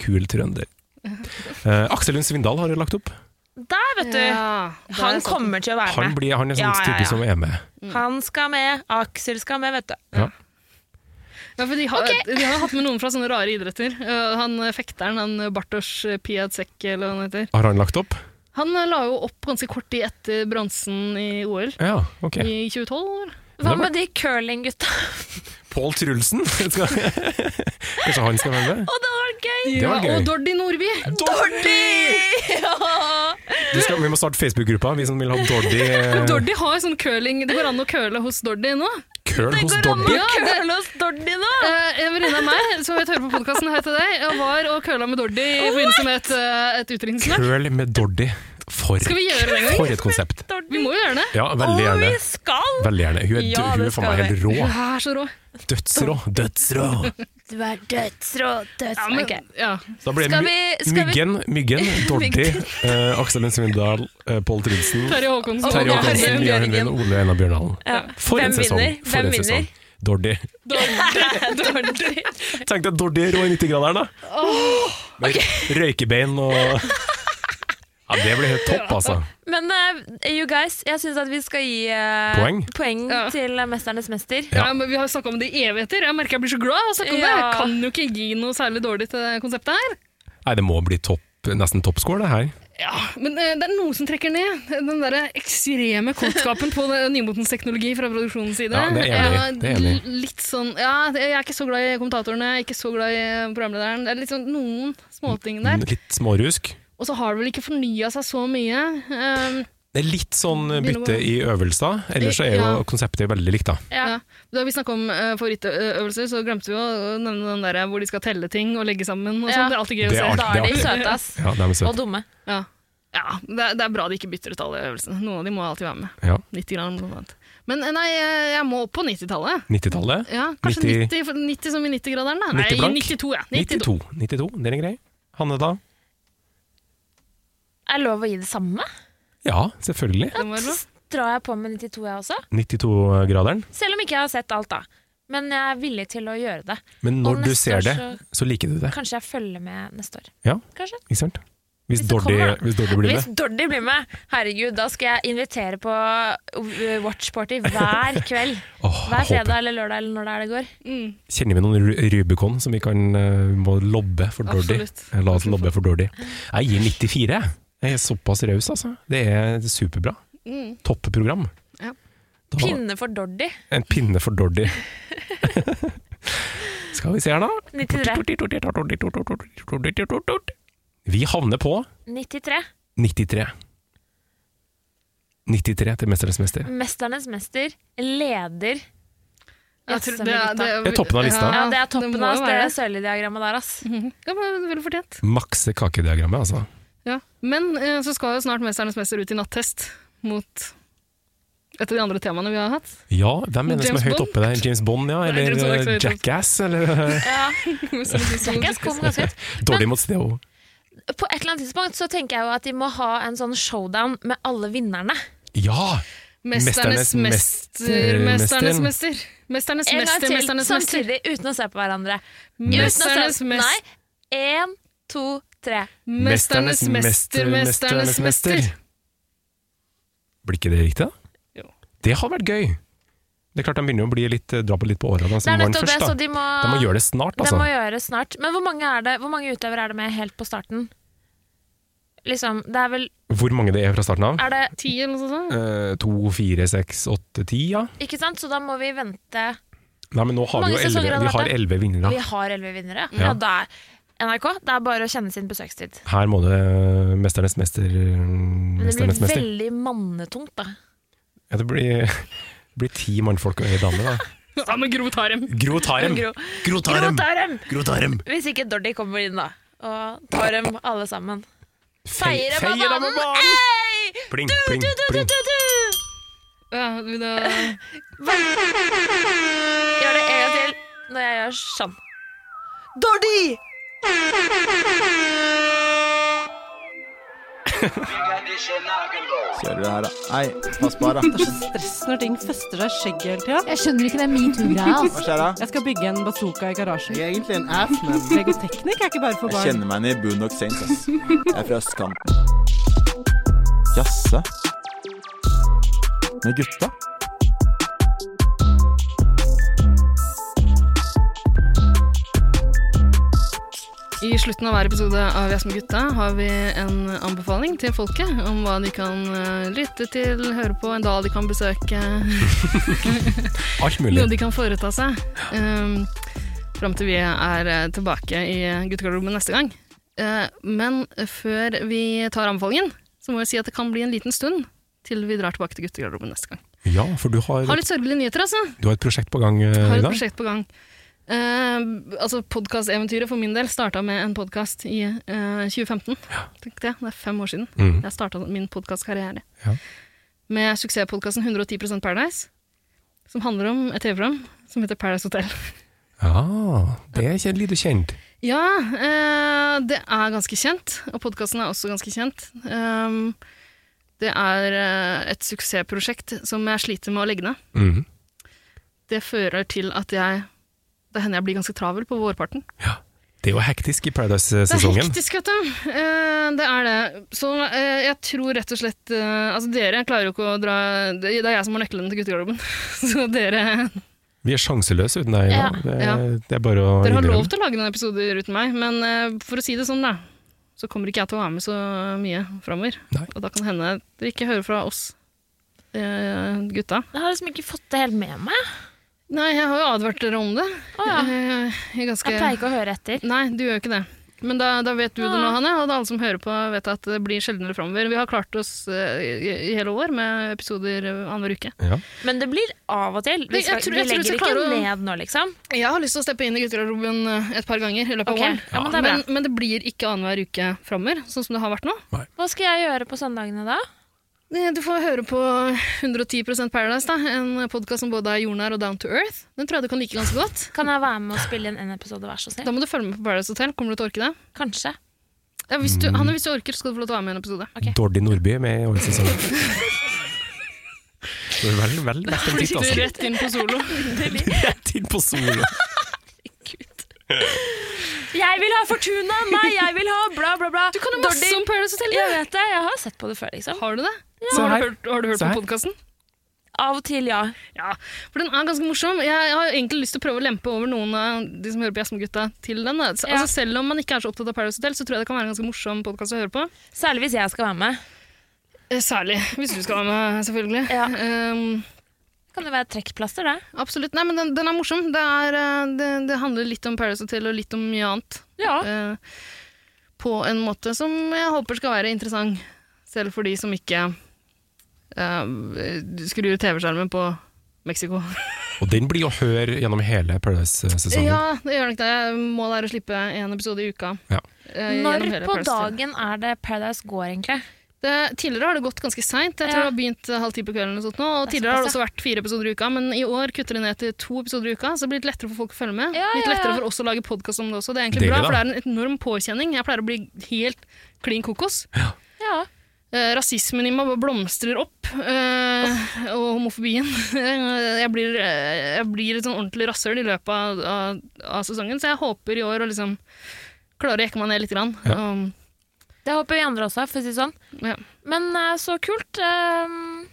[SPEAKER 1] Kul trønder. Eh, Aksel Lund Svindal har jo lagt opp.
[SPEAKER 2] Der, vet du!
[SPEAKER 3] Ja, der
[SPEAKER 2] han
[SPEAKER 3] satt den.
[SPEAKER 2] kommer til å være med.
[SPEAKER 1] Han, blir, han er sånn
[SPEAKER 2] Ja, ja,
[SPEAKER 1] type
[SPEAKER 2] ja.
[SPEAKER 1] som er med.
[SPEAKER 2] Han skal med, Aksel skal med, vet du.
[SPEAKER 1] Ja.
[SPEAKER 3] Ja, for de, har, de har jo hatt med noen fra sånne rare idretter. Eh, Han eh, fekteren, han Bartosz Piatsek, eller hva han heter.
[SPEAKER 1] Har han lagt opp?
[SPEAKER 3] Han eh, la jo opp ganske kort tid etter bronsen i OL.
[SPEAKER 1] Ja, ok.
[SPEAKER 3] I 2012, eller?
[SPEAKER 2] Hva med de curlinggutta? [LAUGHS]
[SPEAKER 1] Pål Trulsen? [LAUGHS] Skal, kanskje han skal være med?
[SPEAKER 2] Å, det hadde
[SPEAKER 1] [LAUGHS]
[SPEAKER 2] vært gøy!
[SPEAKER 1] Det var gøy.
[SPEAKER 3] Og Dordi Nordby!
[SPEAKER 2] Dordi! Ja!
[SPEAKER 1] Du skal, vi må starte Facebook-gruppa, vi som vil ha Dordi eh,
[SPEAKER 3] Dordi har jo sånn curling Det går an å curle hos Dordi nå.
[SPEAKER 1] curl hos Dordi.
[SPEAKER 3] Ja, det-
[SPEAKER 2] Curl hos Dordi nå!
[SPEAKER 3] Eh, En venninne av meg som jeg hører på podkasten, hei til deg, jeg var og curla med Dordi i forbindelse med et, eh, et utdrikningslag.
[SPEAKER 1] Curl med Dordi. For,
[SPEAKER 3] Skal vi gjøre det en gang?
[SPEAKER 1] for et konsept.
[SPEAKER 3] Vi må jo gjøre det.
[SPEAKER 1] Ja, veldig
[SPEAKER 2] Å,
[SPEAKER 1] gjerne.
[SPEAKER 2] vi skal!
[SPEAKER 1] Veldig gjerne. Hun er,
[SPEAKER 2] Ja,
[SPEAKER 1] hun
[SPEAKER 2] det
[SPEAKER 1] er for meg
[SPEAKER 2] skal
[SPEAKER 1] helt
[SPEAKER 2] vi.
[SPEAKER 1] rå.
[SPEAKER 3] Ja, så rå.
[SPEAKER 1] Dødsrå! Dødsrå!
[SPEAKER 2] Du er dødsrå, dødsrå.
[SPEAKER 3] Ja, men, ja.
[SPEAKER 1] Da blir det
[SPEAKER 2] Skal
[SPEAKER 1] my
[SPEAKER 2] vi- skal vi-
[SPEAKER 1] Myggen, Myggen, Dordi, eh, Aksel Lund Svindal, eh, Pål Trudsen,
[SPEAKER 3] Terje Håkonsen.
[SPEAKER 1] Terje
[SPEAKER 2] Ole
[SPEAKER 1] Håkonsen, [LAUGHS]
[SPEAKER 2] Einar
[SPEAKER 1] Mia Hundvin
[SPEAKER 2] Bjørgen.
[SPEAKER 1] og Ole Einar Bjørndalen.
[SPEAKER 2] Ja.
[SPEAKER 1] For en
[SPEAKER 2] Hvem
[SPEAKER 1] sesong!
[SPEAKER 2] vinner?
[SPEAKER 1] For
[SPEAKER 2] Hvem
[SPEAKER 1] en sesong.
[SPEAKER 2] vinner?
[SPEAKER 1] Dordi.
[SPEAKER 3] Dordi.
[SPEAKER 1] Tenk deg Dordi rå i 90-graderen, da! Med røykebein og Ja, det blir helt topp, altså.
[SPEAKER 2] Men eh, you guys, jeg syns at vi skal gi eh,
[SPEAKER 1] Poeng?
[SPEAKER 3] Ja.
[SPEAKER 2] til Mesternes mester.
[SPEAKER 3] Ja. men vi har snakka om det i evigheter. Jeg merker jeg blir så glad av å snakke om det.
[SPEAKER 2] Ja.
[SPEAKER 3] Jeg kan jo ikke gi noe særlig dårlig til det konseptet her.
[SPEAKER 1] Nei, det må bli topp, nesten toppscore, det her.
[SPEAKER 3] Ja, Men eh, det er noe som trekker ned. Den derre ekstreme kåtskapen på det- nymotens teknologi fra produksjonens side.
[SPEAKER 1] Ja, det er jeg enig i. Det er jeg enig i.
[SPEAKER 3] l- Litt sånn Ja, det- jeg er ikke så glad i kommentatorene, jeg er ikke så glad i eh, programlederen. Det er litt sånn noen småting der.
[SPEAKER 1] Litt smårusk.
[SPEAKER 3] Og så har det vel ikke fornya seg så mye. Um,
[SPEAKER 1] Det er litt sånn bytte
[SPEAKER 3] Begynner å-
[SPEAKER 1] i øvelser, ellers så er jo
[SPEAKER 3] Ja.
[SPEAKER 1] konseptet veldig likt, da.
[SPEAKER 3] Ja. Da vi snakka om eh, favorittøvelser, så glemte vi å nevne den der hvor de skal telle ting og legge sammen. Og sånn. Det er alltid gøy å
[SPEAKER 1] Det er
[SPEAKER 3] se.
[SPEAKER 1] alt-
[SPEAKER 2] Da
[SPEAKER 1] det
[SPEAKER 2] er de
[SPEAKER 1] artig.
[SPEAKER 2] søte, ass.
[SPEAKER 1] Ja, det er søtt.
[SPEAKER 2] Og dumme.
[SPEAKER 3] Ja, ja det, er, det er bra de ikke bytter ut alle øvelsene. Noen av de må alltid være med.
[SPEAKER 1] Ja.
[SPEAKER 3] 90 grann, blant annet. Men eh, nei, eh, jeg må opp på 90-tallet.
[SPEAKER 1] 90-tallet.
[SPEAKER 3] Ja,
[SPEAKER 1] 90
[SPEAKER 3] kanskje 90, for 90 som i 90-graderen, da.
[SPEAKER 1] 90
[SPEAKER 3] nei,
[SPEAKER 1] blank.
[SPEAKER 3] 92, ja. 92.
[SPEAKER 1] 92. 92, det er en grei. Hanne, da?
[SPEAKER 2] Er lov å gi det samme?
[SPEAKER 1] Ja, selvfølgelig.
[SPEAKER 3] Det må være bra.
[SPEAKER 2] Drar jeg på med 92, jeg også?
[SPEAKER 1] 92-graderen.
[SPEAKER 2] Selv om ikke jeg har sett alt, da. Men jeg er villig til å gjøre det.
[SPEAKER 1] Men når
[SPEAKER 2] Og
[SPEAKER 1] du
[SPEAKER 2] neste
[SPEAKER 1] ser
[SPEAKER 2] år
[SPEAKER 1] det,
[SPEAKER 2] så-
[SPEAKER 1] så liker du det.
[SPEAKER 2] Kanskje jeg følger med neste år.
[SPEAKER 1] Ja,
[SPEAKER 2] Kanskje.
[SPEAKER 1] ikke sant? Hvis,
[SPEAKER 2] Hvis det
[SPEAKER 1] Dordi,
[SPEAKER 2] kommer, da.
[SPEAKER 1] hvis Dordi blir
[SPEAKER 2] Hvis
[SPEAKER 1] med.
[SPEAKER 2] Dordi blir med, herregud, da skal jeg invitere på uh, watchparty
[SPEAKER 1] [LAUGHS]
[SPEAKER 2] hver kveld.
[SPEAKER 1] Åh,
[SPEAKER 2] Hver
[SPEAKER 1] jeg håper.
[SPEAKER 2] fredag eller lørdag eller når det er det går.
[SPEAKER 3] Mm,
[SPEAKER 1] Kjenner vi noen Ru- Rubicon som vi kan eh, må lobbe for Dordi?
[SPEAKER 3] Absolutt.
[SPEAKER 1] Eh, La oss lobbe for Dordi. Jeg gir 94, jeg. Jeg er såpass raus, altså. Det er superbra.
[SPEAKER 3] Mm.
[SPEAKER 1] Topprogram.
[SPEAKER 3] Ja.
[SPEAKER 1] Da-
[SPEAKER 2] Pinne for Dordi.
[SPEAKER 1] En pinne for Dordi. Skal vi se her, da.
[SPEAKER 2] 93.
[SPEAKER 1] Vi havner på
[SPEAKER 2] 93.
[SPEAKER 1] 93. 93 til Mesternes mester.
[SPEAKER 2] Mesternes mester leder
[SPEAKER 3] Jeg tror det er- det er-
[SPEAKER 1] Det er toppen av lista.
[SPEAKER 2] Ja, det
[SPEAKER 3] Ja,
[SPEAKER 2] er toppen
[SPEAKER 3] det må
[SPEAKER 2] av
[SPEAKER 3] jo
[SPEAKER 2] det
[SPEAKER 3] være.
[SPEAKER 2] søylediagrammet der, ass.
[SPEAKER 3] [LAUGHS] Ja, men Vel fortjent.
[SPEAKER 1] Makse kakediagrammet, altså.
[SPEAKER 3] Ja. Men eh, så skal jo snart Mesternes mester ut i nattest mot et av de andre temaene vi har hatt.
[SPEAKER 1] Ja, hvem er det som
[SPEAKER 3] James
[SPEAKER 1] er høyt
[SPEAKER 3] Bond?
[SPEAKER 1] oppe der? James Bond, ja?
[SPEAKER 3] Nei, James Bond er
[SPEAKER 1] Eller eh,
[SPEAKER 3] ikke så høyt oppe.
[SPEAKER 1] Jackass? Eller
[SPEAKER 2] Ja.
[SPEAKER 3] Jackass
[SPEAKER 2] kom ganske høyt.
[SPEAKER 1] Dårlig mot Steo?
[SPEAKER 2] På et eller annet tidspunkt så tenker jeg jo at de må ha en sånn showdown med alle vinnerne.
[SPEAKER 1] Ja! Mesternes
[SPEAKER 3] Mesternes mester, Mesternes
[SPEAKER 1] mester.
[SPEAKER 3] mester. Mesternes
[SPEAKER 2] En gang
[SPEAKER 3] mester,
[SPEAKER 2] til,
[SPEAKER 3] Mesternes mester.
[SPEAKER 2] samtidig, uten å se på hverandre. Uten å se-
[SPEAKER 3] Mesternes
[SPEAKER 2] Nei.
[SPEAKER 3] mester.
[SPEAKER 2] Én, to, tre.
[SPEAKER 3] Mesternes mester, Mesternes mester.
[SPEAKER 1] Blir ikke det riktig, da?
[SPEAKER 3] Jo.
[SPEAKER 1] Det hadde vært gøy. Det er klart De begynner å bli litt, eh, dra på litt på åra, de
[SPEAKER 2] Det er
[SPEAKER 1] som vant
[SPEAKER 2] nettopp det,
[SPEAKER 1] først. da.
[SPEAKER 2] så de må,
[SPEAKER 1] De må gjøre det snart,
[SPEAKER 2] De
[SPEAKER 1] altså.
[SPEAKER 2] må gjøre det snart. Men hvor mange, er det, hvor mange utøvere er det med helt på starten? Liksom, det er vel
[SPEAKER 1] Hvor mange det er fra starten av?
[SPEAKER 2] Er det
[SPEAKER 3] Ti eller noe sånt?
[SPEAKER 1] Eh, to, fire, seks, åtte, ti, ja.
[SPEAKER 2] Ikke sant? Så da må vi vente
[SPEAKER 1] Nei, men nå har
[SPEAKER 2] Hvor
[SPEAKER 1] vi jo
[SPEAKER 2] mange sesonger
[SPEAKER 1] elleve
[SPEAKER 2] har det
[SPEAKER 1] Vi har
[SPEAKER 2] vært, da?
[SPEAKER 1] elleve vinnere.
[SPEAKER 2] Vi har elleve vinnere.
[SPEAKER 1] Ja.
[SPEAKER 2] Ja. da er NRK, det er bare å kjenne sin besøkstid.
[SPEAKER 1] Her må det eh, Mesternes mester
[SPEAKER 2] Men det blir
[SPEAKER 1] Mesternes mester.
[SPEAKER 2] veldig mannetungt, da.
[SPEAKER 1] Ja, det blir, [LAUGHS] det blir ti mannfolk og ei dame, da.
[SPEAKER 3] Ja, men Gro tar dem.
[SPEAKER 1] Gro Tarem!
[SPEAKER 2] Gro-
[SPEAKER 1] Gro Tarem!
[SPEAKER 2] Tarem!
[SPEAKER 1] Gro Tarem!
[SPEAKER 2] Hvis ikke Dordi kommer inn, da. Og tar dem alle sammen.
[SPEAKER 1] Fei-
[SPEAKER 2] Feier
[SPEAKER 1] feier
[SPEAKER 2] dem
[SPEAKER 1] dem
[SPEAKER 2] av
[SPEAKER 1] på
[SPEAKER 2] banen!
[SPEAKER 1] banen!
[SPEAKER 2] Hey!
[SPEAKER 1] Pling,
[SPEAKER 2] Du,
[SPEAKER 1] pling,
[SPEAKER 2] du, du,
[SPEAKER 1] pling.
[SPEAKER 2] du, du, du!
[SPEAKER 3] Ja, vi da...
[SPEAKER 2] Gjør det en gang til når jeg gjør sånn. Dordi!
[SPEAKER 9] Kjører du her, da? Nei, pass på her,
[SPEAKER 11] Det er
[SPEAKER 9] da.
[SPEAKER 11] så stress når ting fester seg i skjegget hele tida.
[SPEAKER 6] Jeg skjønner ikke den metoo-greia.
[SPEAKER 9] Hva skjer da?
[SPEAKER 11] Jeg skal bygge en bazooka i garasjen.
[SPEAKER 9] Jeg er egentlig en ass, men
[SPEAKER 11] Legoteknikk er ikke bare for
[SPEAKER 9] Jeg
[SPEAKER 11] barn.
[SPEAKER 9] kjenner meg igjen i Boondock Saints, ass. Jeg er fra østkanten. Jasse? Med gutta?
[SPEAKER 3] I slutten av hver episode av Jazz med gutta har vi en anbefaling til folket om hva de kan eh, lytte til, høre på, en dal de kan besøke,
[SPEAKER 1] Alt mulig.
[SPEAKER 3] noe de kan foreta seg. Um, Fram til vi er eh, tilbake i guttegarderoben neste gang. Eh, men før vi tar anbefalingen, så må jeg si at det kan bli en liten stund til vi drar tilbake til guttegarderoben neste gang.
[SPEAKER 1] Ja, for du har,
[SPEAKER 3] Har litt sørgelige nyheter, altså.
[SPEAKER 1] du har et prosjekt på gang eh,
[SPEAKER 3] Har
[SPEAKER 1] i
[SPEAKER 3] et
[SPEAKER 1] dag?
[SPEAKER 3] prosjekt på gang. Eh, altså Podkasteventyret for min del starta med en podkast i eh, 2015. Tenk det, det er fem år siden
[SPEAKER 6] Mhm.
[SPEAKER 1] Mm.
[SPEAKER 3] jeg starta min podkastkarriere.
[SPEAKER 1] Ja.
[SPEAKER 3] Med suksesspodkasten 110 Paradise, som handler om et TV-program som heter Paradise Hotel.
[SPEAKER 1] Ja, det er kjent, lite kjent.
[SPEAKER 3] ja, eh, det er ganske kjent, og podkasten er også ganske kjent. Ehm, det er eh, et suksessprosjekt som jeg sliter med å legge ned.
[SPEAKER 1] Mhm.
[SPEAKER 3] Det fører til at jeg Det hender jeg blir ganske travel på vårparten.
[SPEAKER 1] Det er jo hektisk i
[SPEAKER 3] Det er
[SPEAKER 1] Paradise-sesongen.
[SPEAKER 3] hektisk, vet du. Eh, det er det. Så eh, jeg tror rett og slett eh, Altså, dere klarer jo ikke å dra Det det er jeg som har nøkkelen til guttegarderoben. [LAUGHS] Så dere,
[SPEAKER 1] Vi er sjanseløse uten deg. Ja.
[SPEAKER 3] Ja,
[SPEAKER 1] Det,
[SPEAKER 3] ja.
[SPEAKER 1] det er bare å
[SPEAKER 3] dere har lov
[SPEAKER 1] innrømme.
[SPEAKER 3] til å lage noen episoder uten meg, men eh, for å si det sånn, da, så kommer ikke jeg til å være med så mye framover. Og da kan det hende dere ikke hører fra oss eh, gutta.
[SPEAKER 2] Jeg har liksom ikke fått det helt med meg.
[SPEAKER 3] Nei, jeg har jo advart dere om det.
[SPEAKER 2] ja.
[SPEAKER 3] Eh, jeg, er ganske...
[SPEAKER 2] Jeg pleier ikke å høre etter.
[SPEAKER 3] Nei, du gjør ikke det. Men da, da vet du det nå,
[SPEAKER 2] Ja.
[SPEAKER 3] Hanne, og alle som hører på vet at det blir sjeldnere framover. Vi har klart oss eh, i, i hele år med episoder eh, annenhver uke.
[SPEAKER 2] Men det blir av og til. Vi,
[SPEAKER 3] Jeg
[SPEAKER 2] skal,
[SPEAKER 3] tror-
[SPEAKER 2] vi
[SPEAKER 3] jeg tror vi
[SPEAKER 2] legger
[SPEAKER 3] skal
[SPEAKER 2] ikke
[SPEAKER 3] klare å-
[SPEAKER 2] ned nå, liksom.
[SPEAKER 3] Jeg har lyst til å steppe inn i guttegarderoben eh, et par ganger i løpet
[SPEAKER 2] Ok.
[SPEAKER 3] av våren.
[SPEAKER 2] Ja, men det er
[SPEAKER 3] men,
[SPEAKER 2] bra.
[SPEAKER 3] men det blir ikke annenhver uke framover, sånn som det har vært nå.
[SPEAKER 2] Hva skal jeg gjøre på søndagene da?
[SPEAKER 3] Eh, Du får høre på 110 Paradise, da. en podkast som både er jordnær og down to earth. Den tror jeg du kan like ganske godt.
[SPEAKER 2] Kan jeg være med og spille inn en episode, vær så snill?
[SPEAKER 3] Da må du følge med på Paradise Hotel. Kommer du til å orke det?
[SPEAKER 2] Kanskje.
[SPEAKER 3] Ja, hvis du, Hanne, hvis du orker, skal du få lov til å være med i en episode.
[SPEAKER 1] Dordi Nordby er med i årets
[SPEAKER 3] [LAUGHS]
[SPEAKER 1] sesong. Det er vel, vel verdt en titt,
[SPEAKER 3] Flytter
[SPEAKER 1] [LAUGHS] altså.
[SPEAKER 3] rett inn på solo.
[SPEAKER 1] Rett inn på solo.
[SPEAKER 2] Jeg vil ha Fortuna! Nei, jeg vil ha bla, bla, bla.
[SPEAKER 3] Du kan jo masse
[SPEAKER 2] Dordi.
[SPEAKER 3] om Paradise Hotel!
[SPEAKER 2] Jeg vet det, jeg har sett på det før, liksom.
[SPEAKER 3] Har du det?
[SPEAKER 2] Ja.
[SPEAKER 3] Så har du hørt, har du hørt
[SPEAKER 2] Se
[SPEAKER 3] på
[SPEAKER 2] her.
[SPEAKER 3] podkasten?
[SPEAKER 2] Av og til, ja.
[SPEAKER 3] Ja, for den er ganske morsom. Jeg har egentlig lyst til å prøve å lempe over noen av de som hører på Jasmengutta til den. Da. Så-
[SPEAKER 2] Ja.
[SPEAKER 3] Altså, selv om man ikke er så opptatt av Paradise Hotel, så tror jeg det kan være en ganske morsom podkast å høre på.
[SPEAKER 2] Særlig hvis jeg skal være med.
[SPEAKER 3] Eh, Særlig hvis du skal være med, selvfølgelig. Um,
[SPEAKER 2] Kan det være trekkplaster, det?
[SPEAKER 3] Absolutt. Nei, men den, den er morsom. Det, er, eh, det, det handler litt om Paradise Hotel og litt om mye annet. Eh, på en måte som jeg håper skal være interessant, selv for de som ikke eh, skrur TV-skjermen på Mexico.
[SPEAKER 1] Og den blir å høre gjennom hele Paradise-sesongen.
[SPEAKER 3] ja, det gjør nok det. Målet er å slippe én episode i uka.
[SPEAKER 1] Ja.
[SPEAKER 3] eh,
[SPEAKER 2] Når
[SPEAKER 3] gjennom hele
[SPEAKER 2] på
[SPEAKER 3] Paradise Hotel.
[SPEAKER 2] dagen er det Paradise går, egentlig?
[SPEAKER 3] Det, tidligere har det gått ganske seint. Jeg tror det har begynt eh, halv ti på kvelden. Og sånt nå,
[SPEAKER 2] Det
[SPEAKER 3] og
[SPEAKER 2] er
[SPEAKER 3] tidligere har det
[SPEAKER 2] såpass,
[SPEAKER 3] også vært fire episoder i uka, men i år kutter de ned til to episoder i uka. Så det blir litt lettere for folk å følge med. Litt
[SPEAKER 2] ja, ja.
[SPEAKER 3] lettere for oss å lage podkast om det også. Det er egentlig
[SPEAKER 2] Deilig,
[SPEAKER 3] bra,
[SPEAKER 2] da.
[SPEAKER 3] for det er en enorm påkjenning. Jeg pleier å bli helt klin kokos. Eh, rasismen i meg bare blomstrer opp, eh, og homofobien. [LAUGHS] Eh, jeg, blir, eh, jeg blir et sånn ordentlig rasshøl i løpet av, av, av sesongen, så jeg håper i år å liksom klare å jekke meg ned litt. Grann.
[SPEAKER 2] Ja.
[SPEAKER 3] Um,
[SPEAKER 2] Det håper vi andre også, for å si det sånn. Men eh, så kult. Ehm,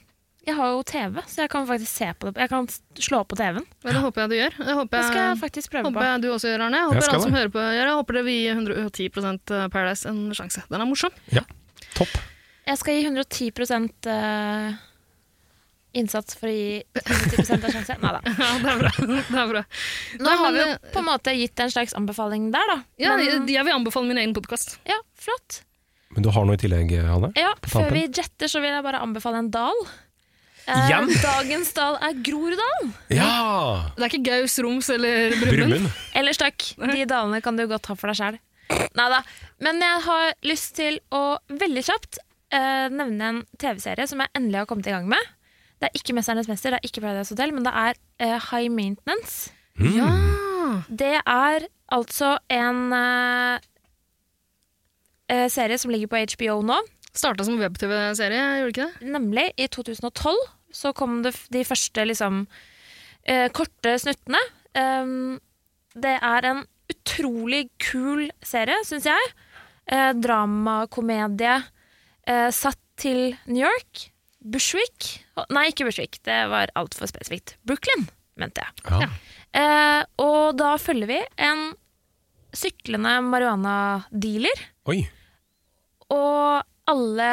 [SPEAKER 2] jeg har jo TV, så jeg kan faktisk se på det. Jeg kan s- slå på TV-en.
[SPEAKER 3] Ja, det håper jeg du gjør. Det håper
[SPEAKER 2] Det
[SPEAKER 3] jeg,
[SPEAKER 2] skal jeg faktisk prøve
[SPEAKER 3] håper
[SPEAKER 2] på.
[SPEAKER 3] jeg du også gjør, Arne. Jeg
[SPEAKER 1] Jeg
[SPEAKER 3] håper
[SPEAKER 1] skal
[SPEAKER 3] alle som
[SPEAKER 1] det.
[SPEAKER 3] hører på gjør det. Jeg håper det vil gi 110 eh, Paradise en sjanse. Den er morsom. [LAUGHS]
[SPEAKER 2] Jeg skal gi 110 eh, innsats for å gi 110 av sjanse. Nei da.
[SPEAKER 3] [LAUGHS] det er bra. Det er bra.
[SPEAKER 2] Nå har vi jo på en måte gitt en slags anbefaling der, da.
[SPEAKER 3] Ja,
[SPEAKER 2] Men-
[SPEAKER 3] jeg, jeg vil anbefale min egen podkast.
[SPEAKER 2] ja flott.
[SPEAKER 1] Men du har noe i tillegg, Hanne?
[SPEAKER 2] Ja,
[SPEAKER 1] På
[SPEAKER 2] før
[SPEAKER 1] tampen?
[SPEAKER 2] vi jetter, så vil jeg bare anbefale en dal. Eh,
[SPEAKER 1] Igjen?
[SPEAKER 2] dagens dal er Groruddalen.
[SPEAKER 1] Ja!
[SPEAKER 3] Det er ikke Gaus, Roms eller
[SPEAKER 1] Brumund.
[SPEAKER 2] Ellers takk. De dalene kan du godt ha for deg sjæl. Nei da. Men jeg har lyst til å veldig kjapt eh, nevne en TV-serie som jeg endelig har kommet i gang med. Det er ikke 'Mesternes mester', det er ikke Paradise Hotel, men det er eh, High Maintenance. Det er altså en eh, eh, serie som ligger på HBO nå.
[SPEAKER 3] Starta som web-TV-serie, gjorde ikke det?
[SPEAKER 2] Nemlig. I 2012 så kom det f- de første liksom eh, korte snuttene. Um, det er en utrolig kul serie, syns jeg. Eh, Dramakomedie eh, satt til New York. Bushwick Å, Nei, ikke Bushwick, det var altfor spesifikt. Brooklyn, mente jeg.
[SPEAKER 1] Ja.
[SPEAKER 2] Eh, og da følger vi en syklende marihuana-dealer.
[SPEAKER 1] Oi.
[SPEAKER 2] Og alle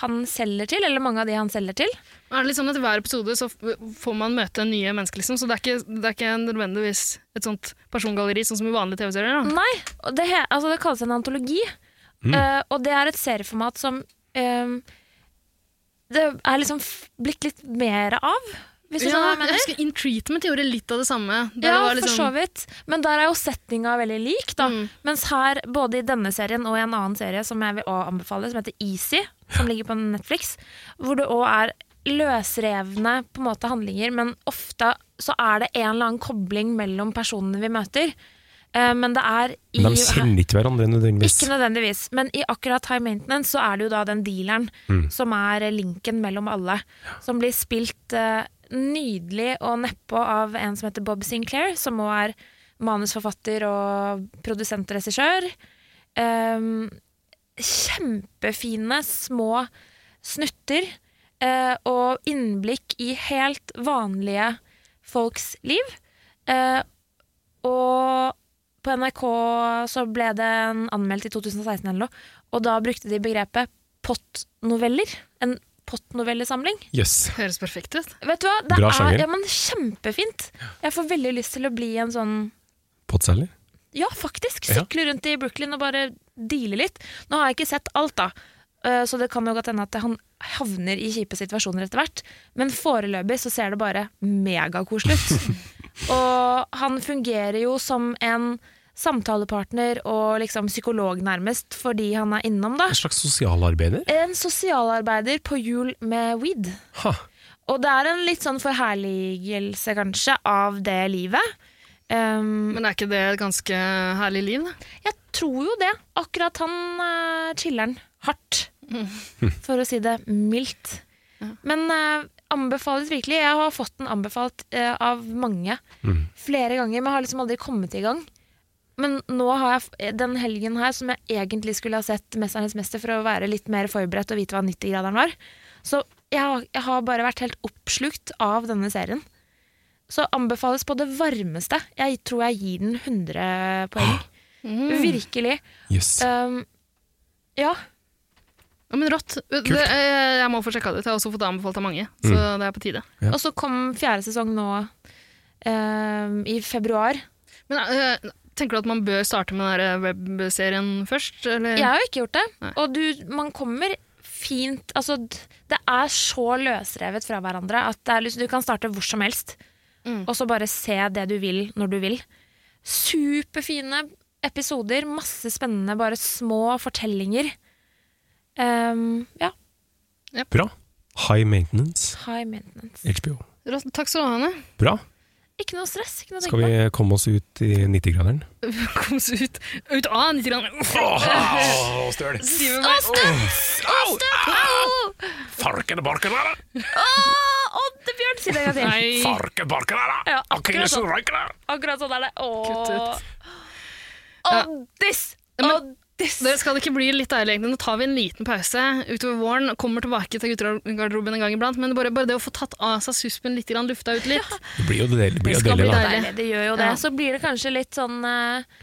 [SPEAKER 2] han selger til, eller mange av de han selger til.
[SPEAKER 3] Er det litt sånn at I hver episode så f- får man møte nye mennesker, liksom, så det er ikke, det er ikke nødvendigvis et sånt persongalleri sånn som i vanlige TV-serier. da.
[SPEAKER 2] Nei, og det, he- altså det kalles en antologi.
[SPEAKER 3] Mm.
[SPEAKER 2] eh, og det er et serieformat som eh, det er liksom f- blitt litt mer av, hvis du
[SPEAKER 3] ja,
[SPEAKER 2] skjønner hva
[SPEAKER 3] jeg
[SPEAKER 2] jeg mener.
[SPEAKER 3] husker In Treatment gjorde litt av det samme. der
[SPEAKER 2] Ja,
[SPEAKER 3] det var
[SPEAKER 2] for
[SPEAKER 3] liksom- Mm.
[SPEAKER 2] så vidt. Men der er jo settinga veldig lik, da. Mens her, både i denne serien og i en annen serie som jeg vil også anbefale, som heter Easy, som ligger på Netflix, hvor det òg er løsrevne på en måte handlinger, men ofte så er det en eller annen kobling mellom personene vi møter. Eh, Men det er i
[SPEAKER 1] Men de kjenner ikke hverandre nødvendigvis.
[SPEAKER 2] ikke nødvendigvis, men i akkurat High Maintenance så er det jo da den dealeren
[SPEAKER 1] Mm.
[SPEAKER 2] som er linken mellom alle, som blir spilt eh, nydelig og nedpå av en som heter Bob Sinclair, som òg er manusforfatter og produsent og regissør. Um, kjempefine små snutter eh, og innblikk i helt vanlige folks liv. Eh, og på NRK så ble den anmeldt i 2016 eller noe, og da brukte de begrepet pottnoveller. En pottnovellesamling.
[SPEAKER 1] Yes.
[SPEAKER 3] Høres perfekt ut.
[SPEAKER 2] Vet du hva? Det
[SPEAKER 1] Bra
[SPEAKER 2] er
[SPEAKER 1] sjanger.
[SPEAKER 2] ja, men kjempefint. Jeg får veldig lyst til å bli en sånn
[SPEAKER 1] Pottselger?
[SPEAKER 2] Ja, faktisk.
[SPEAKER 1] Ja.
[SPEAKER 2] Sykle rundt i Brooklyn og bare deale litt. Nå har jeg ikke sett alt, da. Eh, Så det kan jo godt hende at han havner i kjipe situasjoner etter hvert. Men foreløpig så ser det bare megakoselig ut. og han fungerer jo som en samtalepartner og liksom psykolog, nærmest, fordi han er innom, da.
[SPEAKER 1] En slags sosialarbeider?
[SPEAKER 2] En sosialarbeider på hjul med weed. Og det er en litt sånn forherligelse, kanskje, av det livet. Ehm,
[SPEAKER 3] Men er ikke det et ganske herlig liv?
[SPEAKER 2] Jeg tror jo det. Akkurat han uh, chiller'n hardt, for å si det mildt. Men eh, anbefales virkelig. Jeg har fått den anbefalt eh, av mange
[SPEAKER 1] Mm.
[SPEAKER 2] flere ganger, men har liksom aldri kommet i gang. Men nå har jeg f- eh, den helgen her som jeg egentlig skulle ha sett 'Mesternes mester' for å være litt mer forberedt og vite hva 90-graderen var. Så jeg har, jeg har bare vært helt oppslukt av denne serien. Så anbefales på det varmeste. Jeg tror jeg gir den Mhm.
[SPEAKER 1] Eh.
[SPEAKER 2] 100 poeng. Virkelig.
[SPEAKER 1] Yes.
[SPEAKER 2] Um, ja.
[SPEAKER 3] Ja, men rått. Det, eh, jeg må få sjekka det ut. Jeg har også fått det anbefalt av mange. Så
[SPEAKER 2] Mm.
[SPEAKER 3] det er på tide.
[SPEAKER 2] Ja. Og så kom fjerde sesong nå eh, i februar.
[SPEAKER 3] Men eh, tenker du at man bør starte med den der webserien først? Eller?
[SPEAKER 2] Jeg har jo ikke gjort det. Og du, man kommer fint Altså, d- det er så løsrevet fra hverandre at det er liksom, du kan starte hvor som helst. Og så bare se det du vil, når du vil. Superfine episoder. Masse spennende, bare små fortellinger. Ehm, ja.
[SPEAKER 1] Bra. High maintenance.
[SPEAKER 2] High maintenance.
[SPEAKER 1] HBO.
[SPEAKER 3] Rått. Takk skal du ha, Hanne. [LAUGHS]
[SPEAKER 1] Bra.
[SPEAKER 2] Ikke noe stress. Ikke noe å
[SPEAKER 1] Skal
[SPEAKER 2] tenke
[SPEAKER 1] vi komme oss ut i 90-graderen?
[SPEAKER 3] Kom oss ut. Ut av 90 grader. [LAUGHS]
[SPEAKER 1] Åh, støl.
[SPEAKER 3] Sier vi
[SPEAKER 2] Å,
[SPEAKER 3] bare-
[SPEAKER 2] støtt! Å, støtt! Au!
[SPEAKER 1] Farken barken der,
[SPEAKER 2] Å, Oddebjørn! Si det en gang til.
[SPEAKER 1] Farken barken der,
[SPEAKER 2] Ja, akkurat sånn.
[SPEAKER 1] Akkurat
[SPEAKER 2] Akkurat sånn er det.
[SPEAKER 3] Kutt ut.
[SPEAKER 2] Åh. Oddis! Oddis!
[SPEAKER 3] Det skal det ikke bli litt deilig, egentlig. Nå tar vi en liten pause utover våren. Kommer tilbake til guttegarderoben en gang iblant. Men bare, bare det å få tatt av seg suspen litt, grann, lufta ut litt
[SPEAKER 1] Det blir jo deilig, det blir jo
[SPEAKER 3] skal
[SPEAKER 1] deilig
[SPEAKER 3] bli
[SPEAKER 1] da.
[SPEAKER 3] deilig.
[SPEAKER 2] Deilig, det gjør jo det.
[SPEAKER 3] Ja.
[SPEAKER 2] Så blir det kanskje litt sånn eh,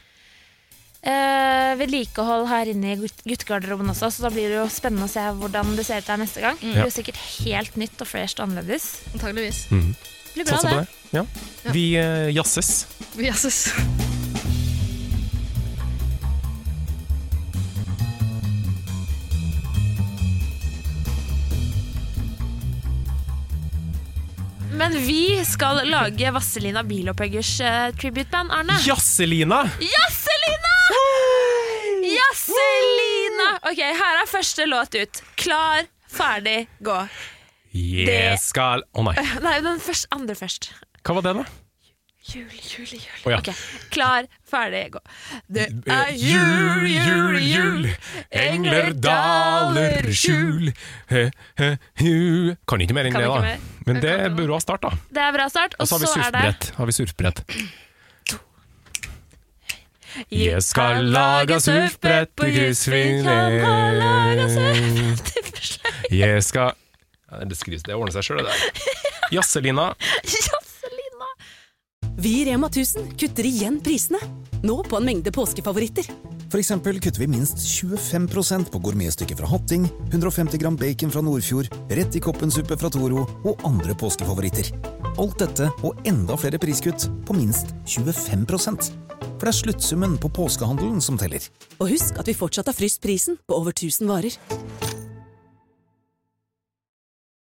[SPEAKER 2] eh, vedlikehold her inne i gut- guttegarderoben også, så da blir det jo spennende å se hvordan det ser ut her neste gang.
[SPEAKER 3] Mm.
[SPEAKER 2] Det blir
[SPEAKER 1] Ja.
[SPEAKER 2] jo sikkert helt nytt og fresht og annerledes.
[SPEAKER 3] Antageligvis.
[SPEAKER 1] Mhm.
[SPEAKER 2] Blir bra,
[SPEAKER 1] Satser på
[SPEAKER 2] det.
[SPEAKER 1] det. Ja. Vi eh, jazzes.
[SPEAKER 3] Vi jazzes.
[SPEAKER 2] Men vi skal lage Vasselina Bilopphøggers eh, tributeband, Arne.
[SPEAKER 1] Jazzelina!
[SPEAKER 2] Jazzelina! Jazzelina! Ok, her er første låt ut. Klar, ferdig, gå.
[SPEAKER 1] Jeg skal Å nei,
[SPEAKER 2] Nei, den først, andre først.
[SPEAKER 1] hva var det, da?
[SPEAKER 2] Jul, jul, jul.
[SPEAKER 1] Å ja.
[SPEAKER 2] Ok, Klar, ferdig, gå. Det
[SPEAKER 1] Eh,
[SPEAKER 2] er jul, jul, jul.
[SPEAKER 1] Engler daler skjul he, he, hu. Kan ikke mer enn
[SPEAKER 2] Kan
[SPEAKER 1] det,
[SPEAKER 2] ikke
[SPEAKER 1] da.
[SPEAKER 2] mer.
[SPEAKER 1] Men det er bra start, da.
[SPEAKER 2] Det er bra start.
[SPEAKER 1] Og så har vi
[SPEAKER 2] er det
[SPEAKER 1] surfbrett. Har vi surfbrett.
[SPEAKER 2] Jeg
[SPEAKER 1] skal lage surfbrett på
[SPEAKER 2] [LAUGHS]
[SPEAKER 1] kryssfilet. Jeg skal ja, Det skrives, det ordner seg sjøl,
[SPEAKER 2] [LAUGHS]
[SPEAKER 1] det der. Jazzelina.
[SPEAKER 12] Vi i Rema 1000 kutter igjen prisene. Nå på en mengde påskefavoritter.
[SPEAKER 13] For eksempel kutter vi minst 25 på gourmetstykket fra Hatting, 150 gram bacon fra Nordfjord, rett i koppensuppe fra Toro og andre påskefavoritter. Alt dette og enda flere priskutt på minst 25 For det er sluttsummen på påskehandelen som teller.
[SPEAKER 12] Og husk at vi fortsatt har fryst prisen på over 1000 varer.